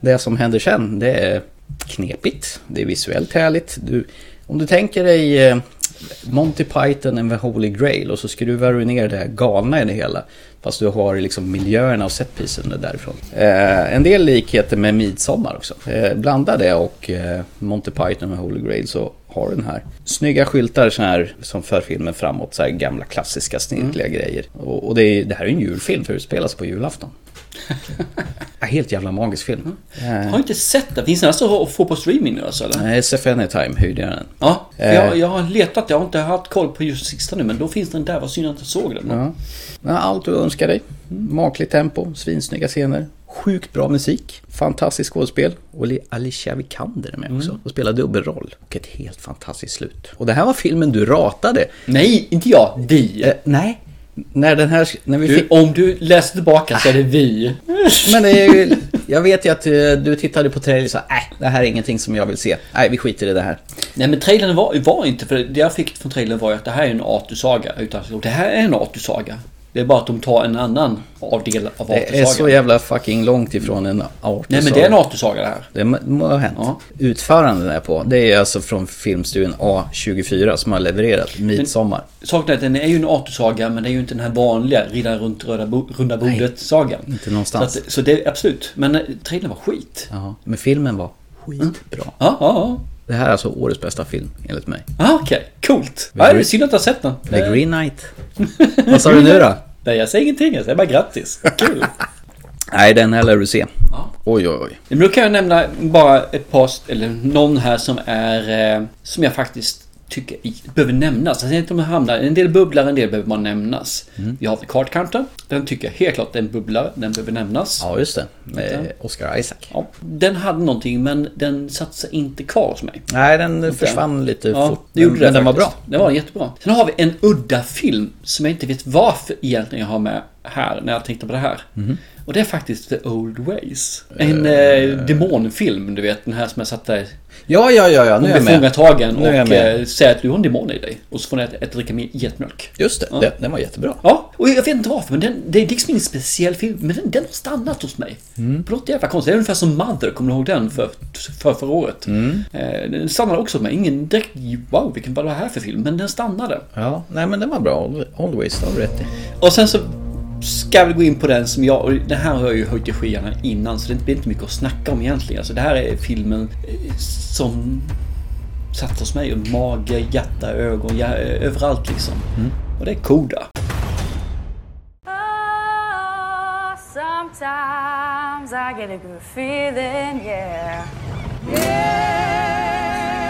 [SPEAKER 2] det som händer sen, det är knepigt. Det är visuellt härligt. Du, om du tänker dig eh, Monty Python and the Holy Grail och så skruvar du ner det här galna i det hela. Fast du har liksom miljöerna och setpisen därifrån. Eh, en del likheter med Midsommar också. Eh, blanda det och eh, Monty Python och Holy Grail så har du den här. Snygga skyltar så här, som för filmen framåt. Så här gamla klassiska snirkliga grejer. Och, och det, är, det här är en julfilm för det utspelas på julafton. Ja, Helt jävla magisk film.
[SPEAKER 1] Jag har inte sett den. Finns den alltså att få på streaming nu alltså eller?
[SPEAKER 2] Mm. Eh, SF Anytime hyrde jag den.
[SPEAKER 1] Ja, för
[SPEAKER 2] Eh.
[SPEAKER 1] jag, jag har letat. Jag har inte haft koll på just sista nu men då finns den där. Vad synd jag inte såg den.
[SPEAKER 2] Ja. Ja, allt du önskar dig. Makligt tempo, svinsnygga scener, sjukt bra musik, fantastiskt skådespel. Och Ali- Alicia Vikander är med också och spelar dubbelroll. Och ett helt fantastiskt slut. Och det här var filmen du ratade.
[SPEAKER 1] Nej, inte jag. Vi.
[SPEAKER 2] Eh, nej. När den här... När vi
[SPEAKER 1] Du,
[SPEAKER 2] fick...
[SPEAKER 1] om du läser tillbaka så är det vi.
[SPEAKER 2] Men det är ju, jag vet ju att eh, du tittade på trailern och sa nej, det här är ingenting som jag vill se. Nej, vi skiter i det här.
[SPEAKER 1] Nej men trailern var, var inte, för det jag fick från trailern var ju att det här är en Arthur-saga. Utan att det här är en Arthur-saga. Det är bara att de tar en annan avdel av
[SPEAKER 2] Det är så
[SPEAKER 1] Arthur-sagan.
[SPEAKER 2] jävla fucking långt ifrån en Arthur
[SPEAKER 1] Nej men det är en Arthur-saga det här.
[SPEAKER 2] Det må- må ha hänt. Utföranden är på, det är alltså från filmstudion A24 som har levererat Midsommar.
[SPEAKER 1] Saken är att den är ju en Arthur-saga men det är ju inte den här vanliga riddaren runt röda bo, runda bordet-sagan.
[SPEAKER 2] Inte
[SPEAKER 1] Så, att,
[SPEAKER 2] någonstans.
[SPEAKER 1] så det är absolut. Men eh, trailern var skit.
[SPEAKER 2] Ja, men filmen var skitbra.
[SPEAKER 1] Ja, ja,
[SPEAKER 2] Det här är alltså årets bästa film, enligt mig.
[SPEAKER 1] ja. Ah, Okej, coolt. Ja, det är synd att jag har sett den. Eh,
[SPEAKER 2] The Green Knight. Vad sa du nu då?
[SPEAKER 1] Nej jag säger ingenting, jag säger bara grattis. Kul.
[SPEAKER 2] Nej, den här lär du se. Oj, oj, oj.
[SPEAKER 1] Men då kan jag nämna bara ett par, eller någon här som är, eh, som jag faktiskt tycker i- behöver nämnas. Alltså, Jag säger inte om jag hamnar, en del bubblar, en del behöver man nämnas.
[SPEAKER 2] Mm.
[SPEAKER 1] Vi har The Card Counter. Den tycker jag helt klart är en bubbla, den behöver nämnas.
[SPEAKER 2] Ja, just det. Med Oscar Isaac.
[SPEAKER 1] Ja, den hade någonting men den satte sig inte kvar hos mig.
[SPEAKER 2] Nej, den försvann lite fort.
[SPEAKER 1] det gjorde
[SPEAKER 2] men den var bra.
[SPEAKER 1] faktiskt. Den var jättebra. Sen har vi en udda film som jag inte vet varför egentligen jag har med här när jag tänkte på det här.
[SPEAKER 2] Mhm.
[SPEAKER 1] Och det är faktiskt The Old Ways. En eh, demonfilm, du vet den här som jag satt där.
[SPEAKER 2] Ja, ja, ja, ja. Nu
[SPEAKER 1] Hon
[SPEAKER 2] är
[SPEAKER 1] blir
[SPEAKER 2] jag med.
[SPEAKER 1] fångatagen
[SPEAKER 2] Nu är jag
[SPEAKER 1] och
[SPEAKER 2] med.
[SPEAKER 1] eh, säger att du har en demon i dig. Och så får ni äta, äta dricka mer getmjölk.
[SPEAKER 2] Just det,
[SPEAKER 1] Ja.
[SPEAKER 2] den, den var jättebra.
[SPEAKER 1] Ja, och jag vet inte varför men den, det är liksom ingen speciell film men den, den har stannat hos mig.
[SPEAKER 2] Mm.
[SPEAKER 1] På något jävla konstigt. Det är ungefär som Mother, kommer du ihåg den för, för förra året?
[SPEAKER 2] Mm.
[SPEAKER 1] Eh, den stannade också hos mig. Ingen direkt wow vilken vad var det här för film? Men den stannade.
[SPEAKER 2] Ja, nej men den var bra. Al- Always, det har du rätt i.
[SPEAKER 1] Och sen så ska vi gå in på den som jag, och den här har jag ju höjt i skyarna innan så det blir inte mycket att snacka om egentligen. Alltså det här är filmen eh, som satt hos mig. Mage, hjärta, ögon, ja, eh, överallt liksom. Och det är Koda.
[SPEAKER 3] Oh, sometimes I get a good feeling, yeah.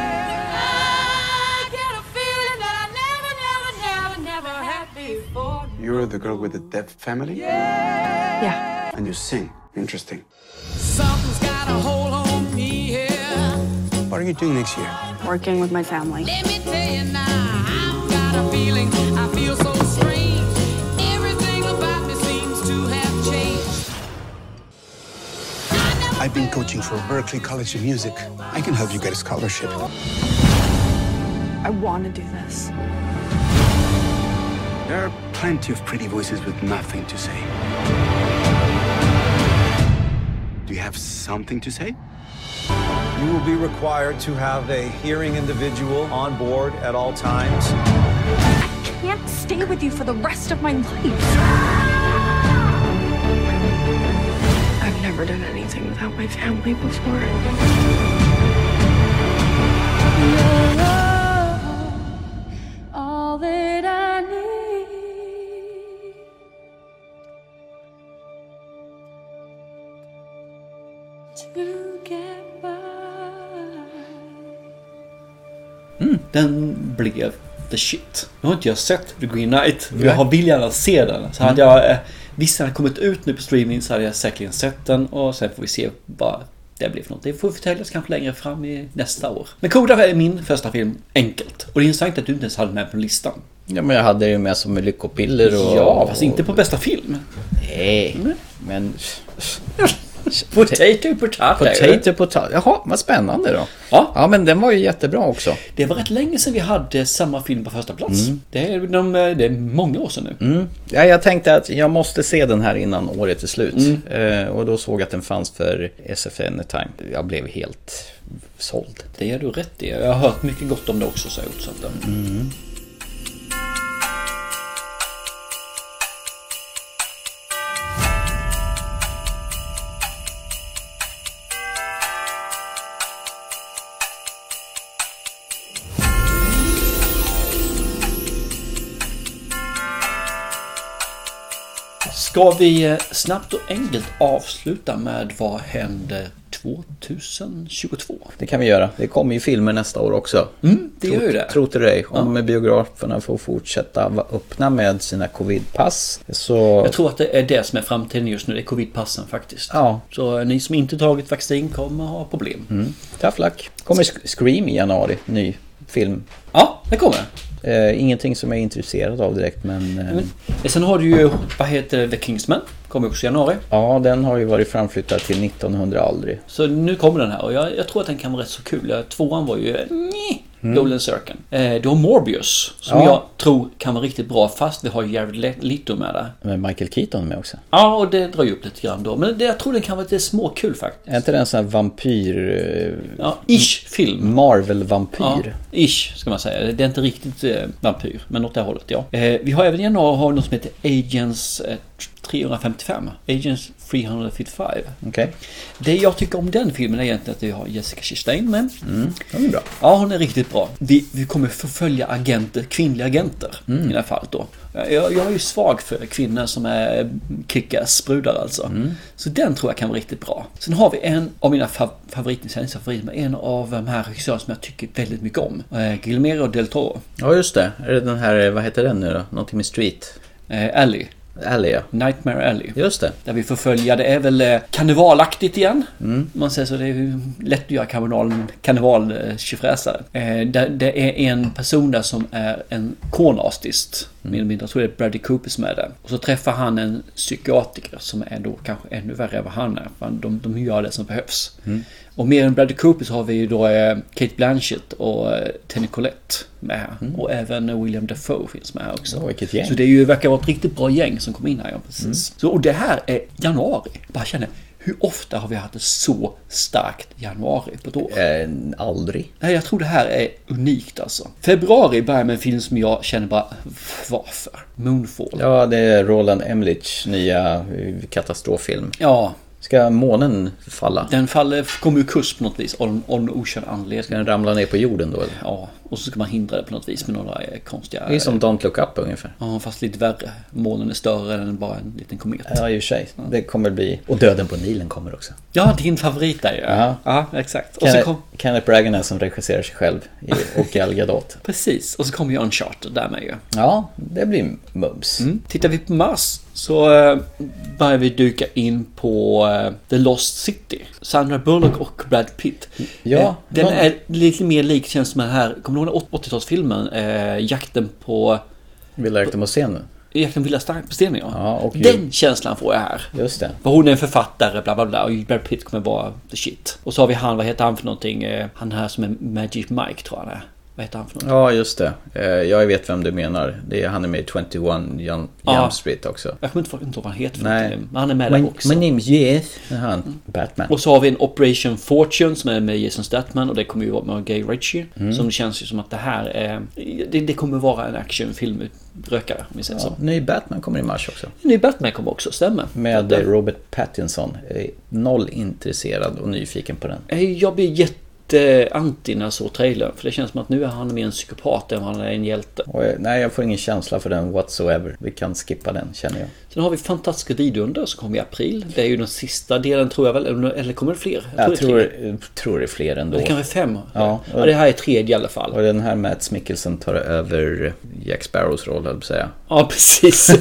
[SPEAKER 3] Yeah. I get a feeling that I never, never, never, never had before.
[SPEAKER 18] You're the girl with the deaf family?
[SPEAKER 3] Yeah.
[SPEAKER 18] And you sing. Interesting.
[SPEAKER 3] Something's got a hold on me here.
[SPEAKER 18] What are you doing next year?
[SPEAKER 3] Working with my family. Let me tell you now, I've got a feeling I feel so strange. Everything about me seems to have changed.
[SPEAKER 18] I've been coaching for Berkeley College of Music. I can help you get a scholarship.
[SPEAKER 3] I want to do this.
[SPEAKER 18] There are plenty of pretty voices with nothing to say. Do you have something to say?
[SPEAKER 4] You will be required to have a hearing individual on board at all times.
[SPEAKER 16] can't stay with you for the rest of my life.
[SPEAKER 10] I've never done anything without my family before.
[SPEAKER 9] All that I need. To get by.
[SPEAKER 1] Mm, den blev the shit. Nu har inte jag sett The Green Knight. men Jag har vill gärna se den. Så hade jag eh, visst den hade kommit ut nu på streaming så hade jag säkerligen sett den och sen får vi se vad det blir för något. Det får förtäljas kanske längre fram i nästa år. Men Koda är min första film, enkelt. Och det är intressant att du inte ens hade med på listan.
[SPEAKER 2] Ja, men jag hade ju med som lyckopiller och...
[SPEAKER 1] Ja, fast inte på bästa film.
[SPEAKER 2] Nej, men...
[SPEAKER 1] Potato, potato.
[SPEAKER 2] Potato, potato. Jaha, vad spännande då.
[SPEAKER 1] Ja.
[SPEAKER 2] ja, men den var ju jättebra också.
[SPEAKER 1] Det var rätt länge sedan vi hade samma film på första plats.
[SPEAKER 2] Mm.
[SPEAKER 1] Det, är de, eh, det är många år sedan nu.
[SPEAKER 2] Mm. Ja, jag tänkte att jag måste se den här innan året är slut. Eh, och då såg jag att den fanns för SF Anytime. Jag blev helt såld.
[SPEAKER 1] Det är du rätt i. Jag har hört mycket gott om det också, så um. jag har gjort sånt där.
[SPEAKER 2] Mm.
[SPEAKER 1] Ska vi eh, snabbt och enkelt avsluta med vad händer 2022?
[SPEAKER 2] Det kan vi göra. Det kommer ju filmer nästa år också.
[SPEAKER 1] Mm, det gör ju det.
[SPEAKER 2] Tro till dig. Om biograferna får fortsätta vara öppna med sina covidpass så...
[SPEAKER 1] Jag tror att det är det som är framtiden just nu, det är covidpassen faktiskt.
[SPEAKER 2] Ja.
[SPEAKER 1] Så eh, ni som inte tagit vaccin kommer ha problem.
[SPEAKER 2] Mm. Tough luck. Kommer Sc- Scream i januari, ny film.
[SPEAKER 1] Ja, det kommer.
[SPEAKER 2] Eh, ingenting som jag är intresserad av direkt men... Eh,
[SPEAKER 1] Mm. Sen har du ju, vad heter The Kingsman? Kommer också i januari.
[SPEAKER 2] Ja, den har ju varit framflyttad till 1900 aldrig.
[SPEAKER 1] Så nu kommer den här och jag, jag tror att den kan vara rätt så kul. Eh, Tvåan var ju... eh, Nj, Dolan Circle. Eh, du har Morbius som
[SPEAKER 2] Mm. Ja.
[SPEAKER 1] jag tror kan vara riktigt bra fast vi har Jared Le- Leto med där.
[SPEAKER 2] Med Michael Keaton med också.
[SPEAKER 1] Ja, och det drar ju upp lite grann då. Men det, jag tror den kan vara lite småkul faktiskt.
[SPEAKER 2] Är inte det en sån här vampyr... eh,
[SPEAKER 1] Ja, ish film. Ja,
[SPEAKER 2] Marvel-vampyr.
[SPEAKER 1] ish ska man säga. Det är inte riktigt eh, vampyr, men åt det hållet ja. Eh, vi har även i januari har vi något som heter Agents eh, 355. Agents 355.
[SPEAKER 2] Okej.
[SPEAKER 1] Det jag tycker om den filmen är egentligen att vi har Jessica Chastain med.
[SPEAKER 2] Mm, den är bra.
[SPEAKER 1] Ja, hon är riktigt bra. Vi, vi kommer förfölja agenter, kvinnliga agenter
[SPEAKER 2] Mm.
[SPEAKER 1] i det här fallet då. Jag, jag är ju svag för kvinnor som är kickassbrudar alltså. Så den tror jag kan vara riktigt bra. Sen har vi en av mina fav- favoriter, inte ens favoriter, men en av de här regissörerna som jag tycker väldigt mycket om. Eh, Guillermo del Toro.
[SPEAKER 2] Ja, just det. Är det den här, eh, vad heter den nu då? Någonting med Street?
[SPEAKER 1] Eh, Alley.
[SPEAKER 2] Alley, ja.
[SPEAKER 1] Nightmare Alley.
[SPEAKER 2] Just det.
[SPEAKER 1] Där vi förföljer, det är väl eh, karnevalaktigt igen.
[SPEAKER 2] Mm.
[SPEAKER 1] Om man säger så, det är ju lätt att göra karneval, karnevaltjofräsare. Eh, det, det är en person där som är en konartist. Mm. Jag tror det är Bradley Cooper som är där. Och så träffar han en psykiatriker som är då kanske ännu värre än vad han är. För de, de gör det som behövs.
[SPEAKER 2] Mm.
[SPEAKER 1] Och mer än Bradley Cooper så har vi ju då eh, Kate Blanchett och eh, Tony Collette med här. Och även William Dafoe finns med här också.
[SPEAKER 2] Ja, Mm. vilket gäng.
[SPEAKER 1] Så det är ju, verkar vara ett riktigt bra gäng som kom in här. Ja, precis.
[SPEAKER 2] Mm.
[SPEAKER 1] Så, och det här är januari. Jag Bara känner, hur ofta har vi haft ett så starkt januari på ett år?
[SPEAKER 2] Eh, aldrig.
[SPEAKER 1] Nej, jag tror det här är unikt alltså. Februari börjar med en film som jag känner bara, varför? Moonfall.
[SPEAKER 2] Ja, det är Roland Emmerich nya eh, katastroffilm.
[SPEAKER 1] Ja,
[SPEAKER 2] Ska månen falla?
[SPEAKER 1] den faller, kommer ju kurs på något vis, on, on okänd anledning.
[SPEAKER 2] Ska den ramla ner på jorden då? Eller?
[SPEAKER 1] Ja, och så ska man hindra det på något vis med några eh, konstiga...
[SPEAKER 2] Det är som Don't Look Up ungefär.
[SPEAKER 1] Ja, fast lite värre. Månen är större än bara en liten komet.
[SPEAKER 2] Ja, i och för sig. Det kommer bli... Och Döden på Nilen kommer också.
[SPEAKER 1] Ja, din favorit där ju. Ja, exakt. Och så
[SPEAKER 2] Kenneth,
[SPEAKER 1] kom,
[SPEAKER 2] Kenneth Bragan är som regisserar sig själv i, och Gal Gadot.
[SPEAKER 1] precis, och så kommer ju Uncharted där med ju.
[SPEAKER 2] Ja, det blir mums.
[SPEAKER 1] Tittar vi på Mars så eh, börjar vi dyka in på eh, The Lost City. Sandra Bullock och Brad Pitt.
[SPEAKER 2] Ja,
[SPEAKER 1] Eh, den
[SPEAKER 2] någon-
[SPEAKER 1] är lite mer lik känns som den här, kommer du ihåg den 80-talsfilmen? Eh, jakten på... eh,
[SPEAKER 2] Vi lärde oss se nu.
[SPEAKER 1] Jakten på Vilda Stark- på stenen ja.
[SPEAKER 2] Ja, och
[SPEAKER 1] Den känslan får jag här.
[SPEAKER 2] Just det.
[SPEAKER 1] För hon är en författare, bla bla bla. Och Brad Pitt kommer vara the shit. Och så har vi han, vad heter han för någonting? Eh, Han här som är Magic Mike tror jag han är. Vad heter han för något?
[SPEAKER 2] Ja, just det. Eh, Jag vet vem du menar. Det är, han är med i 21 Jump,
[SPEAKER 1] Ja.
[SPEAKER 2] Jump Street också.
[SPEAKER 1] Jag kommer inte ihåg- inte ihåg vad han heter. för
[SPEAKER 2] Nej.
[SPEAKER 1] någonting, Men han är med där
[SPEAKER 2] My-
[SPEAKER 1] också. Mm.
[SPEAKER 2] My name's Jeff. Det är Han, Batman.
[SPEAKER 1] Och så har vi en Operation Fortune som är med Jason Statham och det kommer ju vara med Guy Ritchie.
[SPEAKER 2] Mm.
[SPEAKER 1] Som känns ju som att det här är... Det, det kommer vara en actionfilm med rökare om vi säger
[SPEAKER 2] Ja,
[SPEAKER 1] så.
[SPEAKER 2] ny Batman kommer i mars också.
[SPEAKER 1] Ny Batman kommer också, stämmer.
[SPEAKER 2] Med eh, Robert Pattinson. Jag är Noll intresserad och nyfiken på den.
[SPEAKER 1] Eh, Jag blir jätteanti när jag såg trailern. För det känns som att nu är han mer en psykopat än vad han är en hjälte.
[SPEAKER 2] Och jag, nej, jag får ingen känsla för den whatsoever. Vi kan skippa den, känner jag.
[SPEAKER 1] Sen har vi Fantastiska vidunder som kommer i april. Det är ju den sista delen tror jag väl. Eller- Eller kommer det fler?
[SPEAKER 2] Jag
[SPEAKER 1] det är
[SPEAKER 2] tror, eh,
[SPEAKER 1] tre.
[SPEAKER 2] tror det är fler ändå.
[SPEAKER 1] Det kanske är fem.
[SPEAKER 2] Ja,
[SPEAKER 1] Ja, det här är tredje i alla fall.
[SPEAKER 2] Och den här Mats Mikkelsen tar över eh, Jack Sparrows roll, höll jag på att säga.
[SPEAKER 1] Ja, precis.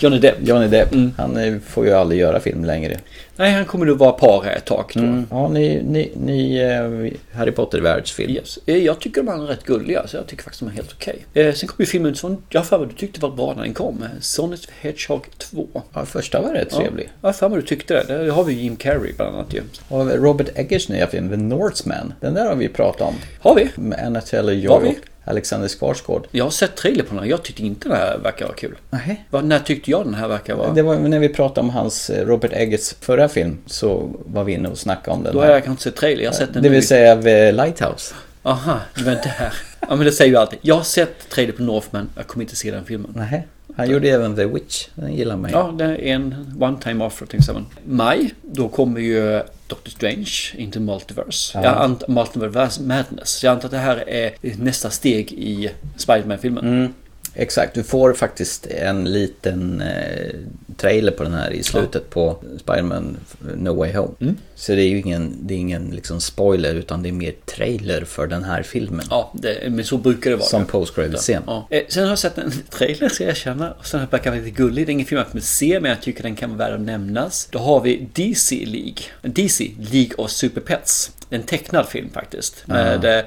[SPEAKER 1] Johnny Depp.
[SPEAKER 2] Johnny Depp.
[SPEAKER 1] Mm.
[SPEAKER 2] Han eh, får ju aldrig göra film längre.
[SPEAKER 1] Nej, han kommer nog vara par här ett tag.
[SPEAKER 2] Mm. Ja, ny, ny, ny eh, Harry Potter-världsfilm.
[SPEAKER 1] Yes. Eh, Jag tycker de andra är rätt gulliga, så jag tycker faktiskt de är helt okej. Eh, Sen kom ju filmen som jag har för mig du tyckte var bra när den kom. eh, Sonic the Hedgehog 2.
[SPEAKER 2] Ja, första var rätt trevlig.
[SPEAKER 1] Ja, jag har för mig du tyckte det. Där har vi ju Jim Carrey bland annat ju.
[SPEAKER 2] Och Robert Eggers nya film, The Northman. Den där har vi pratat om.
[SPEAKER 1] Har vi?
[SPEAKER 2] Med Anna Taylor-Joy
[SPEAKER 1] Har vi?
[SPEAKER 2] och Alexander Skarsgård.
[SPEAKER 1] Jag har sett trailer på den här. Jag tyckte inte den här verkar vara kul. Nej. När tyckte jag den här verkar vara?
[SPEAKER 2] Det var när vi pratade om hans eh, Robert Eggers förra film så var vi inne och snackade om den.
[SPEAKER 1] Då har
[SPEAKER 2] här.
[SPEAKER 1] jag kanske inte sett trailer. Jag har sett den
[SPEAKER 2] Det
[SPEAKER 1] nu.
[SPEAKER 2] vill säga The Lighthouse.
[SPEAKER 1] Aha, det var inte här. Ja, men det säger ju alltid. Jag har sett trailer på Northman. Jag kommer inte se den filmen.
[SPEAKER 2] Nej, han gjorde även The Witch. Den gillar man ju.
[SPEAKER 1] Ja, det är en one time offer till exempel. Maj, då kommer ju Doctor Strange inte Multiverse.
[SPEAKER 2] Ja.
[SPEAKER 1] Jag ant- Multiverse Madness. Jag antar att det här är nästa steg i Spider-Man-filmen.
[SPEAKER 2] Mm, exakt, du får faktiskt en liten eh, trailer på den här i slutet på Spider-Man No Way Home.
[SPEAKER 1] Mm.
[SPEAKER 2] Så det är ju ingen, det är ingen liksom spoiler utan det är mer trailer för den här filmen.
[SPEAKER 1] Ja, det, men så brukar det vara.
[SPEAKER 2] Som post-credit-scen.
[SPEAKER 1] Ja. Eh, Sen har jag sett en trailer ska jag erkänna. Och sen verkar den lite gullig. Det är ingen film jag kommer se men jag tycker den kan vara värd att nämnas. Då har vi DC League. DC League of Super Pets. En tecknad film faktiskt. Med
[SPEAKER 2] Ah.
[SPEAKER 1] eh,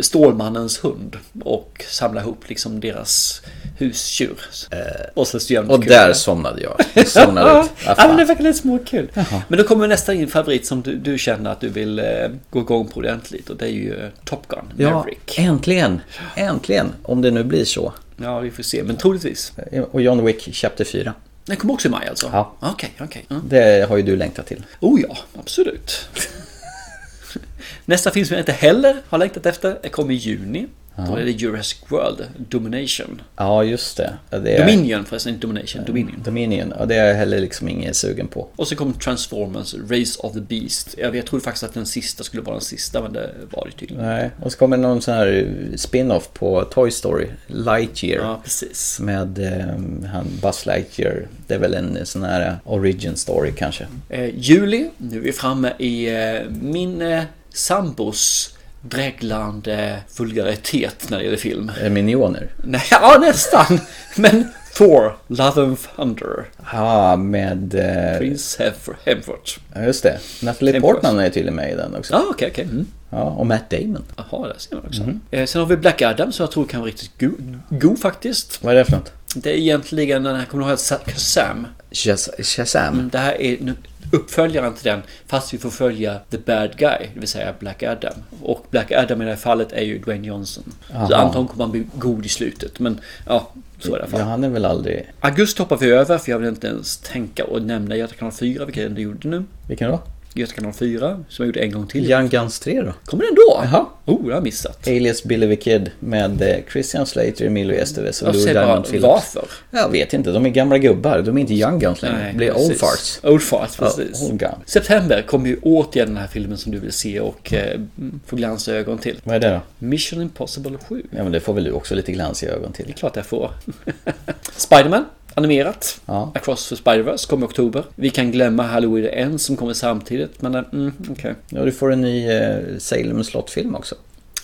[SPEAKER 1] Stålmannens hund. Och samla ihop liksom deras husdjur. Eh, och så gömmer
[SPEAKER 2] Och där somnade jag. Jag somnade ut.
[SPEAKER 1] Ja,
[SPEAKER 2] Ah,
[SPEAKER 1] men
[SPEAKER 2] fan.
[SPEAKER 1] det verkar lite småkul.
[SPEAKER 2] Jaha.
[SPEAKER 1] Men då kommer nästa in favorit som du, du känner att du vill eh, gå igång på ordentligt och det är ju eh, Top Gun
[SPEAKER 2] Ja,
[SPEAKER 1] Maverick.
[SPEAKER 2] äntligen! Äntligen! Om det nu blir så.
[SPEAKER 1] Ja, vi får se. Men troligtvis.
[SPEAKER 2] Och John Wick Chapter 4.
[SPEAKER 1] Den kommer också i maj alltså?
[SPEAKER 2] Ja.
[SPEAKER 1] Okej, okej. Mm.
[SPEAKER 2] Det har ju du längtat till.
[SPEAKER 1] Oh ja, absolut. Nästa film som jag inte heller har längtat efter kommer i juni. Då
[SPEAKER 2] Ja.
[SPEAKER 1] är det Jurassic World Domination.
[SPEAKER 2] Ja, just det. Ja, det är...
[SPEAKER 1] Dominion förresten, inte Domination. Dominion.
[SPEAKER 2] Dominion. Ja, det är jag heller liksom ingen sugen på.
[SPEAKER 1] Och så kom Transformers Race of the Beast. Jag, vet, jag trodde faktiskt att den sista skulle vara den sista, men det var det tydligen.
[SPEAKER 2] Nej, och så kommer någon sån här spin-off på Toy Story, Lightyear.
[SPEAKER 1] Ja, precis.
[SPEAKER 2] Med eh, han Buzz Lightyear. Det är väl en sån här origin story kanske.
[SPEAKER 1] Eh, juli, nu är vi framme i eh, min eh, sambos dreglande vulgaritet när det gäller film.
[SPEAKER 2] Eh, Minioner.
[SPEAKER 1] Nej, ja nästan. Men Thor, Love and Thunder.
[SPEAKER 2] Ja, med... Eh,
[SPEAKER 1] Prince Hemf- Hemfort.
[SPEAKER 2] ja, just det. Natalie
[SPEAKER 1] Hemsworth.
[SPEAKER 2] Portman är tydligen med i den också.
[SPEAKER 1] Ja, okej, okej. Mm.
[SPEAKER 2] Ja, och Matt Damon.
[SPEAKER 1] Jaha, där ser man också.
[SPEAKER 2] Mhm.
[SPEAKER 1] Eh, sen har vi Black Adam som jag tror kan vara riktigt go, go faktiskt.
[SPEAKER 2] Vad är det för något?
[SPEAKER 1] Det är egentligen den här, kommer du ihåg Sa- Shazam?
[SPEAKER 2] Shaz- Shazam.
[SPEAKER 1] Det här är nu- uppföljaren till den, fast vi får följa The Bad Guy, det vill säga Black Adam. Och Black Adam i det här fallet är ju Dwayne Johnson. Så
[SPEAKER 2] Aha.
[SPEAKER 1] antagligen kommer han bli god i slutet, men ja, så är det i alla fall.
[SPEAKER 2] Ja, han är väl aldrig...
[SPEAKER 1] Augusti hoppar vi över för jag vill inte ens tänka och nämna Göta kanal 4, vilket jag ändå gjorde nu.
[SPEAKER 2] Vilken då?
[SPEAKER 1] Göta kanal 4, som jag gjorde en gång till.
[SPEAKER 2] Young Guns 3 då?
[SPEAKER 1] Kommer den då?
[SPEAKER 2] Jaha.
[SPEAKER 1] Oh, det har jag missat.
[SPEAKER 2] Alias Billy the Kid med eh, Christian Slater, Emilio Estevez och
[SPEAKER 1] Jag
[SPEAKER 2] Lou
[SPEAKER 1] säger bara,
[SPEAKER 2] Diamond Phillips.
[SPEAKER 1] varför?
[SPEAKER 2] Jag vet inte, de är gamla gubbar. De är inte young guns längre. De blir old
[SPEAKER 1] precis.
[SPEAKER 2] farts.
[SPEAKER 1] Old farts, precis.
[SPEAKER 2] Ja, old gun.
[SPEAKER 1] September kommer ju återigen den här filmen som du vill se och eh, mm, få glansögon till.
[SPEAKER 2] Vad är det då?
[SPEAKER 1] Mission Impossible 7.
[SPEAKER 2] Ja, men det får väl du också lite glans i ögon till.
[SPEAKER 1] Klart jag får. Spiderman, animerat.
[SPEAKER 2] Ja.
[SPEAKER 1] Across the Spider-Verse kommer i oktober. Vi kan glömma Halloween End som kommer samtidigt, men eh, mm, okej.
[SPEAKER 2] Ja, du får en ny eh, Salem slott-film också.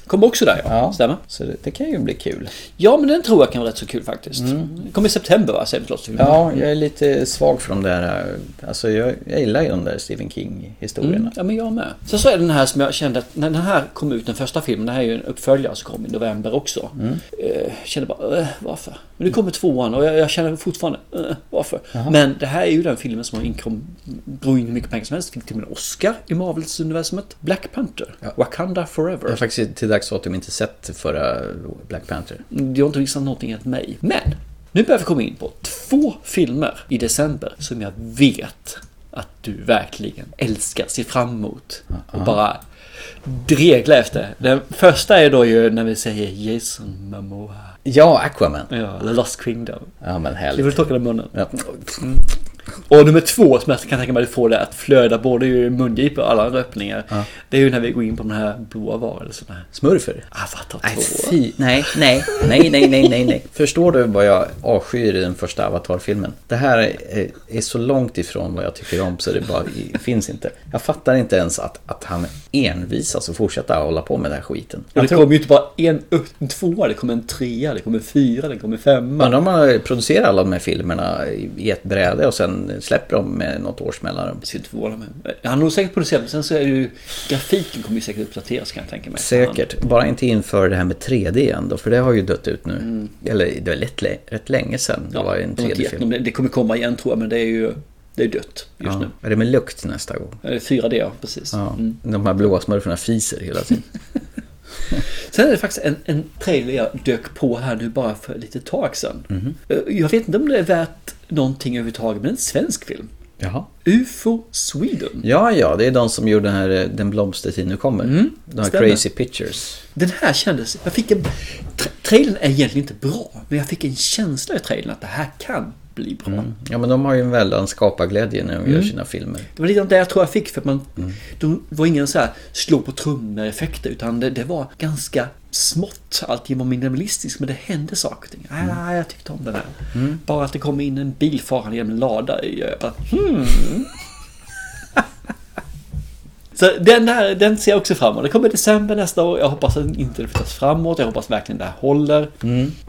[SPEAKER 1] Kommer också där ja.
[SPEAKER 2] Ja,
[SPEAKER 1] Stämmer.
[SPEAKER 2] så det, det kan ju bli kul.
[SPEAKER 1] Ja, men den tror jag kan vara rätt så kul faktiskt. Mm. Kommer i september va? Säger Slottsfilm.
[SPEAKER 2] Ja, jag är lite svag för de där... eh, Alltså, jag, jag gillar ju de där Stephen King-historierna.
[SPEAKER 1] Mm, ja, men jag med. Sen så är det den här som jag kände att när den här kom ut, den första filmen, det här är ju en uppföljare som kom i november också.
[SPEAKER 2] Mm.
[SPEAKER 1] Eh, kände bara, eh, varför? Men nu kommer tvåan och jag, jag känner fortfarande, eh, varför?
[SPEAKER 2] Jaha.
[SPEAKER 1] Men det här är ju den filmen som har inkom, drog in hur mycket pengar som helst, fick till och med en Oscar i Marvels universumet. Black Panther, Wakanda Forever.
[SPEAKER 2] Jag har faktiskt till, sagt så att de inte sett förra Black Panther.
[SPEAKER 1] Det har inte visat någonting åt mig. Men nu börjar vi komma in på två filmer i december som jag vet att du verkligen älskar, ser fram emot och bara dreglar efter. Den första är då ju när vi säger Jason Momoa.
[SPEAKER 2] Ja, Aquaman.
[SPEAKER 1] Ja, The Lost Kingdom.
[SPEAKER 2] Ja, men
[SPEAKER 1] Det vill du
[SPEAKER 2] härligt.
[SPEAKER 1] torka dig i munnen. Och nummer två som jag kan tänka mig att få det att flöda både i mungipor och alla andra öppningar.
[SPEAKER 2] Ja.
[SPEAKER 1] Det är ju när vi går in på de här blåa varelserna.
[SPEAKER 2] Smurfer?
[SPEAKER 1] Avatar 2.
[SPEAKER 2] Nej, fy. Nej, nej, nej, nej, nej, nej, nej. Förstår du vad jag avskyr i den första Avatar-filmen? Det här är, är så långt ifrån vad jag tycker om så det bara det finns inte. Jag fattar inte ens att, att han envisas och fortsätter hålla på med den här skiten.
[SPEAKER 1] Och det
[SPEAKER 2] Jag tror,
[SPEAKER 1] kommer ju inte bara en, en tvåa, det kommer en trea, det kommer en fyra, det kommer en femma.
[SPEAKER 2] undrar om man producerar alla de här filmerna i i ett bräde och sen släpper de med något års mellanrum.
[SPEAKER 1] eh, Han har nog säkert producerat, men sen så är det ju... Grafiken kommer ju säkert uppdateras kan jag tänka mig.
[SPEAKER 2] Säkert, bara inte inför det här med 3D igen då, för det har ju dött ut nu. Eller det var lätt, rätt länge sedan Mm. det var en
[SPEAKER 1] De har inte gett
[SPEAKER 2] 3D-film.
[SPEAKER 1] någon- Det kommer komma igen tror jag, men det är ju... Det är dött just
[SPEAKER 2] Ja.
[SPEAKER 1] nu.
[SPEAKER 2] Är det med lukt nästa gång?
[SPEAKER 1] Eh, 4D, ja, precis.
[SPEAKER 2] Ja.
[SPEAKER 1] Mm.
[SPEAKER 2] De här blåa smurfarna fiser hela tiden.
[SPEAKER 1] Sen är det faktiskt en, en trailer jag dök på här nu bara för lite tag sedan.
[SPEAKER 2] Mhm.
[SPEAKER 1] Eh, Jag vet inte om det är värt någonting överhuvudtaget, men en svensk film.
[SPEAKER 2] Jaha.
[SPEAKER 1] UFO Sweden.
[SPEAKER 2] Ja, ja, det är de som gjorde den här eh, Den blomstertid nu kommer. de här
[SPEAKER 1] Mm. stämmer.
[SPEAKER 2] Crazy Pictures.
[SPEAKER 1] Den här kändes... Jag fick en... Tra- trailern är egentligen inte bra, men jag fick en känsla i trailern att det här kan bli bra.
[SPEAKER 2] Ja, men de har ju en väldans skaparglädje när de gör
[SPEAKER 1] Mm.
[SPEAKER 2] sina filmer.
[SPEAKER 1] Det var lite det jag tror jag fick för att man... De var ingen så här slå på trummor-effekter utan det, det var ganska smått. Allting var minimalistiskt men det hände saker och ting. Ah, jag tyckte om den här. Bara att det kom in en bil farande genom en lada. Jag bara, hmm. Så den, där, den ser jag också fram emot. Det kommer i december nästa år. Jag hoppas att den inte flyttas framåt. Jag hoppas verkligen det här håller.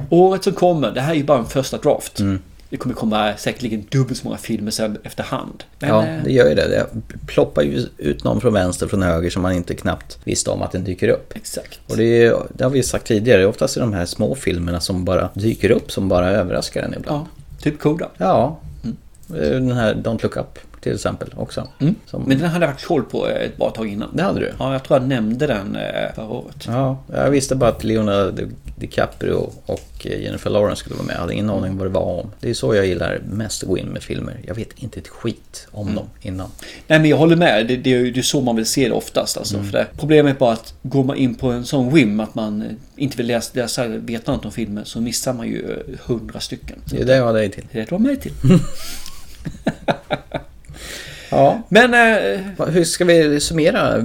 [SPEAKER 1] Året som kommer, det här är ju bara en första draft. Det kommer komma säkerligen dubbelt så många filmer sen efterhand. Men,
[SPEAKER 2] ja,
[SPEAKER 1] eh,
[SPEAKER 2] det gör ju det. Det ploppar ju ut någon från vänster från höger som man inte knappt visste om att den dyker upp.
[SPEAKER 1] Exakt.
[SPEAKER 2] Och det, är, ju- det har vi ju sagt tidigare, oftast är de här små filmerna som bara dyker upp som bara överraskar en ibland.
[SPEAKER 1] Typ Koda.
[SPEAKER 2] Ja.
[SPEAKER 1] Mm.
[SPEAKER 2] Eh, Den här Don't Look Up till exempel också. Som,
[SPEAKER 1] Men den hade jag faktiskt koll på eh, ett bra tag innan.
[SPEAKER 2] Det hade du?
[SPEAKER 1] Ja, jag tror jag nämnde den eh, förra året.
[SPEAKER 2] Ja, jag visste bara att Leonardo DiCaprio och Jennifer Lawrence skulle vara med. Jag hade ingen aning vad det var om. Det är så jag gillar mest att gå in med filmer. Jag vet inte ett skit om dem innan.
[SPEAKER 1] Nej, men jag håller med. Det, det, är ju- det är så man vill se det oftast. Alltså,
[SPEAKER 2] Mm.
[SPEAKER 1] för det. Problemet är bara att går man in på en sån whim att man eh, inte vill läsa, läsa veta något om filmen så missar man ju eh, hundra stycken.
[SPEAKER 2] Det är det jag har dig till.
[SPEAKER 1] Det är det var mig till.
[SPEAKER 2] Mm. Ja.
[SPEAKER 1] Men eh,
[SPEAKER 2] Va- Hur ska vi summera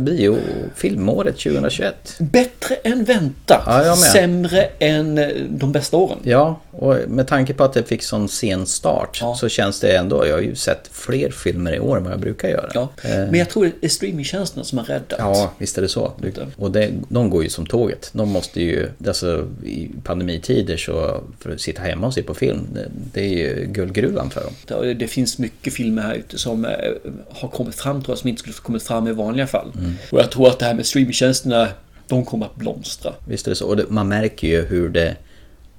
[SPEAKER 2] biofilmåret 2021?
[SPEAKER 1] bättre än vänta.
[SPEAKER 2] Ja, jag med.
[SPEAKER 1] Sämre än eh, de bästa åren.
[SPEAKER 2] Ja, och med tanke på att det fick sån sen start så känns det ändå, jag har ju sett fler filmer i år än vad jag brukar göra.
[SPEAKER 1] Ja.
[SPEAKER 2] Eh,
[SPEAKER 1] Men jag tror det är streamingtjänsterna som har räddat.
[SPEAKER 2] Ja, visst är det så. Du, och det, de går ju som tåget. De måste ju, alltså i pandemitider så, för att sitta hemma och se på film, det, det är ju guldgruvan för dem.
[SPEAKER 1] Det- Det finns mycket filmer här ute som eh, har kommit fram tror jag som inte skulle ha kommit fram i vanliga fall.
[SPEAKER 2] Mm.
[SPEAKER 1] Och jag tror att det här med streamingtjänsterna, de kommer att blomstra.
[SPEAKER 2] Visst är det så. Och det, man märker ju hur det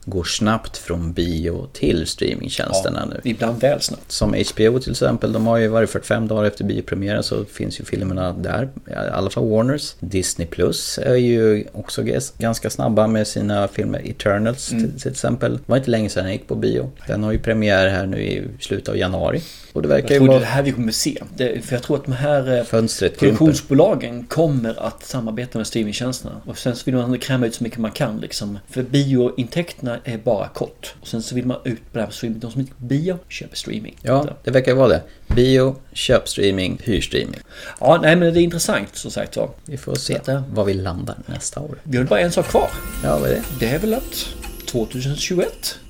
[SPEAKER 2] går snabbt från bio till streamingtjänsterna nu.
[SPEAKER 1] Ibland väl snabbt.
[SPEAKER 2] Som HBO till exempel, de har ju varje 45 dagar efter biopremiären så finns ju filmerna där. I alla fall Warners. Disney Plus är ju också gas- ganska snabba med sina filmer. Eternals
[SPEAKER 1] Mm.
[SPEAKER 2] till, till exempel. Det var inte länge sedan den gick på bio. Den har ju premiär här nu i slutet av januari. Och det
[SPEAKER 1] Jag
[SPEAKER 2] verkar ju
[SPEAKER 1] tror det är
[SPEAKER 2] vara...
[SPEAKER 1] det här vi kommer att se. Det, för jag tror att de här eh,
[SPEAKER 2] Fönstret krymper.
[SPEAKER 1] produktionsbolagen kommer att samarbeta med streamingtjänsterna. Och sen så vill man kräma ut så mycket man kan liksom. För biointäkterna är bara kort. Och sen så vill man ut på det här med streaming. De som inte går på bio köper streaming.
[SPEAKER 2] Ja, det verkar ju vara det. Bio, köpstreaming, hyrstreaming.
[SPEAKER 1] Ja, nej men det är intressant som sagt var.
[SPEAKER 2] Vi får se var vi landar nästa år.
[SPEAKER 1] Vi har bara en sak kvar.
[SPEAKER 2] Ja, vad är det?
[SPEAKER 1] Det är väl att 2021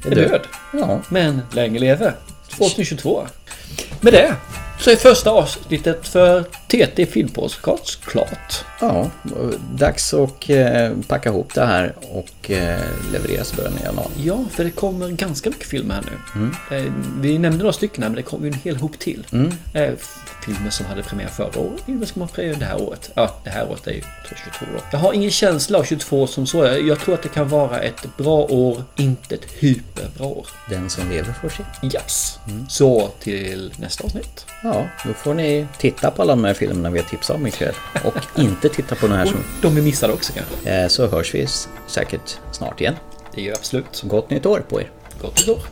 [SPEAKER 1] är
[SPEAKER 2] Är död.
[SPEAKER 1] död.
[SPEAKER 2] Ja.
[SPEAKER 1] Men länge leve 2022. Med det så är första avsnittet för TT Filmpodcast klart.
[SPEAKER 2] Ja, dags att eh, packa ihop det här och eh, levereras i början av januari.
[SPEAKER 1] Ja, för det kommer ganska mycket filmer här nu. Eh, Vi nämnde några stycken här, men det kom ju en hel hop till.
[SPEAKER 2] Mm.
[SPEAKER 1] Eh, f- Filmer som hade premiär förra året, filmer som har premiär det här året. Ja, det här året är ju 2022 då. Jag har ingen känsla av 22 som så. Jag jag tror att det kan vara ett bra år, inte ett hyperbra år.
[SPEAKER 2] Den som lever får se.
[SPEAKER 1] Yes. Så till nästa avsnitt.
[SPEAKER 2] Ja, då får ni titta på alla de här filmerna vi har tipsat om ikväll. Och inte titta på den här som...
[SPEAKER 1] De vi missade också kanske.
[SPEAKER 2] Eh, Så hörs vi s- säkert snart igen.
[SPEAKER 1] Det gör absolut.
[SPEAKER 2] Gott nytt år på er.
[SPEAKER 1] Gott nytt år.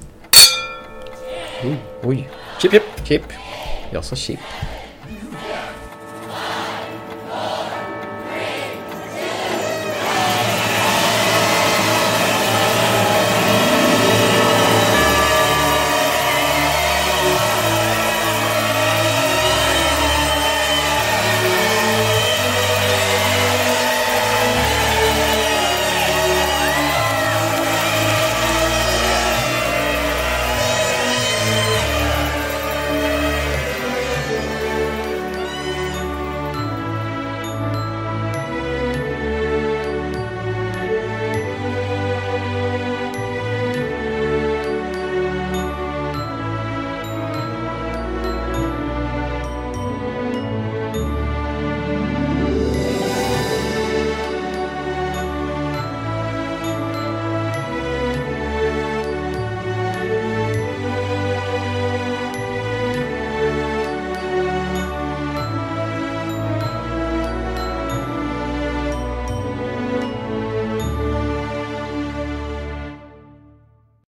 [SPEAKER 2] Oj.
[SPEAKER 1] Chip, chip.
[SPEAKER 2] Chip. Jag sa chip.